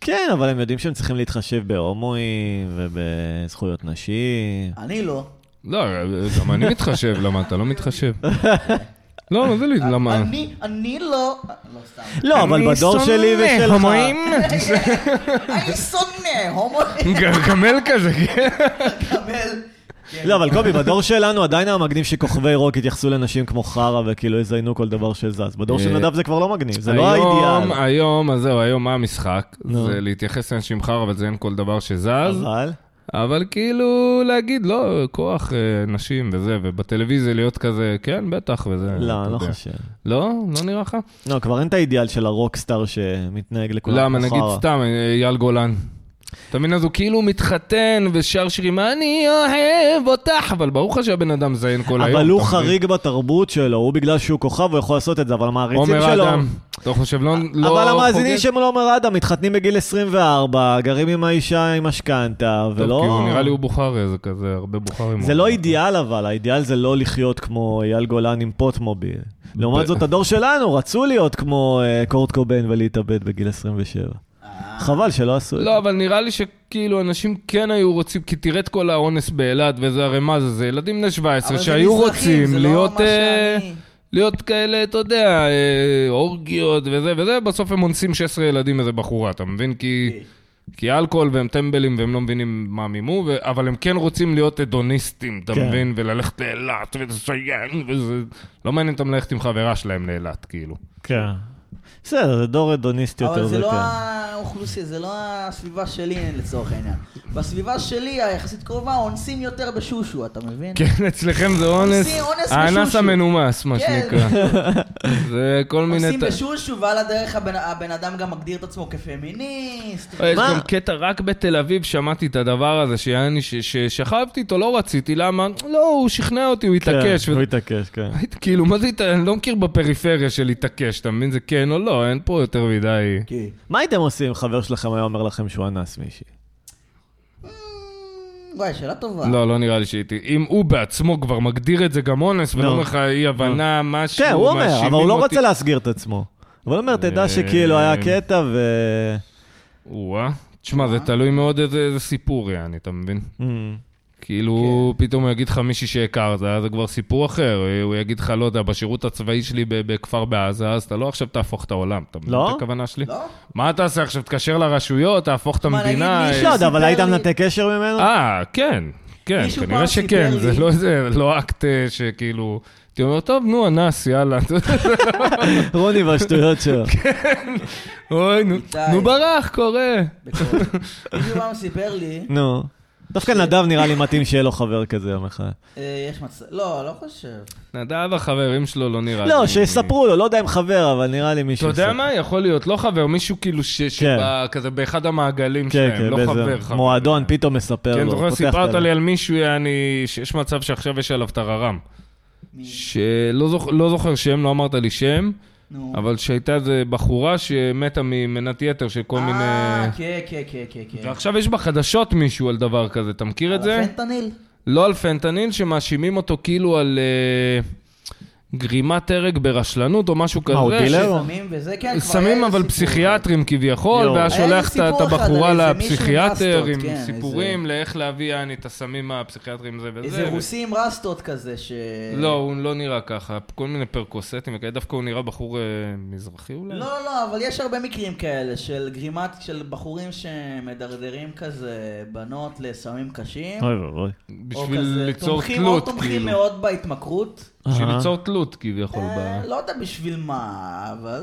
[SPEAKER 1] כן, אבל הם יודעים שהם צריכים להתחשב בהומואים ובזכויות נשים.
[SPEAKER 2] אני לא.
[SPEAKER 3] לא, גם אני מתחשב, למה אתה לא מתחשב? לא, מה זה לי, למה?
[SPEAKER 2] אני, אני לא. לא סתם.
[SPEAKER 1] לא, אבל בדור שלי ושלך...
[SPEAKER 2] אני שונא הומואים.
[SPEAKER 3] גרגמל כזה, כן.
[SPEAKER 2] אבל- כן.
[SPEAKER 1] לא, אבל קובי, בדור שלנו עדיין היה מגניב שכוכבי רוק התייחסו לנשים כמו חרא וכאילו יזיינו כל דבר שזז. בדור של
[SPEAKER 3] אה,
[SPEAKER 1] נדב זה כבר לא מגניב, זה לא
[SPEAKER 3] היום,
[SPEAKER 1] האידיאל.
[SPEAKER 3] היום, אז זהו, היום מה המשחק?
[SPEAKER 1] נו.
[SPEAKER 3] זה להתייחס לאנשים חרא ולציין כל דבר שזז,
[SPEAKER 1] אבל...
[SPEAKER 3] אבל כאילו להגיד, לא, כוח, אה, נשים וזה, ובטלוויזיה להיות כזה, כן, בטח, וזה.
[SPEAKER 1] לא,
[SPEAKER 3] אתה
[SPEAKER 1] אני לא
[SPEAKER 3] יודע.
[SPEAKER 1] חושב.
[SPEAKER 3] לא? לא נראה לך?
[SPEAKER 1] לא, כבר אין את האידיאל של הרוקסטאר שמתנהג לכולם.
[SPEAKER 3] למה,
[SPEAKER 1] כמו
[SPEAKER 3] נגיד
[SPEAKER 1] חרא.
[SPEAKER 3] סתם, אה, אייל גולן. אתה מבין, אז הוא כאילו מתחתן ושר שירים, אני אוהב אותך, אבל ברור לך שהבן אדם זיין כל היום.
[SPEAKER 1] אבל הוא
[SPEAKER 3] אתה מבין?
[SPEAKER 1] חריג בתרבות שלו, הוא בגלל שהוא כוכב, הוא יכול לעשות את זה, אבל המעריצים
[SPEAKER 3] עומר
[SPEAKER 1] שלו...
[SPEAKER 3] אדם, אתה חושב, לא לא
[SPEAKER 1] אבל המאזינים
[SPEAKER 3] חוגג?
[SPEAKER 1] שהם לא אומר אדם, מתחתנים בגיל 24, גרים עם האישה עם משכנתה,
[SPEAKER 3] טוב,
[SPEAKER 1] ולא...
[SPEAKER 3] כי הוא כאילו, נראה לי הוא בוכרי, זה כזה, הרבה בוכרים.
[SPEAKER 1] זה לא אידיאל אבל, האידיאל זה לא לחיות כמו אייל גולן עם פוטמוביל. לעומת זאת, הדור שלנו רצו להיות כמו אה, קורט קובן ולהתאבד בגיל 27. חבל שלא עשו את זה.
[SPEAKER 3] לא, אבל נראה לי שכאילו אנשים כן היו רוצים, כי תראה את כל האונס באילת, וזה הרי מה זה, זה ילדים בני 17
[SPEAKER 2] אבל זה
[SPEAKER 3] שהיו
[SPEAKER 2] מזרחים,
[SPEAKER 3] רוצים
[SPEAKER 2] זה לא
[SPEAKER 3] להיות...
[SPEAKER 2] מה
[SPEAKER 3] אה,
[SPEAKER 2] שאני.
[SPEAKER 3] להיות כאלה, אתה יודע, אה, אורגיות וזה וזה, בסוף הם אונסים 16 ילדים איזה בחורה, אתה מבין? כי...
[SPEAKER 2] אוקיי.
[SPEAKER 3] כי אלכוהול והם טמבלים והם לא מבינים מה מימו, ו... אבל הם כן רוצים להיות אדוניסטים, אתה
[SPEAKER 1] כן.
[SPEAKER 3] מבין? וללכת לאילת ולציין, וזה... לא מעניין אותם ללכת עם חברה שלהם לאילת, כאילו.
[SPEAKER 1] כן. בסדר, זה דור אדוניסטי יותר.
[SPEAKER 2] אבל זה לא
[SPEAKER 1] כן.
[SPEAKER 2] האוכלוסיה, זה לא הסביבה שלי לצורך העניין. בסביבה שלי, היחסית קרובה, אונסים יותר בשושו, אתה מבין?
[SPEAKER 3] כן, אצלכם זה אונס,
[SPEAKER 2] עושים אונס
[SPEAKER 3] האנס
[SPEAKER 2] בשושו.
[SPEAKER 3] המנומס, מה
[SPEAKER 2] כן.
[SPEAKER 3] שנקרא. זה כל מיני...
[SPEAKER 2] אונסים בשושו, ועל הדרך הבן- הבן אדם גם מגדיר את עצמו כפמיניסט.
[SPEAKER 3] אה, יש
[SPEAKER 1] מה?
[SPEAKER 3] גם קטע, רק בתל אביב שמעתי את הדבר הזה, שיעני, ש- ששכבתי איתו, לא רציתי, למה? לא, הוא שכנע אותי, הוא התעקש.
[SPEAKER 1] כן, הוא
[SPEAKER 3] וזה-
[SPEAKER 1] התעקש, כן.
[SPEAKER 3] הייתי כאילו, מה זה, הת- אני לא מכיר בפריפריה של התעקש, אתה מבין? זה כן או לא, אין פה יותר מדי.
[SPEAKER 2] כן.
[SPEAKER 1] מה הייתם עושים אם חבר שלכם היה אומר לכם שהוא אנס מישהי?
[SPEAKER 2] וואי, שאלה טובה.
[SPEAKER 3] לא, לא נראה לי שהייתי. אם הוא בעצמו כבר מגדיר את זה גם אונס, ולא
[SPEAKER 1] נו.
[SPEAKER 3] אומר לך אי-הבנה, משהו,
[SPEAKER 1] כן, הוא אומר,
[SPEAKER 3] מאשימים
[SPEAKER 1] אבל הוא לא
[SPEAKER 3] אותי.
[SPEAKER 1] רוצה להסגיר את עצמו. אבל הוא אומר,
[SPEAKER 3] אה,
[SPEAKER 1] תדע שכאילו היה קטע ו...
[SPEAKER 3] וואה. תשמע, זה תלוי מאוד איזה איזה סיפור, יעני, אתה מבין?
[SPEAKER 1] אמ,
[SPEAKER 3] כאילו, פתאום הוא יגיד לך מישהי שהכרת, אז זה כבר סיפור אחר. הוא יגיד לך, לא יודע, בשירות הצבאי שלי ב- בכפר בעזה, אז אתה לא עכשיו תהפוך את העולם. אתה מבין
[SPEAKER 1] לא?
[SPEAKER 3] את הכוונה שלי?
[SPEAKER 2] לא?
[SPEAKER 3] מה אתה עושה עכשיו? תתקשר לרשויות, תהפוך את
[SPEAKER 2] מה,
[SPEAKER 3] המדינה?
[SPEAKER 2] נגיד מישהו
[SPEAKER 3] אה,
[SPEAKER 1] לא יודע, אבל
[SPEAKER 2] סיפר
[SPEAKER 1] היית
[SPEAKER 2] לי-
[SPEAKER 1] מנתק קשר ממנו?
[SPEAKER 3] אה, כן. כן,
[SPEAKER 2] מישהו
[SPEAKER 3] כנראה
[SPEAKER 2] פעם
[SPEAKER 3] שכן.
[SPEAKER 2] סיפר
[SPEAKER 3] זה
[SPEAKER 2] לי-
[SPEAKER 3] לא איזה, לא אקט אה, שכאילו... הייתי אומר, טוב, נו, אנס, יאללה.
[SPEAKER 1] רוני והשטויות שלו.
[SPEAKER 3] אוי, נו,
[SPEAKER 2] איתי.
[SPEAKER 3] נו ברח, קורה.
[SPEAKER 2] בקרוב. מישהו פעם סיפר לי,
[SPEAKER 1] נו. דווקא נדב נראה לי מתאים שיהיה לו חבר כזה יום אחד.
[SPEAKER 2] אה, יש מצב... לא, לא חושב.
[SPEAKER 3] נדב, החברים שלו, לא נראה לי.
[SPEAKER 1] לא, שיספרו לו, לא יודע אם חבר, אבל נראה לי
[SPEAKER 3] אתה
[SPEAKER 1] מישהו...
[SPEAKER 3] יודע
[SPEAKER 1] יספר.
[SPEAKER 3] מה? יכול להיות, לא חבר, מישהו כאילו ש... שבא כזה באחד המעגלים
[SPEAKER 1] כן,
[SPEAKER 3] שלהם,
[SPEAKER 1] כן,
[SPEAKER 3] לא חבר.
[SPEAKER 1] באיזה
[SPEAKER 3] חבר.
[SPEAKER 1] מועדון, פתאום מספר לו.
[SPEAKER 3] כן, זוכר,
[SPEAKER 1] פותח את
[SPEAKER 3] סיפרת
[SPEAKER 1] הלב.
[SPEAKER 3] לי על מישהו, יעני, שיש מצב שעכשיו יש עליו טררם.
[SPEAKER 2] מי?
[SPEAKER 3] שלא זוכ- לא זוכר שם, לא אמרת לי שם,
[SPEAKER 2] נו.
[SPEAKER 3] אבל שהייתה איזה בחורה שמתה ממנת יתר של כל מיני...
[SPEAKER 2] אה, כן, כן, כן, כן, כן.
[SPEAKER 3] ועכשיו יש בחדשות מישהו על דבר כזה, אתה מכיר את זה?
[SPEAKER 2] פנטניל?
[SPEAKER 3] לא על פנטניל, שמאשימים אותו כאילו על... אה, גרימת הרג ברשלנות או משהו כזה.
[SPEAKER 1] מה, הוא דילר?
[SPEAKER 3] ש-
[SPEAKER 1] לא.
[SPEAKER 2] סמים וזה, כן, כבר היה
[SPEAKER 3] סמים
[SPEAKER 2] איזה
[SPEAKER 3] אבל
[SPEAKER 2] סיפור.
[SPEAKER 3] פסיכיאטרים כביכול,
[SPEAKER 1] יואו.
[SPEAKER 3] ואז
[SPEAKER 2] היה איזה
[SPEAKER 3] שולח את- את
[SPEAKER 2] סיפור אחד
[SPEAKER 3] הבחורה
[SPEAKER 2] על איזה מישהו עם
[SPEAKER 3] לפסיכיאטר
[SPEAKER 2] רסטות,
[SPEAKER 3] עם
[SPEAKER 2] כן, איזה-
[SPEAKER 3] סיפורים לאיך להביא יעני את הסמים הפסיכיאטרים זה וזה.
[SPEAKER 2] איזה
[SPEAKER 3] ו-
[SPEAKER 2] רוסי עם רסטות כזה, ש...
[SPEAKER 3] לא, הוא לא נראה ככה, כל מיני פרקוסטים וכאלה, דווקא הוא נראה בחור אה, מזרחי אולי?
[SPEAKER 2] לא, לא, אבל יש הרבה מקרים כאלה של גרימת, של בחורים שמדרדרים כזה בנות לסמים קשים.
[SPEAKER 1] אוי ואבוי.
[SPEAKER 2] או
[SPEAKER 3] בשביל
[SPEAKER 2] כזה
[SPEAKER 3] ליצור
[SPEAKER 2] תומכים- או
[SPEAKER 3] תלות,
[SPEAKER 2] תומכים
[SPEAKER 3] כאילו.
[SPEAKER 2] מאוד בהתמכרות.
[SPEAKER 3] בשביל
[SPEAKER 1] אהה.
[SPEAKER 3] ליצור תלות כביכול. ב-
[SPEAKER 2] אה, לא יודע בשביל מה, אבל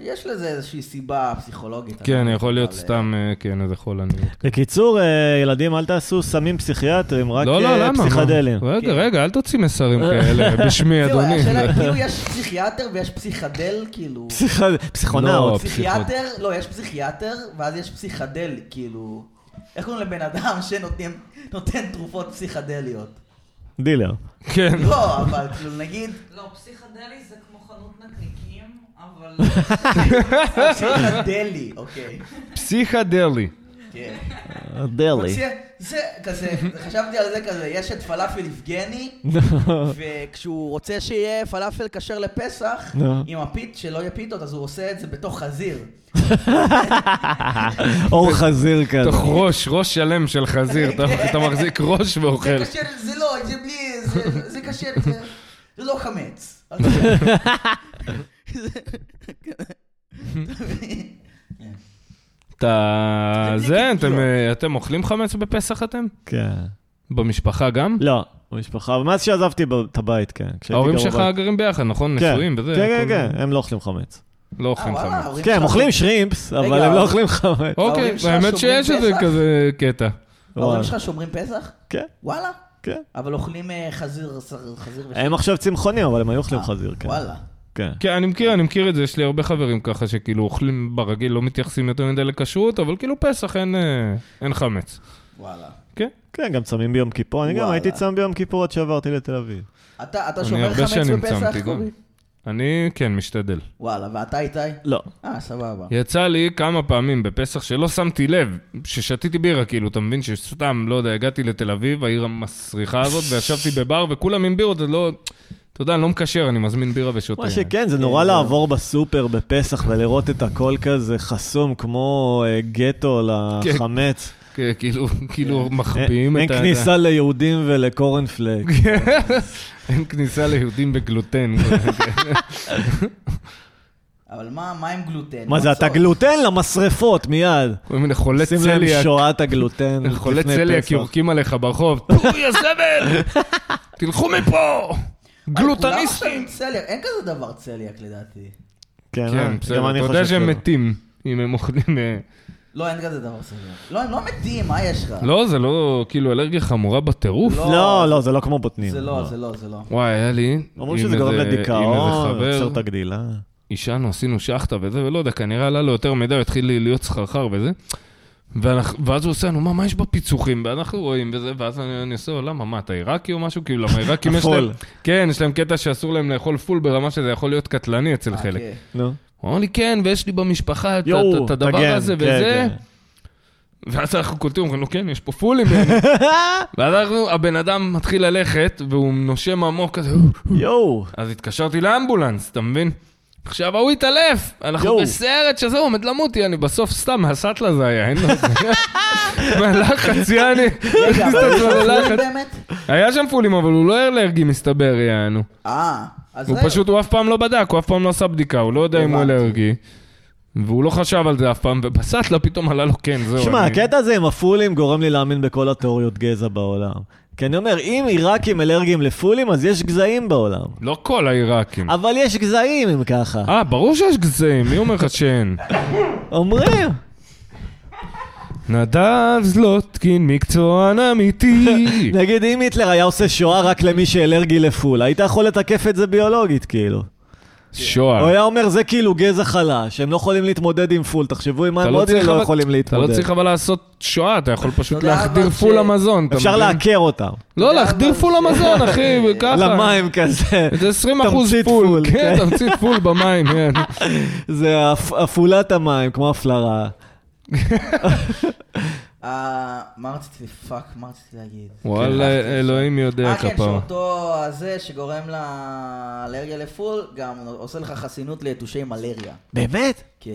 [SPEAKER 2] אה, יש לזה איזושהי סיבה פסיכולוגית.
[SPEAKER 3] כן,
[SPEAKER 2] אני לא
[SPEAKER 3] יכול
[SPEAKER 2] יודע,
[SPEAKER 3] להיות
[SPEAKER 2] אבל, אה,
[SPEAKER 3] סתם, אה, כן, איזה חולניות.
[SPEAKER 1] בקיצור, אה, ילדים, אל תעשו סמים פסיכיאטרים, רק
[SPEAKER 3] לא,
[SPEAKER 1] אה,
[SPEAKER 3] לא, למה?
[SPEAKER 1] פסיכדלים.
[SPEAKER 3] רגע, רגע, אל תוציא מסרים כאלה, בשמי,
[SPEAKER 2] כן. זהו,
[SPEAKER 3] אדוני.
[SPEAKER 2] השאלה, כאילו יש פסיכיאטר ויש פסיכדל, כאילו.
[SPEAKER 1] פסיכד-
[SPEAKER 3] לא,
[SPEAKER 1] פסיכונאוט.
[SPEAKER 2] פסיכיאטר, לא, יש פסיכיאטר, ואז יש פסיכדל, כאילו... איך קוראים לבן אדם שנותן תרופות פסיכדליות?
[SPEAKER 1] דילר.
[SPEAKER 3] כן.
[SPEAKER 2] לא, אבל כאילו נגיד,
[SPEAKER 5] לא, פסיכדלי זה כמו חנות נקניקים, אבל...
[SPEAKER 2] פסיכדלי, אוקיי.
[SPEAKER 3] פסיכדלי.
[SPEAKER 2] כן.
[SPEAKER 1] דלי.
[SPEAKER 2] מציע- זה כזה, חשבתי על זה כזה, יש את פלאפל יבגני, וכשהוא רוצה שיהיה פלאפל כשר לפסח,
[SPEAKER 1] נו.
[SPEAKER 2] עם הפיט, שלא יהיה פיתות, אז הוא עושה את זה בתוך חזיר.
[SPEAKER 1] אור חזיר כזה.
[SPEAKER 3] תוך ראש, ראש שלם של חזיר, אתה- אתה מחזיק ראש
[SPEAKER 2] זה
[SPEAKER 3] ואוכל.
[SPEAKER 2] כשר, זה לא, זה בלי, זה- זה כשר, זה- זה לא חמץ. אל תדאג.
[SPEAKER 3] אתה...
[SPEAKER 2] זה
[SPEAKER 3] זה,
[SPEAKER 2] בלי
[SPEAKER 3] אתם,
[SPEAKER 2] קיקיון.
[SPEAKER 3] אה, אתם אוכלים חמץ בפסח אתם?
[SPEAKER 1] כן.
[SPEAKER 3] במשפחה גם?
[SPEAKER 1] לא, במשפחה. מאז שעזבתי ב- את הבית, כן.
[SPEAKER 2] לא,
[SPEAKER 1] כשהייתי
[SPEAKER 3] ההורים
[SPEAKER 1] גר
[SPEAKER 3] שלך
[SPEAKER 1] בבית.
[SPEAKER 3] גרים ביחד, נכון?
[SPEAKER 1] כן.
[SPEAKER 3] נשואים וזה?
[SPEAKER 1] כן, כן,
[SPEAKER 3] הכל-
[SPEAKER 1] כן, הם לא אוכלים חמץ.
[SPEAKER 3] לא אוכלים
[SPEAKER 2] אה, וואלה,
[SPEAKER 3] חמץ.
[SPEAKER 2] ההורים
[SPEAKER 1] כן, הם
[SPEAKER 2] שלך-
[SPEAKER 1] אוכלים שרימפס, אבל
[SPEAKER 2] רגע,
[SPEAKER 1] הם לא
[SPEAKER 2] אבל-
[SPEAKER 1] אוכלים חמץ.
[SPEAKER 3] אוקיי,
[SPEAKER 2] ההורים שלך
[SPEAKER 3] האמת שיש
[SPEAKER 2] שומרים
[SPEAKER 3] איזה
[SPEAKER 2] פסח?
[SPEAKER 3] כזה קטע.
[SPEAKER 2] ההורים
[SPEAKER 1] וואלה.
[SPEAKER 2] שלך שומרים פסח?
[SPEAKER 1] כן,
[SPEAKER 2] וואלה.
[SPEAKER 1] כן.
[SPEAKER 2] אבל אוכלים אה, חזיר, שר- חזיר
[SPEAKER 1] הם עכשיו צמחונים, אבל הם היו אוכלים
[SPEAKER 2] אה,
[SPEAKER 1] חזיר, כן.
[SPEAKER 2] וואלה.
[SPEAKER 1] כן.
[SPEAKER 3] כן, אני מכיר, אני מכיר את זה, יש לי הרבה חברים ככה שכאילו אוכלים ברגיל, לא מתייחסים יותר מדי לכשרות, אבל כאילו פסח אין, אה, אין חמץ.
[SPEAKER 2] וואלה.
[SPEAKER 3] כן?
[SPEAKER 1] כן, גם צמים ביום כיפור. אני גם
[SPEAKER 2] וואלה.
[SPEAKER 1] הייתי צם ביום כיפור עד שעברתי לתל אביב.
[SPEAKER 2] אתה אתה
[SPEAKER 3] אני
[SPEAKER 2] שומר
[SPEAKER 3] הרבה
[SPEAKER 2] חמץ
[SPEAKER 3] שנים
[SPEAKER 2] בפסח,
[SPEAKER 3] צמתי גם.
[SPEAKER 2] קובי?
[SPEAKER 3] אני, כן, משתדל.
[SPEAKER 2] וואלה, ואתה איתי?
[SPEAKER 1] לא.
[SPEAKER 2] אה, סבבה.
[SPEAKER 3] יצא לי כמה פעמים בפסח שלא שמתי לב, ששתיתי בירה, כאילו, אתה מבין שסתם, לא יודע, הגעתי לתל אביב, העיר המסריחה הזאת, וישבתי בבר, וכולם עם בירות, אז לא... אתה יודע, אני לא מקשר, אני מזמין בירה ושותה.
[SPEAKER 1] מה שכן, זה נורא לעבור בסופר בפסח ולראות את הכל כזה חסום כמו אה, גטו
[SPEAKER 3] כן.
[SPEAKER 1] לחמץ.
[SPEAKER 3] כן, כאילו, כאילו
[SPEAKER 1] אין
[SPEAKER 3] מחביאים את
[SPEAKER 1] אין
[SPEAKER 3] ה- כן.
[SPEAKER 1] כניסה ליהודים ולקורנפלק.
[SPEAKER 3] אין כניסה ליהודים בגלוטן.
[SPEAKER 2] אבל מה מה עם גלוטן?
[SPEAKER 1] מה זה, אתה
[SPEAKER 2] מצות?
[SPEAKER 1] גלוטן למשרפות מיד.
[SPEAKER 3] כל מיני חולי
[SPEAKER 1] שים להם
[SPEAKER 3] צליאק.
[SPEAKER 1] שואת הגלוטן לפני פסח.
[SPEAKER 3] חולי צליאק יורקים עליך ברחוב, פורי הזבל! תלכו מפה!
[SPEAKER 2] אה, כולם עכשיו
[SPEAKER 3] גלוטניסטים!
[SPEAKER 2] עם צליאק, אין כזה דבר צליאק לדעתי.
[SPEAKER 1] כן, אה,
[SPEAKER 3] כן,
[SPEAKER 1] גם
[SPEAKER 3] בסדר, אתה
[SPEAKER 1] אני
[SPEAKER 3] יודע
[SPEAKER 1] חושב
[SPEAKER 3] שהם
[SPEAKER 1] שלא.
[SPEAKER 3] מתים, אם הם אוכלים... אה,
[SPEAKER 2] לא, אין כזה דבר צליאק. לא, הם לא מתים, מה יש לך?
[SPEAKER 3] לא, זה לא כאילו אלרגיה חמורה בטירוף.
[SPEAKER 2] לא.
[SPEAKER 1] לא, לא, זה לא כמו בוטנים.
[SPEAKER 2] זה לא, זה לא, זה לא.
[SPEAKER 3] וואי, היה לי...
[SPEAKER 1] אומרים
[SPEAKER 3] עם
[SPEAKER 1] שזה גורם
[SPEAKER 3] איזה- עם איזה
[SPEAKER 1] לדיכאון,
[SPEAKER 3] חבר,
[SPEAKER 1] עוצר את הגדילה.
[SPEAKER 3] עישנו, עשינו שחטה וזה, ולא יודע, כנראה עלה לו יותר מדי, הוא התחיל לי- להיות סחרחר וזה. ואנחנו- ואז הוא עושה לנו, מה, מה יש בפיצוחים? ואנחנו רואים וזה, ואז אני אני עושה לו, למה, מה, אתה עיראקי או משהו? כאילו, למה העיראקים יש להם...
[SPEAKER 1] הפול.
[SPEAKER 3] כן, יש להם קטע שאסור להם לאכול פול ברמה שזה יכול להיות קטלני אצל
[SPEAKER 2] אה,
[SPEAKER 3] חלק.
[SPEAKER 2] כן.
[SPEAKER 1] נו.
[SPEAKER 3] הוא אמר לי, כן, ויש לי במשפחה את- את-
[SPEAKER 1] יואו,
[SPEAKER 3] את הדבר
[SPEAKER 1] תגן,
[SPEAKER 3] הזה
[SPEAKER 1] כן,
[SPEAKER 3] וזה.
[SPEAKER 1] כן.
[SPEAKER 3] ואז אנחנו קולטים, אומרים לו, כן, יש פה פולים. ואז אנחנו, הבן אדם מתחיל ללכת, והוא נושם עמוק כזה. "אה,
[SPEAKER 1] יואו.
[SPEAKER 3] אז התקשרתי לאמבולנס, אתה מבין? עכשיו ההוא התעלף, אנחנו
[SPEAKER 1] יואו.
[SPEAKER 3] בסרט שזה, הוא עומד למות, יעני, בסוף סתם, הסטלה זה היה, אין לו זה. מהלחץ, יעני.
[SPEAKER 2] רגע, אבל לא
[SPEAKER 3] הסתכלו
[SPEAKER 2] יש
[SPEAKER 3] על
[SPEAKER 2] לך
[SPEAKER 1] לא
[SPEAKER 3] הלחץ.
[SPEAKER 2] פולים באמת?
[SPEAKER 3] היה שם פולים, אבל הוא לא אלרגי, מסתבר, יענו.
[SPEAKER 2] אה, אז
[SPEAKER 3] הוא
[SPEAKER 2] זהו.
[SPEAKER 3] פשוט, הוא אף פעם לא בדק, הוא אף פעם לא עשה בדיקה, הוא לא יודע אם הוא
[SPEAKER 2] הבנתי.
[SPEAKER 3] אלרגי. והוא לא חשב על זה אף פעם, ובסטלה פתאום עלה לו כן, זהו.
[SPEAKER 1] שמע,
[SPEAKER 3] אני-
[SPEAKER 1] הקטע הזה עם הפולים גורם לי להאמין בכל התיאוריות גזע בעולם. כי אני אומר, אם עיראקים אלרגיים לפולים, אז יש גזעים בעולם.
[SPEAKER 3] לא כל העיראקים.
[SPEAKER 1] אבל יש גזעים, אם ככה.
[SPEAKER 3] אה, ברור שיש גזעים, מי אומר לך שאין?
[SPEAKER 1] אומרים.
[SPEAKER 3] נדב זלוטקין, מקצוען אמיתי.
[SPEAKER 1] נגיד, אם היטלר היה עושה שואה רק למי שאלרגי לפול, היית יכול לתקף את זה ביולוגית, כאילו.
[SPEAKER 3] אה.
[SPEAKER 1] הוא
[SPEAKER 3] שואה.
[SPEAKER 1] היה אומר, זה כאילו גזע חלש, הם לא יכולים להתמודד עם פול, תחשבו עם מה
[SPEAKER 3] אתה
[SPEAKER 1] הם
[SPEAKER 3] לא
[SPEAKER 1] עוד
[SPEAKER 3] צריך
[SPEAKER 1] לא
[SPEAKER 3] אבל-
[SPEAKER 1] יכולים
[SPEAKER 3] אתה לא
[SPEAKER 1] להתמודד.
[SPEAKER 3] צריך אבל לעשות שואה, אתה יכול פשוט
[SPEAKER 2] אתה יודע,
[SPEAKER 3] להחדיר
[SPEAKER 2] אבל
[SPEAKER 3] פול
[SPEAKER 2] ש-
[SPEAKER 3] המזון. אתה
[SPEAKER 1] אפשר
[SPEAKER 3] מבין?
[SPEAKER 1] לעקר אותם.
[SPEAKER 3] לא,
[SPEAKER 2] אתה יודע,
[SPEAKER 3] להחדיר
[SPEAKER 2] אבל
[SPEAKER 3] פול
[SPEAKER 2] ש-
[SPEAKER 3] המזון, אחי, וככה.
[SPEAKER 1] למים כזה.
[SPEAKER 3] זה 20 אחוז
[SPEAKER 1] תמצית
[SPEAKER 3] פול.
[SPEAKER 1] פול,
[SPEAKER 3] כן,
[SPEAKER 1] כן.
[SPEAKER 3] תמצית פול במים, כן.
[SPEAKER 1] זה הפ- הפעולת המים, כמו הפלרה.
[SPEAKER 2] אה, מה רציתי, פאק, מה רציתי להגיד?
[SPEAKER 3] וואלה, אלוהים יודע
[SPEAKER 2] אה, כן,
[SPEAKER 3] כפרה.
[SPEAKER 2] שאותו הזה שגורם לאלרגיה לפול, גם עושה לך חסינות ליתושי מלריה.
[SPEAKER 1] באמת?
[SPEAKER 2] כן.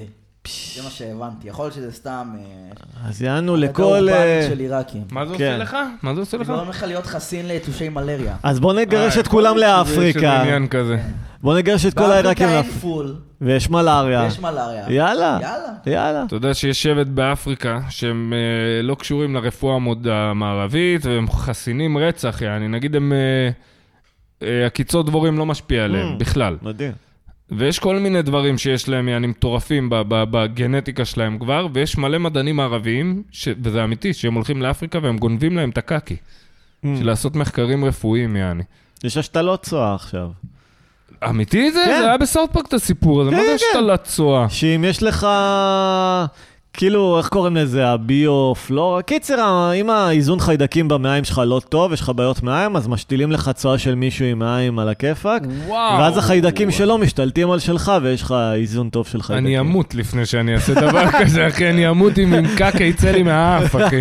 [SPEAKER 2] זה מה שהבנתי. יכול להיות שזה סתם... אה,
[SPEAKER 1] אז יענו
[SPEAKER 2] אגדה
[SPEAKER 1] לכל...
[SPEAKER 2] אורבנית
[SPEAKER 1] אה,
[SPEAKER 2] של עיראקים.
[SPEAKER 3] מה זה
[SPEAKER 1] כן.
[SPEAKER 3] עושה לך? מה זה עושה לך?
[SPEAKER 2] גורם לך להיות חסין ליתושי מלריה.
[SPEAKER 1] אז בוא נגרש
[SPEAKER 3] אה,
[SPEAKER 1] את כולם
[SPEAKER 3] יכול להיות שזה- שזה
[SPEAKER 1] לאפריקה.
[SPEAKER 3] עניין כזה.
[SPEAKER 1] בוא נגרש את כל
[SPEAKER 2] באפריקה
[SPEAKER 1] העיראקים
[SPEAKER 2] אין
[SPEAKER 1] לאפריקה.
[SPEAKER 2] פול,
[SPEAKER 1] ויש מלאריה.
[SPEAKER 2] יש מלריה.
[SPEAKER 1] יאללה.
[SPEAKER 2] יאללה.
[SPEAKER 1] יאללה.
[SPEAKER 3] אתה יודע שיש שבט באפריקה שהם אה, לא קשורים לרפואה המוד- המערבית והם חסינים רצח, יעני, נגיד הם... אה, אה, הקיצות דבורים לא משפיע
[SPEAKER 1] Mm.
[SPEAKER 3] עליהם בכלל.
[SPEAKER 1] מדהים.
[SPEAKER 3] ויש כל מיני דברים שיש להם, יעני, מטורפים ב- ב- בגנטיקה שלהם כבר, ויש מלא מדענים ערבים, ש... וזה אמיתי, שהם הולכים לאפריקה והם גונבים להם את הקקי,
[SPEAKER 1] Mm.
[SPEAKER 3] של לעשות מחקרים רפואיים, יעני.
[SPEAKER 1] יש השתלות צואה עכשיו.
[SPEAKER 3] אמיתי זה?
[SPEAKER 1] כן.
[SPEAKER 3] זה היה בסאוטפארק את הסיפור הזה,
[SPEAKER 1] כן,
[SPEAKER 3] מה זה
[SPEAKER 1] כן.
[SPEAKER 3] השתלת צואה?
[SPEAKER 1] שאם יש לך, כאילו, איך קוראים לזה, הביו-פלורה? קיצר, ה- אם האיזון חיידקים במעיים שלך לא טוב, יש לך בעיות מעיים, אז משתילים לך צואה של מישהו עם מעיים על הכיפאק,
[SPEAKER 3] Mm. וואו.
[SPEAKER 1] ואז החיידקים שלו משתלטים על שלך, ויש לך איזון טוב של חיידקים.
[SPEAKER 3] אני אמות לפני שאני אעשה דבר כזה, אחי, אני אמות אם עם קקה יצא לי מהאף, אחי.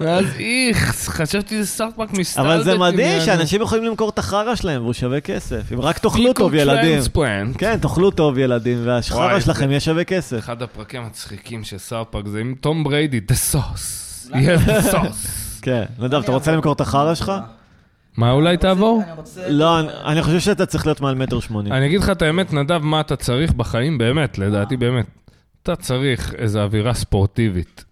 [SPEAKER 3] ואז איכס, חשבתי זה סאוטפארק מסתלבט.
[SPEAKER 1] אבל זה
[SPEAKER 3] עם
[SPEAKER 1] מדהים
[SPEAKER 3] יעני.
[SPEAKER 1] שאנשים יכולים למכור את החרא שלהם והוא שווה כסף. אם רק תאכלו
[SPEAKER 3] פיקו
[SPEAKER 1] טוב, ילדים.
[SPEAKER 3] טרנספלנט.
[SPEAKER 1] כן, תאכלו טוב, ילדים, והחרא
[SPEAKER 3] וואי,
[SPEAKER 1] שלכם יהיה שווה כסף.
[SPEAKER 3] אחד הפרקים המצחיקים של סאוטפארק זה עם תום בריידי, דה סוס. יהיה
[SPEAKER 1] לא.
[SPEAKER 3] דה סוס.
[SPEAKER 1] כן, נדב, אתה רוצה למכור את החרא שלך?
[SPEAKER 3] מה אולי תעבור?
[SPEAKER 2] אני רוצה...
[SPEAKER 1] לא, אני- אני חושב שאתה צריך להיות מעל מטר שמונים.
[SPEAKER 3] אני אגיד לך את האמת, נדב, מה אתה צריך בחיים, באמת,
[SPEAKER 1] אה.
[SPEAKER 3] לדעתי, באמת. אתה צריך איזו אווירה ספורטיבית.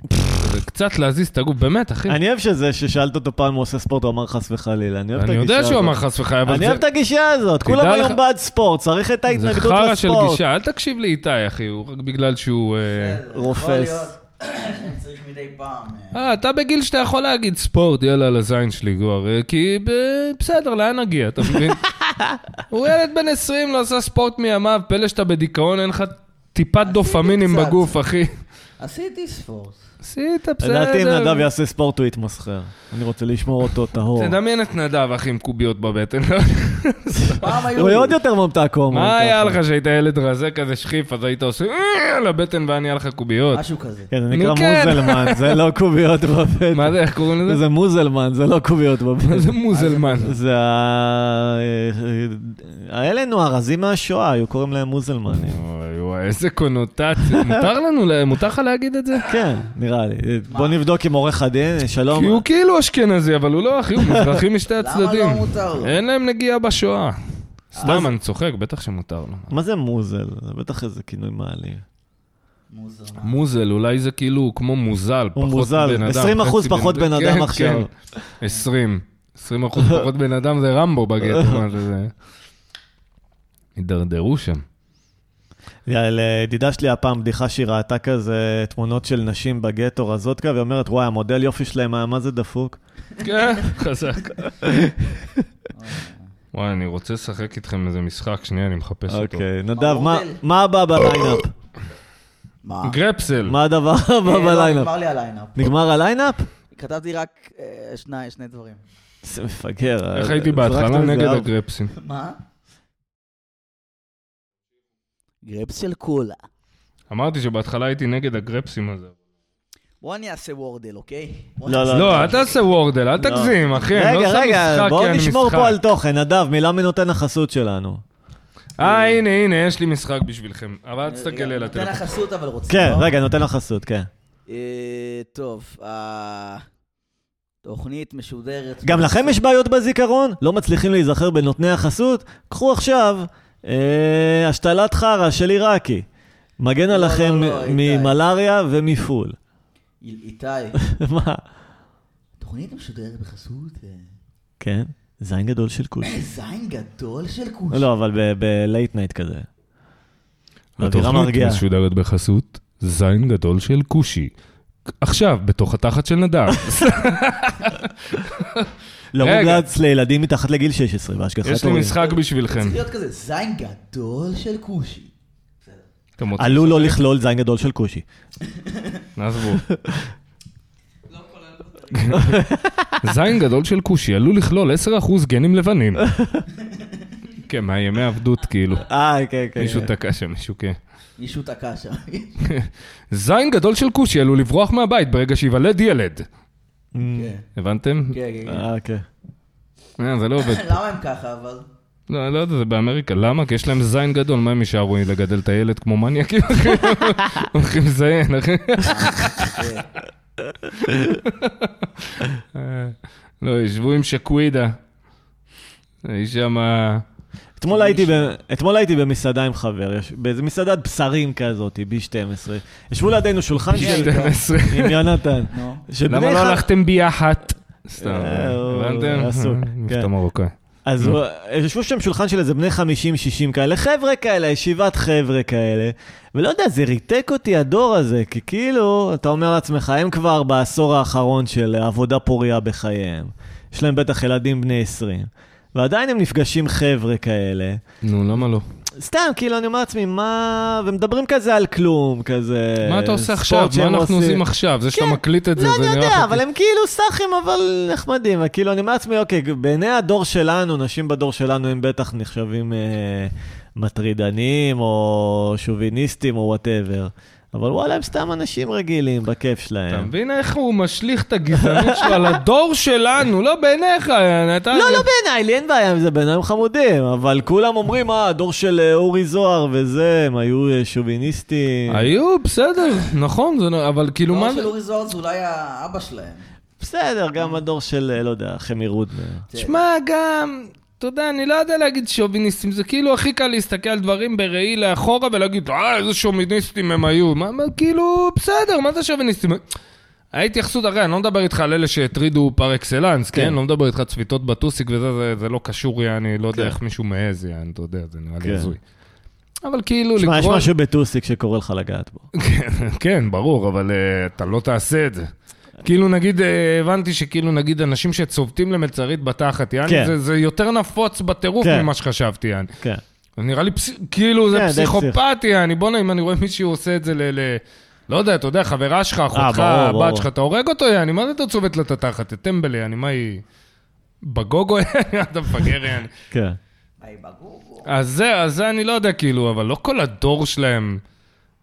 [SPEAKER 3] וקצת להזיז את הגוף, באמת, אחי.
[SPEAKER 1] אני אוהב שזה ששאלת אותו פעם אם הוא עושה ספורט, הוא אמר חס וחלילה. אני אוהב את
[SPEAKER 3] אני
[SPEAKER 1] הגישה הזאת.
[SPEAKER 3] יודע שהוא אמר חס וחלילה, אבל
[SPEAKER 1] אני אוהב את
[SPEAKER 3] זה-
[SPEAKER 1] הגישה הזאת.
[SPEAKER 3] תדע
[SPEAKER 1] כולם היום
[SPEAKER 3] לך-
[SPEAKER 1] בעד ספורט, צריך את
[SPEAKER 3] זה
[SPEAKER 1] ההתנגדות
[SPEAKER 3] חרא של
[SPEAKER 1] לספורט.
[SPEAKER 3] גישה. אל תקשיב לאיתי, אחי, הוא רק בגלל שהוא... אה,
[SPEAKER 1] רופס.
[SPEAKER 2] אני צריך מדי פעם... אה,
[SPEAKER 3] אה, אתה בגיל שאתה יכול להגיד ספורט, יאללה, על הזין שלי כבר, אה, כי ב- בסדר, לאן נגיע, אתה מבין? הוא ילד בן 20, לא עשה ספורט מימיו, פלא שאתה בדיכאון, אין לך טיפת דופמינים
[SPEAKER 2] קצת.
[SPEAKER 3] בגוף, אחי.
[SPEAKER 1] אה,
[SPEAKER 2] עשיתי ספורט.
[SPEAKER 3] עשית, בסדר.
[SPEAKER 1] לדעתי אם נדב יעשה ספורט הוא יתמסחר. אני רוצה לשמור אותו טהור.
[SPEAKER 3] תדמיין את נדב, אחי, עם קוביות בבטן.
[SPEAKER 2] פעם היו...
[SPEAKER 1] הוא יהיה עוד יותר ממתק הומו.
[SPEAKER 3] מה היה לך שהיית ילד רזה כזה שכיף, אז היית עושה "אה", על הבטן והיה נהיה לך קוביות?
[SPEAKER 2] משהו כזה.
[SPEAKER 1] כן, זה נקרא
[SPEAKER 3] נו, כן.
[SPEAKER 1] מוזלמן, זה לא קוביות בבטן.
[SPEAKER 3] מה זה, איך קוראים לזה?
[SPEAKER 1] זה מוזלמן, זה לא קוביות
[SPEAKER 3] מה
[SPEAKER 1] בבטן.
[SPEAKER 3] זה מוזלמן?
[SPEAKER 1] זה ה... האלה נו, הרזים מהשואה, היו קוראים להם מוזלמנים.
[SPEAKER 3] אוי, וואי, איזה קונוטציה. מותר לנו, ל- מותר לך להגיד את זה?
[SPEAKER 1] כן, נראה לי. בוא נבדוק עם עורך הדין, שלום.
[SPEAKER 3] כי הוא כאילו אשכנזי, אבל הוא לא, אחי, הוא מזרחי משתי
[SPEAKER 2] למה
[SPEAKER 3] הצדדים.
[SPEAKER 2] לא מותר לו?
[SPEAKER 1] אה?
[SPEAKER 3] אין להם נגיעה בשואה.
[SPEAKER 1] אז-
[SPEAKER 3] סתם, אני צוחק, בטח שמותר לו.
[SPEAKER 1] מה זה מוזל? זה בטח איזה כינוי מעליב.
[SPEAKER 2] מוזר.
[SPEAKER 3] מוזל, אולי זה כאילו הוא כמו מוזל,
[SPEAKER 1] הוא
[SPEAKER 3] פחות
[SPEAKER 1] מוזל,
[SPEAKER 3] בן אדם.
[SPEAKER 1] 20%
[SPEAKER 3] חצי
[SPEAKER 1] פחות בן אדם
[SPEAKER 3] כן,
[SPEAKER 1] עכשיו.
[SPEAKER 3] כן, 20. 20 אחוז פחות בן אדם זה רמבו בגטו, מה זה זה? הידרדרו שם.
[SPEAKER 1] לידידה שלי הפעם בדיחה שהיא ראתה כזה תמונות של נשים בגטו רזותקה, והיא אומרת, וואי, המודל יופי שלהם היה מה זה דפוק.
[SPEAKER 3] כן, חזק. וואי, אני רוצה לשחק איתכם איזה משחק, שנייה, אני מחפש אותו.
[SPEAKER 1] אוקיי, נדב, מה-
[SPEAKER 2] המודל.
[SPEAKER 1] מה הבא בליינאפ?
[SPEAKER 2] מה?
[SPEAKER 3] גרפסל.
[SPEAKER 1] מה הדבר
[SPEAKER 2] אה,
[SPEAKER 1] הבא
[SPEAKER 2] לא,
[SPEAKER 1] בליינאפ?
[SPEAKER 2] נגמר לי הליינאפ.
[SPEAKER 1] נגמר הליינאפ?
[SPEAKER 2] כתבתי רק אה, שני שני דברים.
[SPEAKER 1] זה מפגר.
[SPEAKER 3] איך
[SPEAKER 1] אה,
[SPEAKER 3] הייתי בהתחלה
[SPEAKER 1] זרקת
[SPEAKER 3] נגד
[SPEAKER 1] זהב.
[SPEAKER 3] הגרפסים?
[SPEAKER 2] מה? גרפס של קולה.
[SPEAKER 3] אמרתי שבהתחלה הייתי נגד הגרפסים הזה.
[SPEAKER 2] בוא אני אעשה וורדל, אוקיי? בוא
[SPEAKER 1] לא,
[SPEAKER 2] נעשה-
[SPEAKER 3] לא, אל תעשה וורדל, אל תגזים, אחי. אני לא
[SPEAKER 1] רגע,
[SPEAKER 3] עושה
[SPEAKER 1] רגע,
[SPEAKER 3] משחק,
[SPEAKER 1] בואו
[SPEAKER 3] כן, אני
[SPEAKER 1] נשמור
[SPEAKER 3] משחק.
[SPEAKER 1] פה על תוכן. נדב, מילה מנותן החסות שלנו.
[SPEAKER 3] אה, הנה, הנה, יש לי משחק בשבילכם. אבל אל תסתכל
[SPEAKER 2] אה, רגע,
[SPEAKER 3] לי על
[SPEAKER 2] נותן
[SPEAKER 3] הטלפון.
[SPEAKER 2] החסות אבל רוצה.
[SPEAKER 1] כן,
[SPEAKER 2] לא?
[SPEAKER 1] רגע, נותן החסות, כן.
[SPEAKER 2] אה, טוב, התוכנית משודרת.
[SPEAKER 1] גם לכם יש בעיות בזיכרון? לא מצליחים להיזכר בנותני החסות? קחו עכשיו אה, השתלת חרא של עיראקי. מגן
[SPEAKER 2] לא,
[SPEAKER 1] עליכם
[SPEAKER 2] לא, לא, איתי.
[SPEAKER 1] ממלריה ומפול.
[SPEAKER 2] איתי,
[SPEAKER 1] מה?
[SPEAKER 2] תוכנית משודרת בחסות אה,
[SPEAKER 1] כן? זין גדול של כוש.
[SPEAKER 2] זין גדול של כוש.
[SPEAKER 1] לא, אבל בלייט נייט כזה. אווירה
[SPEAKER 3] התוכנית
[SPEAKER 1] מרגיעה.
[SPEAKER 3] משודרת בחסות זין גדול של כושי. עכשיו, בתוך התחת של נדב.
[SPEAKER 1] לא
[SPEAKER 3] רגע.
[SPEAKER 1] מומלץ לילדים מתחת לגיל 16 בהשגחת
[SPEAKER 3] יש לי
[SPEAKER 1] הורים.
[SPEAKER 3] משחק בשבילכם.
[SPEAKER 2] צריך להיות כזה זין גדול של כושי.
[SPEAKER 3] אתם רוצים?
[SPEAKER 1] עלול לא לכלול זין גדול של כושי.
[SPEAKER 3] נעזבו. זין גדול של כושי עלול לכלול 10% גנים לבנים. כן, מהימי עבדות, כאילו.
[SPEAKER 1] אה, כן, כן.
[SPEAKER 3] מישהו תקע שם, מישהו כן.
[SPEAKER 2] מישהו תקע שם.
[SPEAKER 3] זין גדול של כושי עלול לברוח מהבית ברגע שייוולד ילד.
[SPEAKER 2] כן,
[SPEAKER 3] הבנתם?
[SPEAKER 2] כן, כן. כן.
[SPEAKER 1] אה, כן.
[SPEAKER 3] אה, זה לא עובד.
[SPEAKER 2] למה הם ככה, אבל?
[SPEAKER 3] לא, אני לא יודע, זה באמריקה. למה? כי יש להם זין גדול, מה הם יישארו לגדל את הילד כמו מניאקים? אחי? הולכים לזיין, אחי.
[SPEAKER 2] כן.
[SPEAKER 3] אה, לא, ישבו עם שקווידה. היא שמה...
[SPEAKER 1] אתמול הייתי, ב... אתמול הייתי במסעדה עם חבר, יש... באיזה מסעדת בשרים כזאת, B12. ישבו לידינו שולחן של...
[SPEAKER 3] 12.
[SPEAKER 1] עם יונתן.
[SPEAKER 2] נו.
[SPEAKER 1] שבני
[SPEAKER 3] למה לא
[SPEAKER 1] אחד-
[SPEAKER 3] הלכתם ביחד? סתם,
[SPEAKER 1] אה, הוא
[SPEAKER 3] הבנתם?
[SPEAKER 1] עסוק,
[SPEAKER 3] מבטא
[SPEAKER 1] כן.
[SPEAKER 3] מרוקאי.
[SPEAKER 1] אז
[SPEAKER 3] לא.
[SPEAKER 1] הוא- ישבו שם שולחן של איזה בני 50-60 כאלה, חבר'ה כאלה, ישיבת חבר'ה כאלה. ולא יודע, זה ריתק אותי הדור הזה, כי כאילו, אתה אומר לעצמך, הם כבר בעשור האחרון של עבודה פוריה בחייהם. יש להם בטח ילדים בני 20. ועדיין הם נפגשים חבר'ה כאלה.
[SPEAKER 3] נו, למה לא?
[SPEAKER 1] סתם, כאילו, אני אומר לעצמי, מה... ומדברים כזה על כלום, כזה...
[SPEAKER 3] מה אתה עושה
[SPEAKER 1] אה, ספורט
[SPEAKER 3] עכשיו?
[SPEAKER 1] שהם
[SPEAKER 3] מה אנחנו עושים עכשיו? זה שאתה
[SPEAKER 1] כן.
[SPEAKER 3] מקליט את זה,
[SPEAKER 1] לא,
[SPEAKER 3] זה
[SPEAKER 1] אני
[SPEAKER 3] נראה
[SPEAKER 1] יודע,
[SPEAKER 3] לך
[SPEAKER 1] אבל הם כאילו סאחים, אבל נחמדים. כאילו, אני אומר לעצמי, אוקיי, בעיני הדור שלנו, נשים בדור שלנו הם בטח נחשבים אה, מטרידנים, או שוביניסטים, או וואטאבר. אבל וואלה, הם סתם אנשים רגילים, בכיף
[SPEAKER 3] אתה
[SPEAKER 1] שלהם.
[SPEAKER 3] מבין איך הוא משליך את הגזענות שלו על הדור שלנו, לא בעיניך, אתה...
[SPEAKER 1] לא, לא בעיניי, לי אין בעיה עם זה, בעיניי הם חמודים, אבל כולם אומרים, אה, הדור של אה, אורי זוהר וזה, הם היו אה, שוביניסטים.
[SPEAKER 3] היו, בסדר, נכון, זה נ- אבל כאילו מה
[SPEAKER 2] לא
[SPEAKER 3] זה...
[SPEAKER 2] של אורי זוהר זה אולי האבא שלהם.
[SPEAKER 1] בסדר, גם הדור של, אה, לא יודע, חמי רודנר.
[SPEAKER 3] תשמע, גם, אתה יודע, אני לא יודע להגיד שוביניסטים, זה כאילו הכי קל להסתכל על דברים בראי לאחורה ולהגיד, אה, איזה שוביניסטים הם היו. מה, מה, כאילו, בסדר, מה זה שוביניסטים? ההתייחסות, הרי אני לא מדבר איתך על אלה שהטרידו פר אקסלנס, כן?
[SPEAKER 1] כן.
[SPEAKER 3] לא מדבר איתך צביטות בטוסיק וזה, זה, זה לא קשור, אני לא יודע
[SPEAKER 1] כן.
[SPEAKER 3] איך מישהו מעז, יעני, אתה יודע, זה נראה לי
[SPEAKER 1] כן.
[SPEAKER 3] הזוי. אבל כאילו,
[SPEAKER 1] תשמע, יש
[SPEAKER 3] לקרוא...
[SPEAKER 1] משהו בטוסיק שקורא לך לגעת בו.
[SPEAKER 3] כן, כן, ברור, אבל אה, אתה לא תעשה את זה. כאילו נגיד, אה, הבנתי שכאילו נגיד אנשים שצובטים למצרית בתחת, יעני,
[SPEAKER 1] כן.
[SPEAKER 3] זה, זה יותר נפוץ בטירוף
[SPEAKER 1] כן.
[SPEAKER 3] ממה שחשבתי, יעני.
[SPEAKER 1] כן.
[SPEAKER 3] נראה לי, פס... כאילו זה
[SPEAKER 1] כן, די
[SPEAKER 3] פסיכופת, יעני, בוא'נה, אם אני רואה מישהו עושה את זה ל... ל... לא יודע, אתה יודע, חברה שלך, אחותך,
[SPEAKER 1] אה, ברור,
[SPEAKER 3] הבת
[SPEAKER 1] ברור.
[SPEAKER 3] שלך, אתה הורג אותו, יעני, מה זה אתה צובט לה את התחת? יא טמבל, יעני, מה היא... בגוגו, יעני, אתה מפגר, יעני.
[SPEAKER 1] כן.
[SPEAKER 2] היי, בגוגו.
[SPEAKER 3] אז זה, אז זה אני לא יודע, כאילו, אבל לא כל הדור שלהם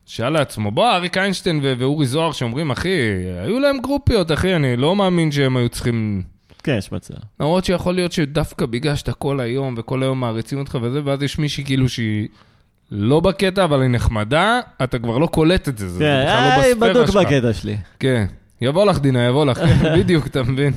[SPEAKER 3] שאל לעצמו, בוא, אריק איינשטיין ו- ואורי זוהר שאומרים, אחי, היו להם גרופיות, אחי, אני לא מאמין שהם היו צריכים...
[SPEAKER 1] כן, יש מצב.
[SPEAKER 3] למרות שיכול להיות שדווקא בגלל שאתה כל היום, וכל היום מעריצים אותך וזה, ואז יש מישהי כאילו שהיא לא בקטע, אבל היא נחמדה, אתה כבר לא קולט את זה, זה זה
[SPEAKER 1] כן,
[SPEAKER 3] בכלל לא
[SPEAKER 1] אה,
[SPEAKER 3] בספירה
[SPEAKER 1] בדוק
[SPEAKER 3] שלך.
[SPEAKER 1] בקטע שלי.
[SPEAKER 3] כן, יבוא לך, דינה, יבוא לך, בדיוק, אתה מבין?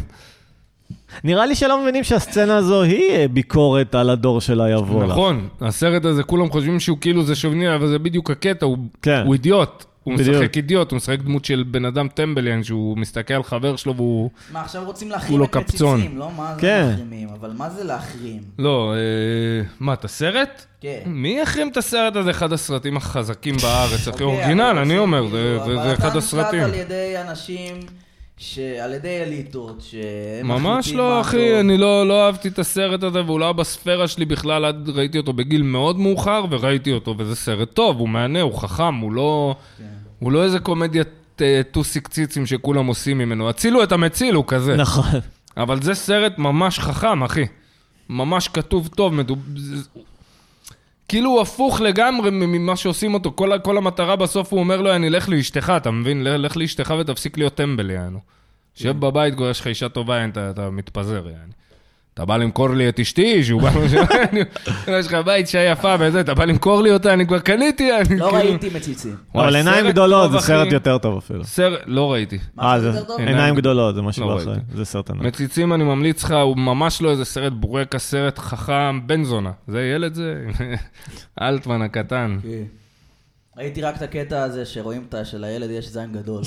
[SPEAKER 1] נראה לי שלא מבינים שהסצנה הזו היא אה, ביקורת על הדור של היבוא. לך.
[SPEAKER 3] נכון, הסרט הזה, כולם חושבים שהוא כאילו זה שוביני, אבל זה בדיוק הקטע, הוא,
[SPEAKER 1] כן.
[SPEAKER 3] הוא אידיוט. הוא
[SPEAKER 1] בדיוק.
[SPEAKER 3] משחק אידיוט, הוא משחק דמות של בן אדם טמבליין, שהוא מסתכל על חבר שלו והוא...
[SPEAKER 2] מה, עכשיו רוצים
[SPEAKER 3] הוא
[SPEAKER 2] להחרים
[SPEAKER 3] לא
[SPEAKER 2] את מציצים,
[SPEAKER 3] קפצון.
[SPEAKER 2] לא? מה זה
[SPEAKER 1] כן.
[SPEAKER 2] מחרימים? אבל מה זה להחרים?
[SPEAKER 3] לא, אה, מה, את הסרט?
[SPEAKER 2] כן.
[SPEAKER 3] מי יחרים את הסרט הזה? אחד הסרטים החזקים בארץ, אחי,
[SPEAKER 2] אוקיי,
[SPEAKER 3] אורגינל,
[SPEAKER 2] אבל
[SPEAKER 3] אני
[SPEAKER 2] זה
[SPEAKER 3] אומר,
[SPEAKER 2] כאילו,
[SPEAKER 3] זה- זה
[SPEAKER 2] אבל
[SPEAKER 3] זה אחד
[SPEAKER 2] אתה
[SPEAKER 3] הסרטים.
[SPEAKER 2] נשלט על ידי אנשים, ש- על ידי אליטות, שהם
[SPEAKER 3] ממש
[SPEAKER 2] מחליטים מה
[SPEAKER 3] לא,
[SPEAKER 2] טוב.
[SPEAKER 3] אחי, אני לא לא אהבתי את הסרט הזה, והוא לא היה בספירה שלי בכלל, עד ראיתי אותו בגיל מאוד מאוחר, וראיתי אותו, וזה סרט טוב, הוא מהנה, הוא חכם, הוא לא... הוא לא איזה קומדיית אה, טוסיק ציצים שכולם עושים ממנו. הצילו את המציל, הוא כזה.
[SPEAKER 1] נכון.
[SPEAKER 3] אבל זה סרט ממש חכם, אחי. ממש כתוב טוב, מדוב... זה- כאילו הוא הפוך לגמרי מ- ממה שעושים אותו. כל, ה- כל המטרה בסוף הוא אומר לו, אני לך לאשתך, אתה מבין? ל- לך לאשתך ותפסיק להיות טמבל, יענו. שב
[SPEAKER 2] כן.
[SPEAKER 3] בבית, כבר יש לך אישה טובה, אין, אתה, אתה מתפזר, יענו. אתה בא למכור לי את אשתי, שהוא בא... יש לך בית אישה יפה וזה, אתה בא למכור לי אותה, אני כבר קניתי, אני
[SPEAKER 2] לא ראיתי מציצים.
[SPEAKER 3] וואי,
[SPEAKER 1] אבל עיניים
[SPEAKER 3] סרט
[SPEAKER 1] גדולות
[SPEAKER 3] טוב,
[SPEAKER 1] זה
[SPEAKER 3] אחי.
[SPEAKER 1] סרט יותר טוב אפילו.
[SPEAKER 3] סרט, לא ראיתי.
[SPEAKER 2] מה,
[SPEAKER 1] אה,
[SPEAKER 2] זה
[SPEAKER 1] זה
[SPEAKER 2] יותר טוב?
[SPEAKER 1] עיניים גדולות, זה משהו
[SPEAKER 3] לא
[SPEAKER 1] אחר.
[SPEAKER 3] ראיתי.
[SPEAKER 1] זה סרט ענק.
[SPEAKER 3] מציצים אני ממליץ לך, הוא ממש לא איזה סרט בורקה, סרט חכם, בן זונה. זה ילד זה? אלטמן הקטן.
[SPEAKER 2] כן. ראיתי רק את הקטע הזה שרואים את ה- שלילד יש זין גדול.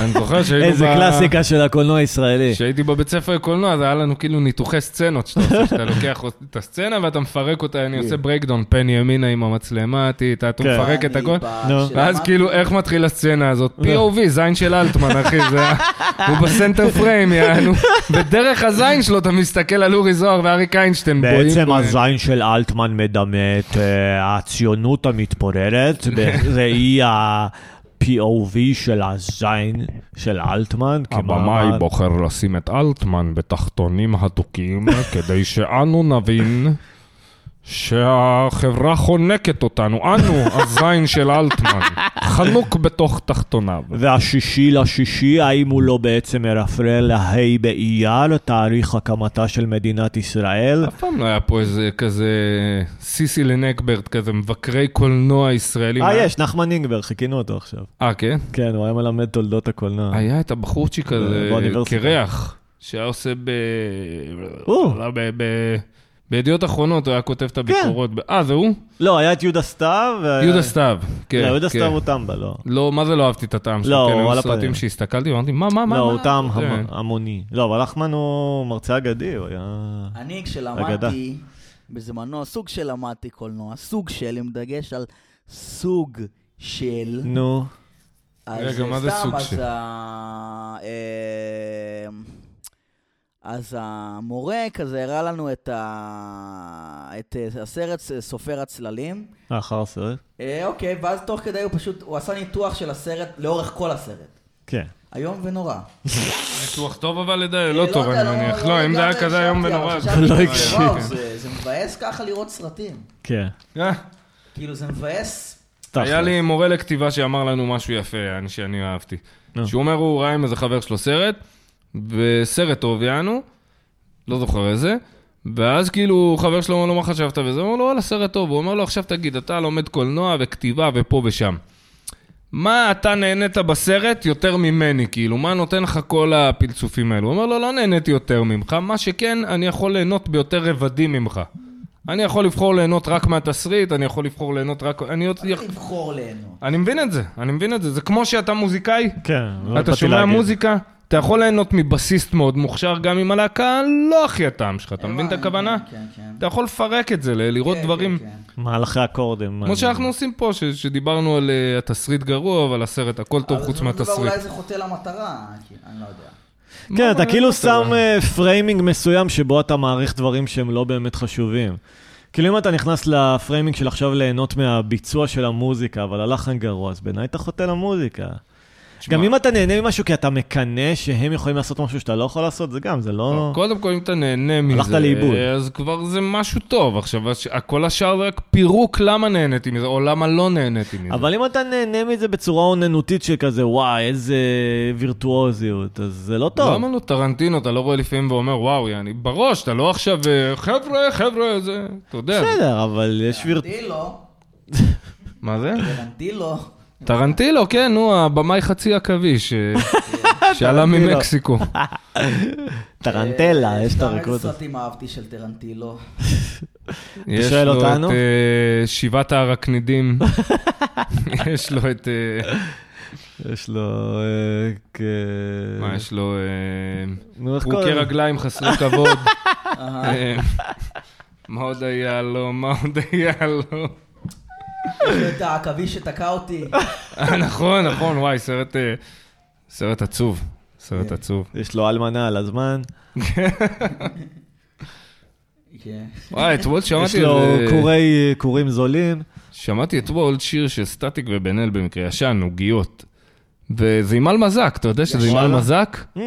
[SPEAKER 3] אני זוכר שהיינו
[SPEAKER 1] איזה
[SPEAKER 3] ב-
[SPEAKER 1] קלאסיקה של הקולנוע הישראלי.
[SPEAKER 3] כשהייתי בבית ספר לקולנוע, זה היה לנו כאילו ניתוחי סצנות שאתה עושה, שאתה לוקח את הסצנה ואתה מפרק אותה, אני עושה ברייקדאון, פן ימינה עם המצלמה, ת- אתה אתה
[SPEAKER 1] כן.
[SPEAKER 3] מפרק את
[SPEAKER 2] אני
[SPEAKER 3] הכל.
[SPEAKER 2] ב-
[SPEAKER 1] נו.
[SPEAKER 2] שלמדתי-
[SPEAKER 3] ואז כאילו, איך מתחיל הסצנה הזאת?
[SPEAKER 1] לא.
[SPEAKER 3] POV, זין של אלטמן, אחי, זה... ה- הוא בסנטר פריים, יענו. בדרך הזין שלו אתה מסתכל על אורי זוהר ואריק איינשטיין. בואים
[SPEAKER 1] בעצם
[SPEAKER 3] בו.
[SPEAKER 1] הזין של אלטמן מדמה את אה, הציונות המתפוררת בראי ה-POV של הזין של אלטמן.
[SPEAKER 3] הבמאי
[SPEAKER 1] כמעמד-
[SPEAKER 3] בוחר לשים את אלטמן בתחתונים הדוקים כדי שאנו נבין שהחברה חונקת אותנו, אנו הזין של אלטמן, חנוק בתוך תחתוניו.
[SPEAKER 1] והשישי לשישי, האם הוא לא בעצם מרפרר לה' באייר, תאריך הקמתה של מדינת ישראל?
[SPEAKER 3] אף פעם לא היה פה איזה כזה סיסי לנקברט, כזה מבקרי קולנוע ישראלים.
[SPEAKER 1] אה, יש, נחמן אינגבר, חיכינו אותו עכשיו.
[SPEAKER 3] אה, כן?
[SPEAKER 1] כן, הוא היה מלמד תולדות הקולנוע.
[SPEAKER 3] היה את הבחורצ'יק הזה,
[SPEAKER 1] אה. באוניברסיטה.
[SPEAKER 3] קרח, שהיה עושה ב...
[SPEAKER 1] הוא.
[SPEAKER 3] לא, ב... ב... בידיעות אחרונות הוא היה כותב
[SPEAKER 1] כן.
[SPEAKER 3] את הביקורות. ב- אה, זה הוא?
[SPEAKER 1] לא, היה את יהודה סתיו. ו-
[SPEAKER 3] יהודה סתיו. כן,
[SPEAKER 1] לא, אה, יהודה
[SPEAKER 3] כן.
[SPEAKER 1] סתיו הוא טמבה, לא.
[SPEAKER 3] לא, מה זה לא אהבתי את הטעם שלו?
[SPEAKER 1] לא,
[SPEAKER 3] כן,
[SPEAKER 1] הוא על
[SPEAKER 3] היו
[SPEAKER 1] הפנים.
[SPEAKER 3] סרטים שהסתכלתי ואמרתי, מה, אה, מה, מה?
[SPEAKER 1] לא, הוא
[SPEAKER 3] מה?" אוקיי.
[SPEAKER 1] טעם
[SPEAKER 3] זה-
[SPEAKER 1] המ- המוני. לא, אבל אחמן הוא מרצה אגדי, הוא היה...
[SPEAKER 2] אני
[SPEAKER 1] אגדה.
[SPEAKER 2] כשלמדתי, בזמנו, סוג של למדתי קולנוע, סוג של, עם דגש על סוג של.
[SPEAKER 1] נו.
[SPEAKER 2] אז
[SPEAKER 3] רגע, מה זה
[SPEAKER 2] סתם,
[SPEAKER 3] סוג
[SPEAKER 2] אז
[SPEAKER 3] של?
[SPEAKER 2] ה... אמ, אז המורה כזה הראה לנו את, ה... את אה, הסרט ס- סופר הצללים.
[SPEAKER 1] לאחר הסרט?
[SPEAKER 2] אה, אוקיי, ואז תוך כדי הוא פשוט, הוא עשה ניתוח של הסרט לאורך כל הסרט.
[SPEAKER 1] כן.
[SPEAKER 2] איום ונורא.
[SPEAKER 3] ניתוח טוב אבל לדעתי,
[SPEAKER 2] אה,
[SPEAKER 3] לא טוב
[SPEAKER 2] יודע,
[SPEAKER 3] אני מניח. לא, אם זה היה
[SPEAKER 2] לגמרי
[SPEAKER 3] כזה איום
[SPEAKER 2] הקשבתי,
[SPEAKER 3] ונורא.
[SPEAKER 2] אבל
[SPEAKER 3] אז-
[SPEAKER 2] חשבתי,
[SPEAKER 1] לא
[SPEAKER 2] וואו,
[SPEAKER 1] הקשיב.
[SPEAKER 3] כן.
[SPEAKER 2] זה- זה מבאס ככה לראות סרטים.
[SPEAKER 1] כן.
[SPEAKER 3] אה,
[SPEAKER 2] כאילו, זה מבאס
[SPEAKER 3] היה
[SPEAKER 1] תכל'ס.
[SPEAKER 3] לי מורה לכתיבה שאמר לנו משהו יפה, אני- שאני אהבתי.
[SPEAKER 1] נו.
[SPEAKER 3] שהוא אומר, הוא ראה עם איזה חבר שלו סרט, וסרט טוב יענו, לא זוכר איזה, ואז כאילו חבר שלו אומר לו, מה חשבת וזה? הוא אומר לו, וואלה, סרט טוב. הוא אומר לו, עכשיו תגיד, אתה לומד קולנוע וכתיבה ופה ושם. מה אתה נהנית בסרט יותר ממני, כאילו? מה נותן לך כל הפלצופים האלו? הוא אומר לו, לא נהניתי יותר ממך, מה שכן, אני יכול ליהנות ביותר רבדים ממך. אני יכול לבחור ליהנות רק מהתסריט, אני יכול לבחור ליהנות רק... אני עוד...
[SPEAKER 2] לבחור ליהנות.
[SPEAKER 3] אני מבין את זה, אני מבין את זה. זה כמו שאתה מוזיקאי,
[SPEAKER 1] כן. לא
[SPEAKER 3] אתה
[SPEAKER 1] באתי
[SPEAKER 3] שומע
[SPEAKER 1] להגיד.
[SPEAKER 3] מוזיקה, אתה יכול ליהנות מבסיסט מאוד מוכשר, גם אם הלהקה לא הכי הטעם שלך, אתה מבין את הכוונה?
[SPEAKER 2] כן, כן.
[SPEAKER 3] אתה יכול לפרק את זה, ל- לראות
[SPEAKER 2] כן,
[SPEAKER 3] דברים,
[SPEAKER 2] כן, כן.
[SPEAKER 1] מהלכי אקורדים.
[SPEAKER 3] כמו שאנחנו עושים פה, ש- שדיברנו על אה, התסריט גרוע, אבל הסרט, הכל לא טוב
[SPEAKER 2] אבל
[SPEAKER 3] חוץ
[SPEAKER 2] זה לא מדובר,
[SPEAKER 3] מהתסריט.
[SPEAKER 2] אולי זה חוטא למטרה, כי- אני לא יודע.
[SPEAKER 1] כן, אתה
[SPEAKER 3] מה-
[SPEAKER 1] כאילו
[SPEAKER 3] מה-
[SPEAKER 1] שם אה, פריימינג מסוים שבו אתה מעריך דברים שהם לא באמת חשובים. כאילו אם אתה נכנס לפריימינג של עכשיו ליהנות מהביצוע של המוזיקה, אבל הלחן גרוע, אז בעיניי אתה חוטא למוזיקה.
[SPEAKER 3] תשמע, לא.
[SPEAKER 1] גם אם אתה נהנה ממשהו כי אתה מקנא שהם יכולים לעשות משהו שאתה לא יכול לעשות, זה גם, זה לא...
[SPEAKER 3] קודם כל, אם אתה נהנה מזה,
[SPEAKER 1] הלכת לאיבוד.
[SPEAKER 3] אז כבר זה משהו טוב. עכשיו, הש- כל השאר זה רק פירוק למה נהניתי מזה, או למה לא נהניתי מזה.
[SPEAKER 1] אבל אם אתה נהנה מזה בצורה אוננותית של כזה, וואי, איזה וירטואוזיות, אז זה לא טוב.
[SPEAKER 3] למה לא טרנטינו, אתה לא רואה לפעמים ואומר, וואו, יעני, בראש, אתה לא עכשיו, אה, חבר'ה, חבר'ה, זה, אתה יודע.
[SPEAKER 1] בסדר, אבל יש וירט...
[SPEAKER 2] טרנטילו,
[SPEAKER 3] מה זה?
[SPEAKER 2] טרנטילו.
[SPEAKER 3] טרנטילו, כן, נו, הבמאי חצי עכבי, ש- שעלה
[SPEAKER 1] טרנטינו.
[SPEAKER 3] ממקסיקו.
[SPEAKER 1] טרנטלה, יש את
[SPEAKER 2] סתם,
[SPEAKER 1] הריקוד.
[SPEAKER 2] איזה אה, סרטים אהבתי של טרנטילו.
[SPEAKER 3] יש
[SPEAKER 1] שואל
[SPEAKER 3] לו
[SPEAKER 1] אותנו?
[SPEAKER 3] את אה, שבעת הרקנידים. יש לו את... אה,
[SPEAKER 1] יש לו... אה, כ-
[SPEAKER 3] מה, יש לו... אה,
[SPEAKER 1] נו, איך
[SPEAKER 3] פרוקי
[SPEAKER 1] קוראים?
[SPEAKER 3] רגליים חסרי כבוד.
[SPEAKER 2] אהה.
[SPEAKER 3] אה, מה עוד היה לו? מה עוד היה לו?
[SPEAKER 2] יש לו את העכביש שתקע אותי.
[SPEAKER 3] אה, נכון, נכון, וואי, סרט... אה, סרט עצוב. סרט
[SPEAKER 1] אה.
[SPEAKER 2] כן.
[SPEAKER 3] עצוב.
[SPEAKER 1] יש לו אלמנה על הזמן,
[SPEAKER 2] כן.
[SPEAKER 3] וואי, אתמול
[SPEAKER 1] יש
[SPEAKER 3] שמעתי Mm.
[SPEAKER 1] לו
[SPEAKER 3] איזה-
[SPEAKER 1] קורי, קורים זולים.
[SPEAKER 3] שמעתי אתמול שיר של סטטיק ובן אל במקרה ישן, עוגיות. וזה עם על מזק, אתה יודע שזה עם על
[SPEAKER 1] ישן?
[SPEAKER 3] מזק?
[SPEAKER 1] Mm,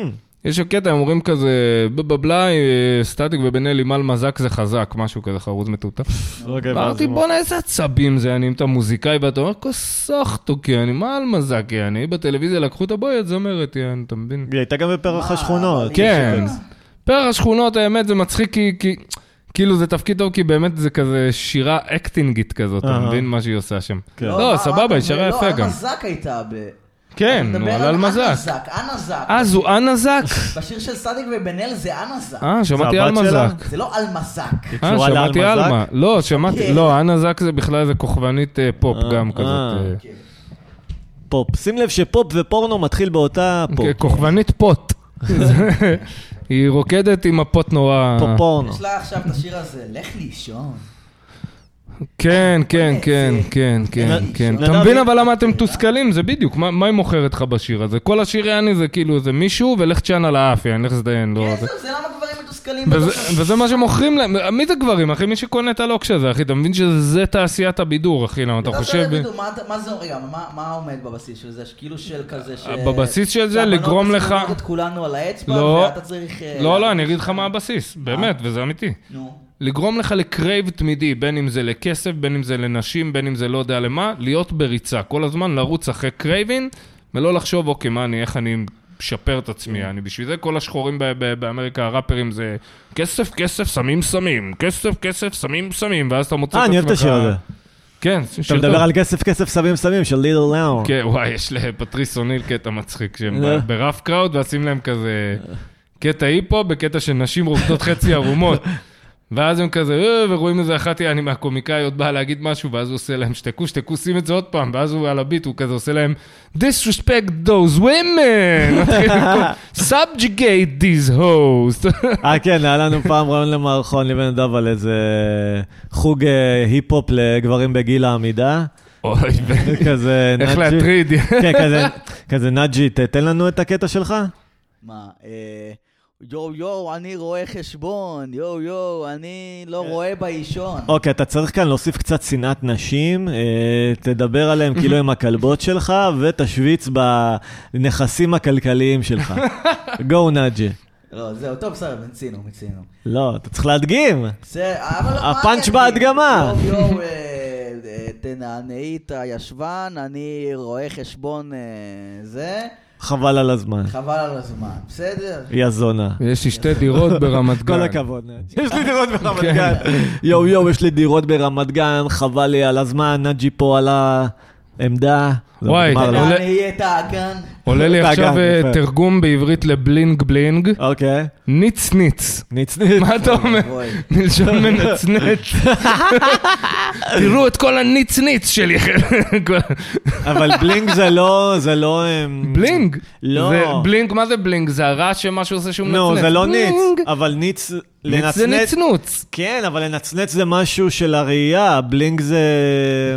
[SPEAKER 3] יש שם קטע, הם אומרים כזה, בבבלה, אה, סטטיק ובן אל עם על מזק זה חזק, משהו כזה חרוז מטומטם.
[SPEAKER 1] אוקיי, ואז
[SPEAKER 3] אמרתי,
[SPEAKER 1] הוא-
[SPEAKER 3] בואנה, איזה עצבים זה, אני, אם אתה מוזיקאי, ואתה אומר, כוסח תוקי, אני, מה על מזק, אני, בטלוויזיה לקחו את הבויית זמרת, יעני, אתה מבין?
[SPEAKER 1] היא הייתה גם בפרח
[SPEAKER 2] מה,
[SPEAKER 1] השכונות.
[SPEAKER 2] אבל
[SPEAKER 3] כן.
[SPEAKER 2] יש-
[SPEAKER 3] פרח השכונות, האמת, זה מצחיק כי... כי... כאילו זה תפקיד טוב, כי באמת זה כזה שירה אקטינגית כזאת, אתה
[SPEAKER 1] אהה.
[SPEAKER 3] מבין מה שהיא עושה שם.
[SPEAKER 1] כן.
[SPEAKER 2] מה,
[SPEAKER 3] לא,
[SPEAKER 2] מה אתה
[SPEAKER 3] סבבה, היא שרה
[SPEAKER 2] אומר?
[SPEAKER 3] יפה
[SPEAKER 2] לא,
[SPEAKER 3] גם.
[SPEAKER 2] הנזק הייתה ב...
[SPEAKER 3] כן,
[SPEAKER 2] אתה
[SPEAKER 3] נו,
[SPEAKER 2] מדבר
[SPEAKER 3] על אלמזק.
[SPEAKER 2] אנזק, אנזק.
[SPEAKER 3] אה, זו אנזק?
[SPEAKER 2] בשיר של סדיק ובן אל זה אנזק.
[SPEAKER 3] אה, שמעתי
[SPEAKER 1] זה הבת שלה?
[SPEAKER 3] אלמזק.
[SPEAKER 2] זה לא אלמזק.
[SPEAKER 1] היא
[SPEAKER 3] אה,
[SPEAKER 1] קשורה
[SPEAKER 3] שמעתי
[SPEAKER 1] לאלמזק?
[SPEAKER 3] אלמה. לא, שמעתי,
[SPEAKER 2] כן.
[SPEAKER 3] לא, אנזק זה בכלל איזה כוכבנית אה, פופ
[SPEAKER 1] אה,
[SPEAKER 3] גם
[SPEAKER 1] אה.
[SPEAKER 3] כזאת.
[SPEAKER 2] כן.
[SPEAKER 1] פופ. שים לב שפופ ופורנו מתחיל באותה
[SPEAKER 3] אה,
[SPEAKER 1] פופ.
[SPEAKER 3] כוכבנית פוט. היא רוקדת עם הפוט נורא...
[SPEAKER 1] פופורנו.
[SPEAKER 2] יש לה עכשיו את השיר הזה, לך לישון.
[SPEAKER 3] כן, כן,
[SPEAKER 2] אה,
[SPEAKER 3] כן,
[SPEAKER 2] זה-
[SPEAKER 3] כן, כן,
[SPEAKER 1] נדב-
[SPEAKER 3] כן.
[SPEAKER 1] נדב-
[SPEAKER 3] אתה מבין אבל למה אתם מתוסכלים? זה בדיוק, מה מה היא מוכרת לך בשיר הזה? כל השיר יעני זה כאילו, זה מישהו ולך תשען על האף, יעני, לך תזדיין, לא...
[SPEAKER 2] כן, זה-
[SPEAKER 3] זה-
[SPEAKER 2] לא- זה למה גברים מתוסכלים.
[SPEAKER 3] וזה-
[SPEAKER 2] בתוך ה-
[SPEAKER 3] וזה מה שמוכרים להם, מי זה גברים, אחי? מי שקונה את הלוקש הזה, אחי, אתה מבין שזה תעשיית הבידור, אחי, למה אתה
[SPEAKER 2] אתה
[SPEAKER 3] חושב...
[SPEAKER 2] יודע בדיוק, מה אתה- מה זה, רגע, מה מה עומד בבסיס של זה? כאילו של כזה ש...
[SPEAKER 3] בבסיס של זה
[SPEAKER 2] שהבנות
[SPEAKER 3] לגרום לך-
[SPEAKER 2] מסתובבות את כולנו על האצבע,
[SPEAKER 3] לא.
[SPEAKER 2] ואתה צריך... אה,
[SPEAKER 3] לא, לא, אני אגיד לך מה הבסיס, באמת, וזה אמיתי.
[SPEAKER 2] נו.
[SPEAKER 3] לגרום לך לקרייב תמידי, בין אם זה לכסף, בין אם זה לנשים, בין אם זה לא יודע למה, להיות בריצה. כל הזמן לרוץ אחרי קרייבין, ולא לחשוב, אוקיי, מה אני, איך אני משפר את
[SPEAKER 1] כן.
[SPEAKER 3] עצמי. אני בשביל זה כל השחורים ב- ב- באמריקה, הראפרים זה כסף, כסף, סמים, סמים, כסף, כסף, סמים, סמים, ואז אתה מוצא את
[SPEAKER 1] אה,
[SPEAKER 3] עצמך...
[SPEAKER 1] אני אוהב את השיר הזה.
[SPEAKER 3] כן,
[SPEAKER 1] אתה
[SPEAKER 3] שיר טוב.
[SPEAKER 1] מדבר על כסף, כסף, סמים, סמים של ליל לאון.
[SPEAKER 3] כן, וואי, יש לפטריס אוניל קטע מצחיק, שהם
[SPEAKER 1] נכון. לא.
[SPEAKER 3] ב- ברף קראוד, ועושים להם כזה קטע היפו, בקטע שנשים רוקדות חצי ערומות. ואז הם כזה, "אה", ורואים איזה אחת, אני מהקומיקאיות באה להגיד משהו, ואז הוא עושה להם שתקו, שתקו, שים את זה עוד פעם, ואז הוא על הביט, הוא כזה עושה להם, disrespect those women, מתחיל לקרוא, subjugate these hoes.
[SPEAKER 1] אה, כן, היה לנו פעם רעיון למערכון לבן אדם על איזה חוג אה, היפ-הופ לגברים בגיל העמידה.
[SPEAKER 3] אוי, ו-
[SPEAKER 1] כזה
[SPEAKER 3] איך
[SPEAKER 1] נאג'י.
[SPEAKER 3] להטריד.
[SPEAKER 1] כן, כזה- כזה נאג'י, ת- תן לנו את הקטע שלך.
[SPEAKER 2] מה, אה, יואו יואו, אני רואה חשבון, יואו יואו, אני לא רואה באישון.
[SPEAKER 1] אוקיי, אתה צריך כאן להוסיף קצת שנאת נשים, אה, תדבר עליהם כאילו הם הכלבות שלך, ותשוויץ בנכסים הכלכליים שלך. גו נאג'י.
[SPEAKER 2] לא, זהו, טוב, בסדר, מיצינו, מיצינו.
[SPEAKER 1] לא, אתה צריך להדגים.
[SPEAKER 2] זה, אבל... מה
[SPEAKER 1] הפאנץ'
[SPEAKER 2] אני-
[SPEAKER 1] בהדגמה.
[SPEAKER 2] יואו יואו, אה, אה, תנענעי את הישבן, אני רואה חשבון אה, זה,
[SPEAKER 1] חבל על הזמן.
[SPEAKER 2] חבל על הזמן, בסדר?
[SPEAKER 1] יא זונה.
[SPEAKER 3] יש לי שתי דירות ברמת גן.
[SPEAKER 1] כל הכבוד, נאג'י. יש לי דירות ברמת גן. יואו יואו, יש לי דירות ברמת גן, חבל לי על הזמן, נאג'י פה על העמדה. זה
[SPEAKER 3] וואי,
[SPEAKER 1] נגמר לי.
[SPEAKER 3] עולה-
[SPEAKER 2] תנענעי את האגן.
[SPEAKER 3] עולה לי
[SPEAKER 1] אתה
[SPEAKER 3] עכשיו
[SPEAKER 1] גן,
[SPEAKER 3] אה,
[SPEAKER 1] יפה.
[SPEAKER 3] תרגום בעברית לבלינג בלינג,
[SPEAKER 1] אוקיי.
[SPEAKER 3] ניץ ניץ.
[SPEAKER 1] ניץ ניץ.
[SPEAKER 3] מה אתה אומר?
[SPEAKER 2] אוי.
[SPEAKER 3] מלשון מנצנץ. תראו את כל הניצניץ שלי. כל-
[SPEAKER 1] אבל בלינג זה לא, זה לא... אמ,
[SPEAKER 3] בלינג.
[SPEAKER 1] לא.
[SPEAKER 3] זה בלינג, מה זה בלינג? זה הרעש שמשהו עושה שהוא מנצנץ.
[SPEAKER 1] נו, זה לא ניץ,
[SPEAKER 3] בלינג.
[SPEAKER 1] אבל ניץ...
[SPEAKER 3] ניץ
[SPEAKER 1] לנצנץ...
[SPEAKER 3] זה ניצנוץ.
[SPEAKER 1] כן, אבל לנצנץ זה משהו של הראייה, בלינג זה...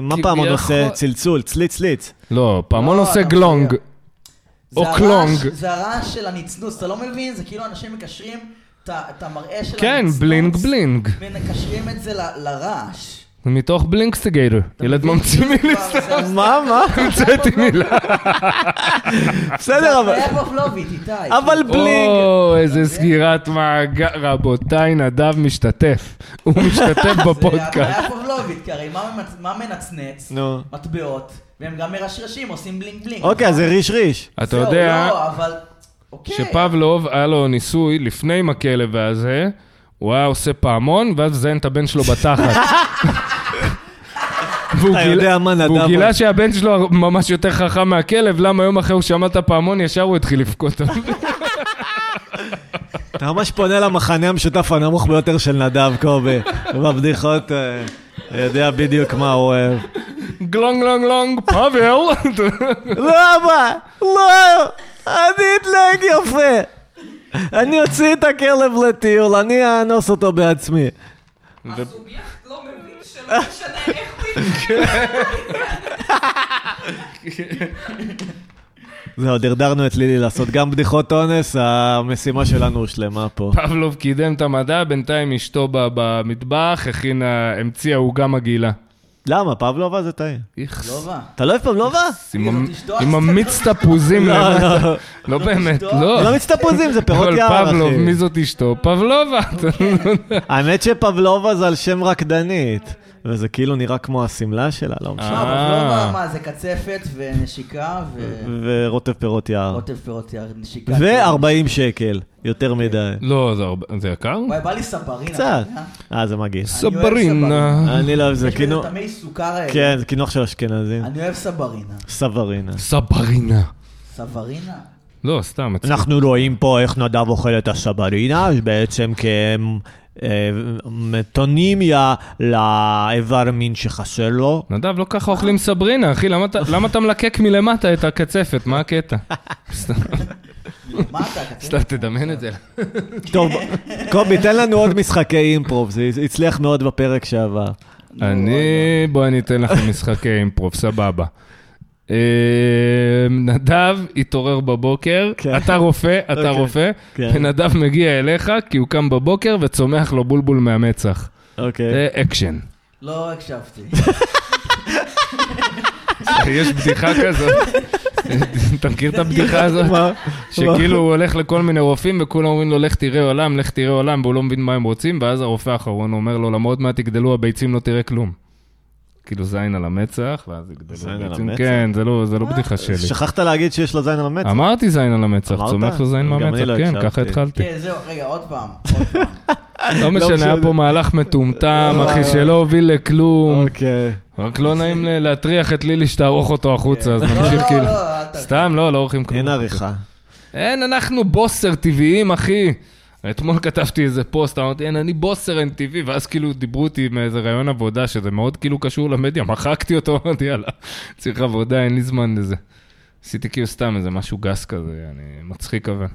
[SPEAKER 1] מה
[SPEAKER 3] כי
[SPEAKER 1] פעם עוד
[SPEAKER 3] ביכול-
[SPEAKER 1] עושה? צלצול, צליץ, צליץ.
[SPEAKER 3] לא, פעמון
[SPEAKER 2] לא,
[SPEAKER 3] עושה
[SPEAKER 2] אתה
[SPEAKER 3] גלונג.
[SPEAKER 2] מפריע.
[SPEAKER 3] או
[SPEAKER 2] זה הרעש-
[SPEAKER 3] קלונג.
[SPEAKER 2] זה הרעש של הנצנוץ, אתה לא מבין? זה כאילו אנשים מקשרים את ה- את המראה של
[SPEAKER 3] כן,
[SPEAKER 2] הנצנוץ.
[SPEAKER 3] בלינג בלינג.
[SPEAKER 2] מקשרים את זה ל- לרעש.
[SPEAKER 3] זה מתוך בלינקסטיגייטר. ילד ממציא מילים.
[SPEAKER 1] מה, מה?
[SPEAKER 3] המצאתי מילה.
[SPEAKER 1] בסדר, אבל...
[SPEAKER 2] זה היה פבלובית, איתי.
[SPEAKER 1] אבל בלינג!
[SPEAKER 3] או, איזה סגירת מעגל. רבותיי, נדב משתתף. הוא משתתף
[SPEAKER 2] זה
[SPEAKER 3] בפודקאסט.
[SPEAKER 2] היה פבלובית, כי הרי מה ממצ- מה מנצנץ?
[SPEAKER 1] נו.
[SPEAKER 2] מטבעות, והם גם מרשרשים, עושים בלינג בלינג.
[SPEAKER 1] אוקיי, אז זה ריש ריש.
[SPEAKER 3] אתה
[SPEAKER 2] זהו,
[SPEAKER 3] יודע...
[SPEAKER 2] לא, אבל... אוקיי.
[SPEAKER 3] שפבלוב, היה לו ניסוי לפני עם הכלב הזה, הוא היה עושה פעמון, ואז מזיין את הבן שלו בתחת. והוא
[SPEAKER 1] אתה יודע מה נדב
[SPEAKER 3] והוא
[SPEAKER 1] עושה.
[SPEAKER 3] גילה שהבן שלו ממש יותר חכם מהכלב, למה יום אחרי הוא שמע את הפעמון, ישר הוא התחיל לבכות.
[SPEAKER 1] אתה ממש פונה למחנה המשותף הנמוך ביותר של נדב קובי. בבדיחות, אה, יודע בדיוק מה הוא אוהב.
[SPEAKER 3] גלונג, גלונג, גלונג, פאבל.
[SPEAKER 1] למה? לא! אני אתנהג יפה! אני אוציא את הכלב לטיול, אני אאנוס אותו בעצמי.
[SPEAKER 5] הסובייקט לא מבין שלא משנה איך הוא
[SPEAKER 1] זהו, דרדרנו את לילי לעשות גם בדיחות אונס, המשימה שלנו הושלמה פה.
[SPEAKER 3] פבלוב קידם את המדע, בינתיים אשתו ב- במטבח, הכינה, המציאה עוגה מגעילה.
[SPEAKER 1] למה? פבלובה זה טעים.
[SPEAKER 2] לא רע.
[SPEAKER 3] אה.
[SPEAKER 1] אתה לא אוהב פבלובה?
[SPEAKER 3] עם המ-
[SPEAKER 2] תשתוק.
[SPEAKER 3] עם המיץ תפוזים
[SPEAKER 1] לא,
[SPEAKER 3] למטה.
[SPEAKER 1] לא.
[SPEAKER 3] לא באמת,
[SPEAKER 2] תשתוק.
[SPEAKER 3] לא.
[SPEAKER 1] לא מצטפוזים, זה פירות
[SPEAKER 3] אבל
[SPEAKER 1] יער,
[SPEAKER 3] פבלוב, מי
[SPEAKER 1] אחי.
[SPEAKER 3] זאת אשתו? פבלובה.
[SPEAKER 1] האמת שפבלובה זה על שם רקדנית, וזה כאילו נראה כמו השמלה שלה, לא משנה.
[SPEAKER 2] מה,
[SPEAKER 3] אה.
[SPEAKER 2] פבלובה, מה, זה קצפת ונשיקה
[SPEAKER 1] ורוטב פירות יער.
[SPEAKER 2] ורוטב פירות יער, נשיקה. כן.
[SPEAKER 1] ו-40 שקל, יותר מדי.
[SPEAKER 3] לא, זה הרבה- זה יקר?
[SPEAKER 2] וואי, בא לי ספרינה.
[SPEAKER 1] קצת.
[SPEAKER 2] אתה יודע?
[SPEAKER 1] אה, זה מגעיל.
[SPEAKER 3] סברינה.
[SPEAKER 1] אני לא אוהב זה,
[SPEAKER 2] יש בזה
[SPEAKER 1] כאילו...
[SPEAKER 2] טעמי סוכר האלה.
[SPEAKER 1] כן, זה קינוח של אשכנזים.
[SPEAKER 2] אני אוהב סברינה.
[SPEAKER 1] סברינה.
[SPEAKER 3] סברינה.
[SPEAKER 2] סברינה?
[SPEAKER 3] לא, סתם. אצלי.
[SPEAKER 1] אנחנו רואים פה איך נדב אוכל את הסברינה, בעצם אה, כמטונימיה לאיבר מין שחסר לו.
[SPEAKER 3] נדב, לא ככה אוכלים סברינה, אחי, למה אתה- למה אתה מלקק מלמטה את הקצפת? מה הקטע? סתם,
[SPEAKER 2] מה אתה, קצפת?
[SPEAKER 3] סתם תדמיין את זה.
[SPEAKER 1] טוב, קובי, תן לנו עוד משחקי אimprov, זה הצליח מאוד בפרק שעבר.
[SPEAKER 3] אני... בוא, אני אתן לכם משחקי אימפרוב, סבבה. אה, נדב התעורר בבוקר,
[SPEAKER 1] כן.
[SPEAKER 3] אתה רופא, אתה
[SPEAKER 1] אוקיי.
[SPEAKER 3] רופא,
[SPEAKER 1] כן.
[SPEAKER 3] ונדב מגיע אליך כי הוא קם בבוקר וצומח לו בולבול מהמצח.
[SPEAKER 1] אוקיי.
[SPEAKER 3] זה אקשן.
[SPEAKER 2] לא הקשבתי.
[SPEAKER 3] יש בדיחה כזאת. אתה מכיר את הבדיחה הזאת?
[SPEAKER 1] אה, מה?
[SPEAKER 3] שכאילו הוא הולך לכל מיני רופאים, וכולם אומרים לו, לך תראה עולם, לך תראה עולם, והוא לא מבין מה הם רוצים, ואז הרופא האחרון אומר לו, למה עוד מעט תגדלו הביצים, לא תראה כלום. כאילו זין על המצח, ואז יגדלו
[SPEAKER 1] זין על
[SPEAKER 3] הביצים.
[SPEAKER 1] המצח?
[SPEAKER 3] כן, זה לא, זה לא
[SPEAKER 2] אה,
[SPEAKER 3] בדיחה שלי.
[SPEAKER 1] שכחת להגיד שיש לו זין על המצח.
[SPEAKER 3] אמרתי זין על המצח,
[SPEAKER 1] אמרת?
[SPEAKER 3] צומח לו זין
[SPEAKER 1] גם אני
[SPEAKER 3] מהמצח,
[SPEAKER 1] לא
[SPEAKER 3] כן,
[SPEAKER 1] הקשבתי.
[SPEAKER 3] ככה התחלתי.
[SPEAKER 2] כן, זהו, רגע, עוד פעם. עוד פעם.
[SPEAKER 3] לא משנה, היה
[SPEAKER 1] משנה.
[SPEAKER 3] פה מהלך מטומטם,
[SPEAKER 2] לא,
[SPEAKER 3] אחי,
[SPEAKER 2] לא.
[SPEAKER 3] שלא הוביל לכלום.
[SPEAKER 1] אוקיי.
[SPEAKER 3] רק לא נעים ל- להטריח את לילי שתערוך אותו החוצה, אז
[SPEAKER 2] לא,
[SPEAKER 3] נמשיך
[SPEAKER 2] לא,
[SPEAKER 3] כאילו.
[SPEAKER 2] לא, אל ת-
[SPEAKER 3] סתם, לא, לא עורכים כלום.
[SPEAKER 1] אין עריכה.
[SPEAKER 3] אין, אנחנו בוסר טבעיים, אחי. אתמול כתבתי איזה פוסט, אמרתי, אין, אני בוסר אין טבעי, ואז כאילו דיברו אותי מאיזה ראיון עבודה, שזה מאוד כאילו קשור למדיה, מחקתי אותו, אמרתי, יאללה, צריך עבודה, אין לי זמן לזה. עשיתי כאילו סתם איזה משהו גס כזה, אני מצחיק אבל.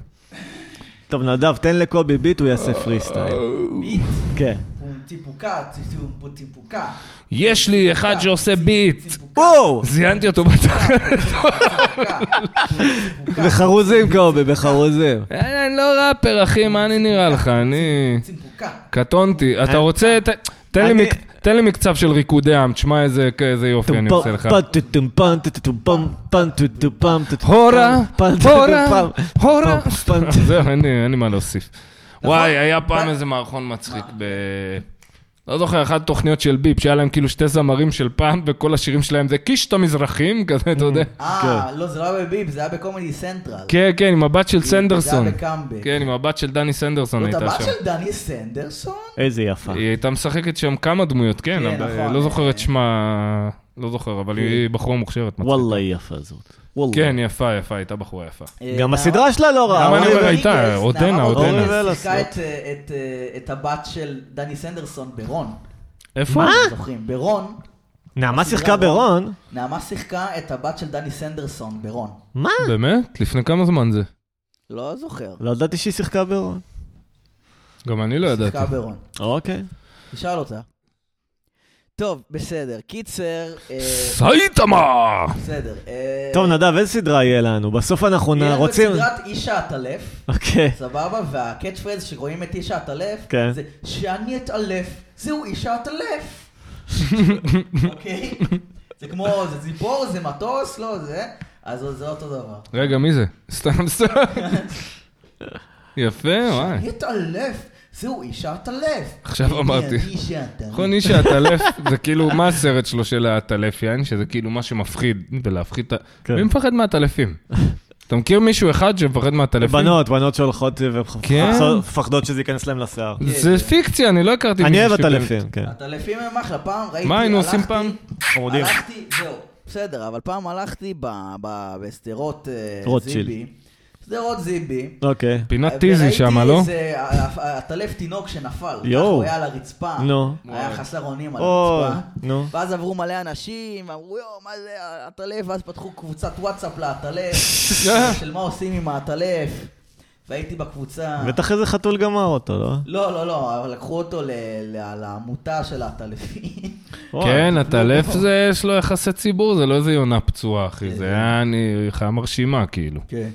[SPEAKER 1] טוב, נדב, תן לקובי ביט, הוא יעשה פרי סטייל.
[SPEAKER 2] ביט,
[SPEAKER 1] כן.
[SPEAKER 2] פום טיפוקה, טיפום פום טיפוקה.
[SPEAKER 3] יש לי אחד שעושה ביט!
[SPEAKER 2] טיפוקה,
[SPEAKER 1] וואו!
[SPEAKER 3] זיינתי אותו בתחת.
[SPEAKER 2] טיפוקה, פום טיפוקה.
[SPEAKER 1] בחרוזים, קובי, בחרוזים.
[SPEAKER 3] אין, אני לא ראפר, אחי, מה אני נראה לך? אני...
[SPEAKER 2] צימפוקה.
[SPEAKER 3] קטונתי. אתה רוצה... ת- תן לי
[SPEAKER 1] אני-
[SPEAKER 3] מק- תן לי מקצב של ריקודי עם, תשמע איזה איזה יופי אני עושה לך. הורה, הורה, הורה. זהו, אין לי- אין לי מה להוסיף.
[SPEAKER 2] נכון.
[SPEAKER 3] וואי, היה פעם איזה מערכון מצחיק ב... לא זוכר, אחת התוכניות של ביפ, שהיה להם כאילו שתי זמרים של פעם, וכל השירים שלהם זה קישט המזרחים, כזה, אתה יודע.
[SPEAKER 2] אה, לא, זה לא היה בביב, זה היה בקומדי סנטרל.
[SPEAKER 3] כן, כן, עם הבת של
[SPEAKER 2] זה
[SPEAKER 3] סנדרסון.
[SPEAKER 2] היה בקאמבק.
[SPEAKER 3] כן, עם הבת של דני סנדרסון
[SPEAKER 2] זאת
[SPEAKER 3] הייתה
[SPEAKER 2] הבת
[SPEAKER 3] שם.
[SPEAKER 2] של דני סנדרסון?
[SPEAKER 1] איזה יפה.
[SPEAKER 3] היא הייתה משחקת שם כמה דמויות, כן,
[SPEAKER 2] כן,
[SPEAKER 3] אבל
[SPEAKER 2] נכון. כן.
[SPEAKER 3] לא זוכר את שמה, לא זוכר, אבל היא בחורה מוכשרת. מצחיקה.
[SPEAKER 1] וואלה, היא יפה זאת. וואלה.
[SPEAKER 3] כן, היא יפה, יפה, הייתה בחורה יפה.
[SPEAKER 2] אה,
[SPEAKER 1] גם
[SPEAKER 2] נעמה-
[SPEAKER 1] הסדרה שלה לא רעה.
[SPEAKER 3] למה אני
[SPEAKER 1] אורי
[SPEAKER 3] אומר,
[SPEAKER 1] ו-
[SPEAKER 3] הייתה,
[SPEAKER 2] רודריגז,
[SPEAKER 3] עודנה,
[SPEAKER 2] נעמה
[SPEAKER 3] עודנה.
[SPEAKER 2] רודריגז
[SPEAKER 1] אורי ולס,
[SPEAKER 2] שיחקה את, אה, את, אה, את הבת של דני סנדרסון ברון.
[SPEAKER 3] איפה?
[SPEAKER 2] אתם זוכרים? ברון,
[SPEAKER 1] נעמה
[SPEAKER 2] לא
[SPEAKER 1] שיחקה ברון.
[SPEAKER 2] נעמה שיחקה את הבת של דני סנדרסון ברון.
[SPEAKER 1] מה?
[SPEAKER 3] באמת? לפני כמה זמן זה?
[SPEAKER 2] לא זוכר.
[SPEAKER 1] לא ידעתי שהיא שיחקה ברון.
[SPEAKER 3] גם אני לא ידעתי.
[SPEAKER 2] שיחקה ברון.
[SPEAKER 1] אוקיי.
[SPEAKER 2] תשאל אותה. טוב, בסדר. קיצר, אה,
[SPEAKER 3] סייטמה!
[SPEAKER 2] בסדר. אה,
[SPEAKER 1] טוב, נדב, איזה סדרה יהיה לנו? בסוף אנחנו
[SPEAKER 2] יהיה
[SPEAKER 1] נ-
[SPEAKER 2] לנו את
[SPEAKER 1] רוצים...
[SPEAKER 2] סדרת איש האטלף.
[SPEAKER 1] אוקיי.
[SPEAKER 2] סבבה, והקאץ' פרייז שרואים את איש האטלף,
[SPEAKER 1] כן.
[SPEAKER 2] זה שאני אטלף, זהו איש האטלף. אוקיי? זה כמו, זה ציפור, זה מטוס, לא זה, אז זה אותו דבר.
[SPEAKER 3] רגע, מי זה? סתם סתם. יפה, וואי.
[SPEAKER 2] אני אטלף, זהו איש האטלף.
[SPEAKER 3] עכשיו
[SPEAKER 2] אני
[SPEAKER 3] אמרתי.
[SPEAKER 2] איש האטלף.
[SPEAKER 3] נכון, איש האטלף, זה כאילו, מה הסרט שלו של האטלף, יעני? שזה כאילו מה שמפחיד, ולהפחיד את ה...
[SPEAKER 1] כן.
[SPEAKER 3] מי מפחד מהטלפים? אתה מכיר מישהו אחד שמפחד מהטלפים?
[SPEAKER 1] בנות, בנות שהולכות
[SPEAKER 3] כן.
[SPEAKER 1] ומפחדות שזה ייכנס להם לשיער.
[SPEAKER 3] זה פיקציה, אני לא הכרתי
[SPEAKER 1] אני אוהב
[SPEAKER 3] מישהו
[SPEAKER 1] עטלפים, כן.
[SPEAKER 2] הטלפים הם אחלה, פעם ראיתי,
[SPEAKER 3] מה היינו עושים
[SPEAKER 2] הלכתי-
[SPEAKER 3] פעם?
[SPEAKER 1] חמודים.
[SPEAKER 2] הלכתי, זהו, בסדר, אבל פעם הלכתי ב- ב- בשדרות אה,
[SPEAKER 1] רוטשילד.
[SPEAKER 2] זיבי. שדרות זיבי.
[SPEAKER 1] אוקיי.
[SPEAKER 3] פינת טיזי שם, לא?
[SPEAKER 2] וראיתי איזה אה, הטלף תינוק שנפל.
[SPEAKER 1] יואו.
[SPEAKER 2] יואו. הוא היה על הרצפה.
[SPEAKER 1] נו.
[SPEAKER 2] היה חסר אונים על
[SPEAKER 1] אוי,
[SPEAKER 2] הרצפה.
[SPEAKER 1] נו.
[SPEAKER 2] ואז עברו מלא אנשים, אמרו יואו, מה זה הטלף? ואז פתחו קבוצת וואטסאפ להטלף. של מה עושים עם הטלף. והייתי בקבוצה.
[SPEAKER 1] בטח איזה חתול גמר אותו, לא?
[SPEAKER 2] לא, לא, לא, אבל לקחו אותו ל- ל- לעמותה של הטלפים.
[SPEAKER 1] וואי.
[SPEAKER 3] כן, הטלף זה, יש לו יחסי ציבור, זה לא איזה יונה פצועה, אחי. זה היה אני- חיה מרשימה, כאילו,
[SPEAKER 2] כן.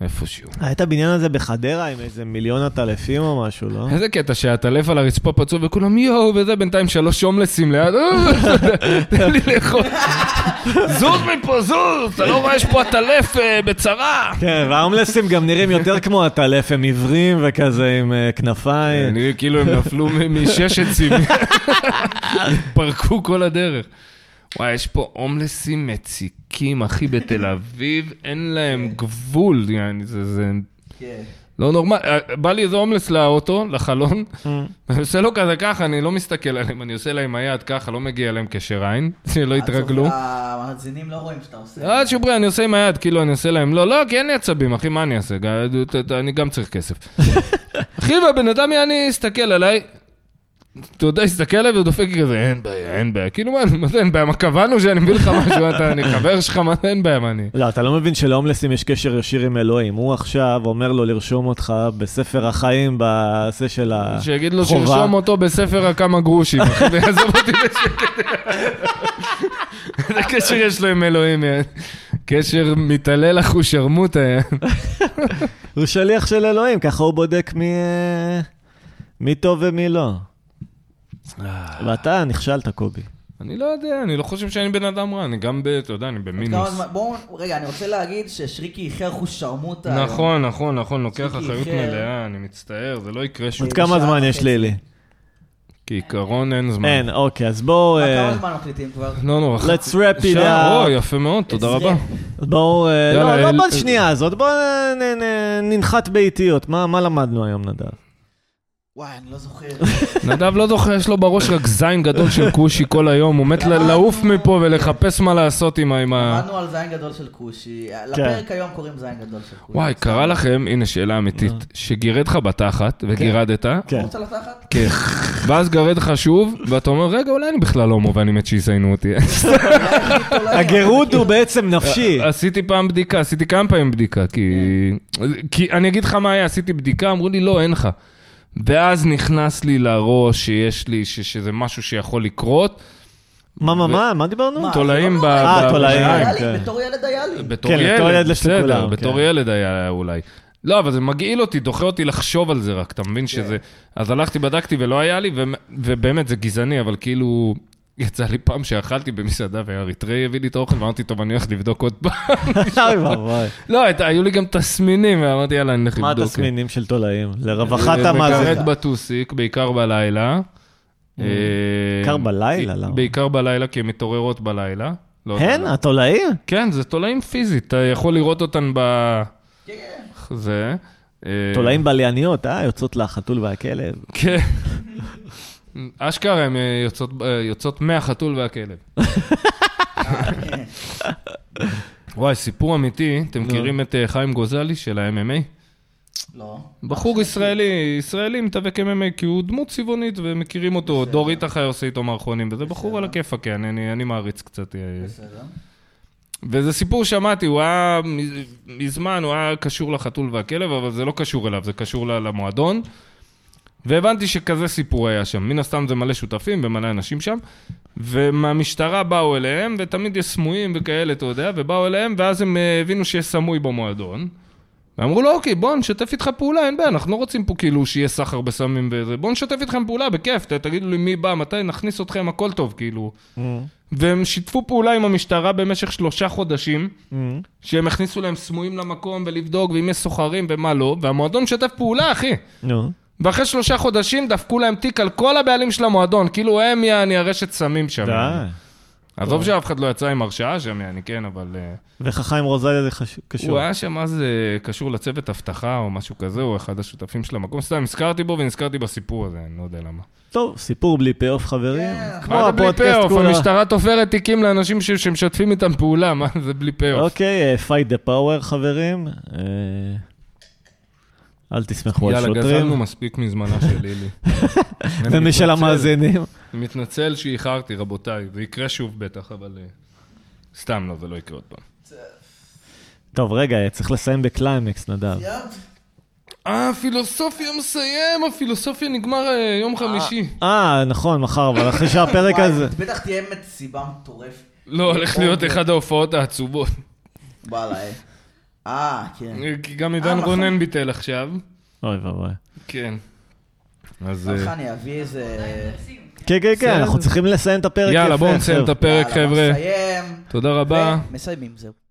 [SPEAKER 3] איפשהו.
[SPEAKER 1] היה את הבניין הזה בחדרה עם איזה מיליון עטלפים או משהו, לא?
[SPEAKER 3] איזה קטע שהטלף על הרצפה פצוע וכולם יואו, וזה בינתיים שלוש הומלסים ליד, "אה, תן לי לאכול. זוז מפה, זוז, אתה לא רואה יש פה הטלף אה, בצרה.
[SPEAKER 1] כן, וההומלסים גם נראים יותר כמו הטלף, הם עיוורים וכזה עם אה, כנפיים.
[SPEAKER 3] אני כאילו הם נפלו מ- משש עצים, פרקו כל הדרך. וואי, יש פה הומלסים מציקים, אחי, בתל אביב, אין להם גבול, יעני, זה- זה
[SPEAKER 2] כן.
[SPEAKER 3] לא נורמל, אה, בא לי איזה הומלס לאוטו, לחלון, אני עושה לו כזה ככה, אני לא מסתכל עליהם, אני עושה להם היד ככה, לא מגיע אליהם קשר עין, שלא יתרגלו.
[SPEAKER 2] אה, המאזינים לא רואים שאתה עושה.
[SPEAKER 3] לא אה, שוברי, אני עושה עם היד, כאילו, אני עושה להם, לא, לא, כי אין לי עצבים, אחי, מה אני אעשה? ג- אה, ת- ת- אני גם צריך כסף. אחי, והבן אדם יעני הסתכל עליי, אתה יודע, הסתכל עליי ודופק לי כזה, אין בעיה, אין בעיה. כאילו, מה, מה זה אין בעיה? מה קבענו שאני מביא לך משהו, אתה, אני חבר שלך, מה זה אין בעיה, מה אני...
[SPEAKER 1] לא, אתה לא מבין שלהומלסים יש קשר ישיר עם אלוהים. הוא עכשיו אומר לו לרשום אותך בספר החיים, בזה של החובה.
[SPEAKER 3] שיגיד לו שירשום אותו בספר הכמה גרושים, אחי, ויעזוב אותי בשקט. איזה קשר יש לו עם אלוהים, יעני? קשר מתעלל אחושרמוטה, יעני.
[SPEAKER 1] הוא שליח של אלוהים, ככה הוא בודק מי, אה, מי טוב ומי לא. ואתה נכשלת, קובי.
[SPEAKER 3] אני לא יודע, אני לא חושב שאני בן אדם רע, אני גם ב... אתה יודע, אני
[SPEAKER 2] כמה
[SPEAKER 3] במינוס.
[SPEAKER 2] זמן- בואו, רגע, אני רוצה להגיד ששריקי איחר חושרמוטה. היום.
[SPEAKER 3] נכון, נכון, נכון, לוקח
[SPEAKER 2] צביקי כן.
[SPEAKER 3] אחריות
[SPEAKER 2] איחר.
[SPEAKER 3] מלאה, אני מצטער, זה לא יקרה שוב.
[SPEAKER 1] עוד כמה
[SPEAKER 2] שעה
[SPEAKER 1] זמן יש
[SPEAKER 2] וחצי.
[SPEAKER 1] לילי?
[SPEAKER 3] כעיקרון אין זמן.
[SPEAKER 1] אין, אוקיי, אז בואו...
[SPEAKER 2] אה,
[SPEAKER 1] אה,
[SPEAKER 2] כמה זמן מקליטים כבר?
[SPEAKER 3] לא נורא.
[SPEAKER 1] let's wrap it
[SPEAKER 3] אפשר,
[SPEAKER 1] up.
[SPEAKER 3] או, יפה מאוד, תודה רבה.
[SPEAKER 1] בואו... אה,
[SPEAKER 3] יאללה,
[SPEAKER 1] לא,
[SPEAKER 3] אל-
[SPEAKER 1] לא בשנייה הזאת, בואו אה, נ- נ- ננחת באיטיות. מה מה למדנו היום, נדב?
[SPEAKER 2] וואי, אני לא זוכר.
[SPEAKER 1] אה.
[SPEAKER 3] נדב לא זוכר, יש לו בראש רק זין גדול של כושי כל היום, הוא מת ל- לעוף מפה ולחפש מה לעשות עם ה... עם ה-
[SPEAKER 2] עמדנו על זין גדול של כושי. לפרק
[SPEAKER 1] כן.
[SPEAKER 2] היום קוראים זין גדול של כושי.
[SPEAKER 3] וואי, קרה לכם, הנה שאלה אמיתית, שגירד לך בתחת וגירדת,
[SPEAKER 1] אה. כן.
[SPEAKER 2] רוצה לתחת?
[SPEAKER 3] כן. ואז גרד לך שוב, ואתה אומר, רגע, אולי אני בכלל לא הומו ואני מת שיזיינו אותי.
[SPEAKER 2] לא
[SPEAKER 1] הגירוד הוא בעצם נפשי.
[SPEAKER 3] עשיתי פעם בדיקה, עשיתי כמה פעמים בדיקה, כי...
[SPEAKER 1] כן.
[SPEAKER 3] כי אני אגיד לך מה היה, עשיתי בדיקה, אמרו לי, לא, אין לך. ואז נכנס לי לראש שיש לי, ש- שזה משהו שיכול לקרות.
[SPEAKER 1] מה, מה, מה? מה דיברנו?
[SPEAKER 2] מה?
[SPEAKER 3] תולעים ב...
[SPEAKER 1] אה,
[SPEAKER 3] ב-
[SPEAKER 1] תולעים.
[SPEAKER 3] בשיניים.
[SPEAKER 2] היה לי,
[SPEAKER 1] כן.
[SPEAKER 2] בתור ילד היה לי.
[SPEAKER 3] בתור
[SPEAKER 1] כן,
[SPEAKER 3] ילד,
[SPEAKER 1] בתור ילד יש
[SPEAKER 3] בסדר,
[SPEAKER 1] לכולם,
[SPEAKER 3] בתור
[SPEAKER 1] כן.
[SPEAKER 3] ילד היה אולי. לא, אבל זה מגעיל אותי, דוחה אותי לחשוב על זה רק, אתה מבין שזה...
[SPEAKER 1] כן.
[SPEAKER 3] אז הלכתי, בדקתי ולא היה לי, ו- ובאמת, זה גזעני, אבל כאילו... יצא לי פעם שאכלתי במסעדה והאריתראי הביא לי את האוכל ואמרתי, טוב, אני הולך לבדוק עוד פעם.
[SPEAKER 1] אוי ואבוי.
[SPEAKER 3] לא, הייתה- היו לי גם תסמינים, ואמרתי, יאללה, אני הולך
[SPEAKER 1] מה
[SPEAKER 3] לבדוק.
[SPEAKER 1] התסמינים של תולעים? לרווחת
[SPEAKER 3] אה, מגרד
[SPEAKER 1] המאזינים.
[SPEAKER 3] בטוסיק, בעיקר בלילה. אה,
[SPEAKER 1] בעיקר בלילה, למה?
[SPEAKER 3] בעיקר בלילה, כי הן מתעוררות בלילה. לא יודע
[SPEAKER 1] הן?
[SPEAKER 3] למה.
[SPEAKER 1] התולעים?
[SPEAKER 3] כן, זה תולעים פיזית, אתה יכול לראות אותן ב... זה. אה,
[SPEAKER 1] תולעים בלייניות, אה? יוצאות לחתול והכלב.
[SPEAKER 3] כן. אשכרה, הן אה, יוצאות- אה, יוצאות מהחתול והכלב. וואי, סיפור אמיתי, אתם מכירים את אה, חיים גוזלי של ה-MMA?
[SPEAKER 2] לא.
[SPEAKER 3] בחור ישראלי, ישראלי מתאבק MMA כי הוא דמות צבעונית ומכירים אותו, דור איתך היה עושה איתו מערכונים, וזה בחור על הכיפאק, כן, אני אני מעריץ קצת. אה,
[SPEAKER 2] בסדר.
[SPEAKER 3] וזה סיפור שמעתי, הוא היה מז- מזמן, הוא היה קשור לחתול והכלב, אבל זה לא קשור אליו, זה קשור ל- למועדון. והבנתי שכזה סיפור היה שם. מן הסתם זה מלא שותפים ומלא אנשים שם. ומהמשטרה באו אליהם, ותמיד יש סמויים וכאלה, אתה יודע, ובאו אליהם, ואז הם אה, הבינו שיש סמוי במועדון. ואמרו לו, אוקיי, בוא נשתף איתך פעולה, אין בעיה, אנחנו לא רוצים פה כאילו שיהיה סחר בסמים וזה, בוא נשתף איתכם פעולה, בכיף, ת- תגידו לי מי בא, מתי, נכניס אתכם, הכל טוב, כאילו. והם שיתפו פעולה עם המשטרה במשך שלושה חודשים,
[SPEAKER 1] Mm-hmm.
[SPEAKER 3] שהם הכניסו להם סמויים למקום ולבדוק, ואם יש סוחרים ומה לא, והמועדון משתף פעולה, אחי.
[SPEAKER 1] נו.
[SPEAKER 3] ואחרי שלושה חודשים דפקו להם תיק על כל הבעלים של המועדון, כאילו הם יעני הרשת סמים שם.
[SPEAKER 1] די.
[SPEAKER 3] עזוב שאף אחד לא יצא עם הרשעה שם, יעני, כן, אבל... אה,
[SPEAKER 1] ואיך החיים רוזליה זה חש- קשור?
[SPEAKER 3] הוא היה שם אז אה, קשור לצוות אבטחה או משהו כזה, הוא אחד השותפים של המקום. סתם, נזכרתי בו ונזכרתי בסיפור הזה, אני לא יודע למה.
[SPEAKER 1] טוב, סיפור בלי פי-אוף, חברים. כמו
[SPEAKER 3] מה זה בלי
[SPEAKER 1] הפודקאסט
[SPEAKER 3] פי-אוף?
[SPEAKER 1] כולו.
[SPEAKER 3] המשטרה תופרת תיקים לאנשים ש- שמשתפים איתם פעולה, מה זה בלי פי-אוף?
[SPEAKER 1] אוקיי, פייט דה פאוור, חברים. אה, אל תסמכו על
[SPEAKER 3] יאללה, גזלנו
[SPEAKER 1] שוטרים.
[SPEAKER 3] מספיק מזמנה של לילי. אני מתנצל.
[SPEAKER 1] ומשל המאזינים.
[SPEAKER 3] אני מתנצל שאיחרתי, רבותיי. זה יקרה שוב בטח, אבל... אה, סתם לא, זה לא יקרה עוד פעם.
[SPEAKER 1] טוב, רגע, צריך לסיים בקליימקס, נדב.
[SPEAKER 3] אה, הפילוסופיה מסיים, הפילוסופיה נגמר אה, יום חמישי.
[SPEAKER 1] אה, נכון, מחר, אבל אחרי שהפרק
[SPEAKER 2] וואי,
[SPEAKER 1] הזה...
[SPEAKER 2] בטח תהיה מסיבה מטורפת.
[SPEAKER 3] לא, הולך להיות אחד ההופעות העצובות.
[SPEAKER 2] וואלה, אה. אה, כן.
[SPEAKER 3] כי גם עידן
[SPEAKER 2] נכון.
[SPEAKER 3] רונן ביטל עכשיו.
[SPEAKER 1] אוי ואבוי. כן,
[SPEAKER 3] כן. אז... אה,
[SPEAKER 2] סלחה, אני אביא איזה...
[SPEAKER 1] כן, כן, אנחנו צריכים לסיים את הפרק.
[SPEAKER 3] יאללה,
[SPEAKER 1] יפה,
[SPEAKER 3] בואו נסיים את
[SPEAKER 1] חבר'ה.
[SPEAKER 3] הפרק,
[SPEAKER 2] יאללה,
[SPEAKER 3] חבר'ה.
[SPEAKER 2] נסיים.
[SPEAKER 3] תודה רבה.
[SPEAKER 2] ומסיימים, זהו.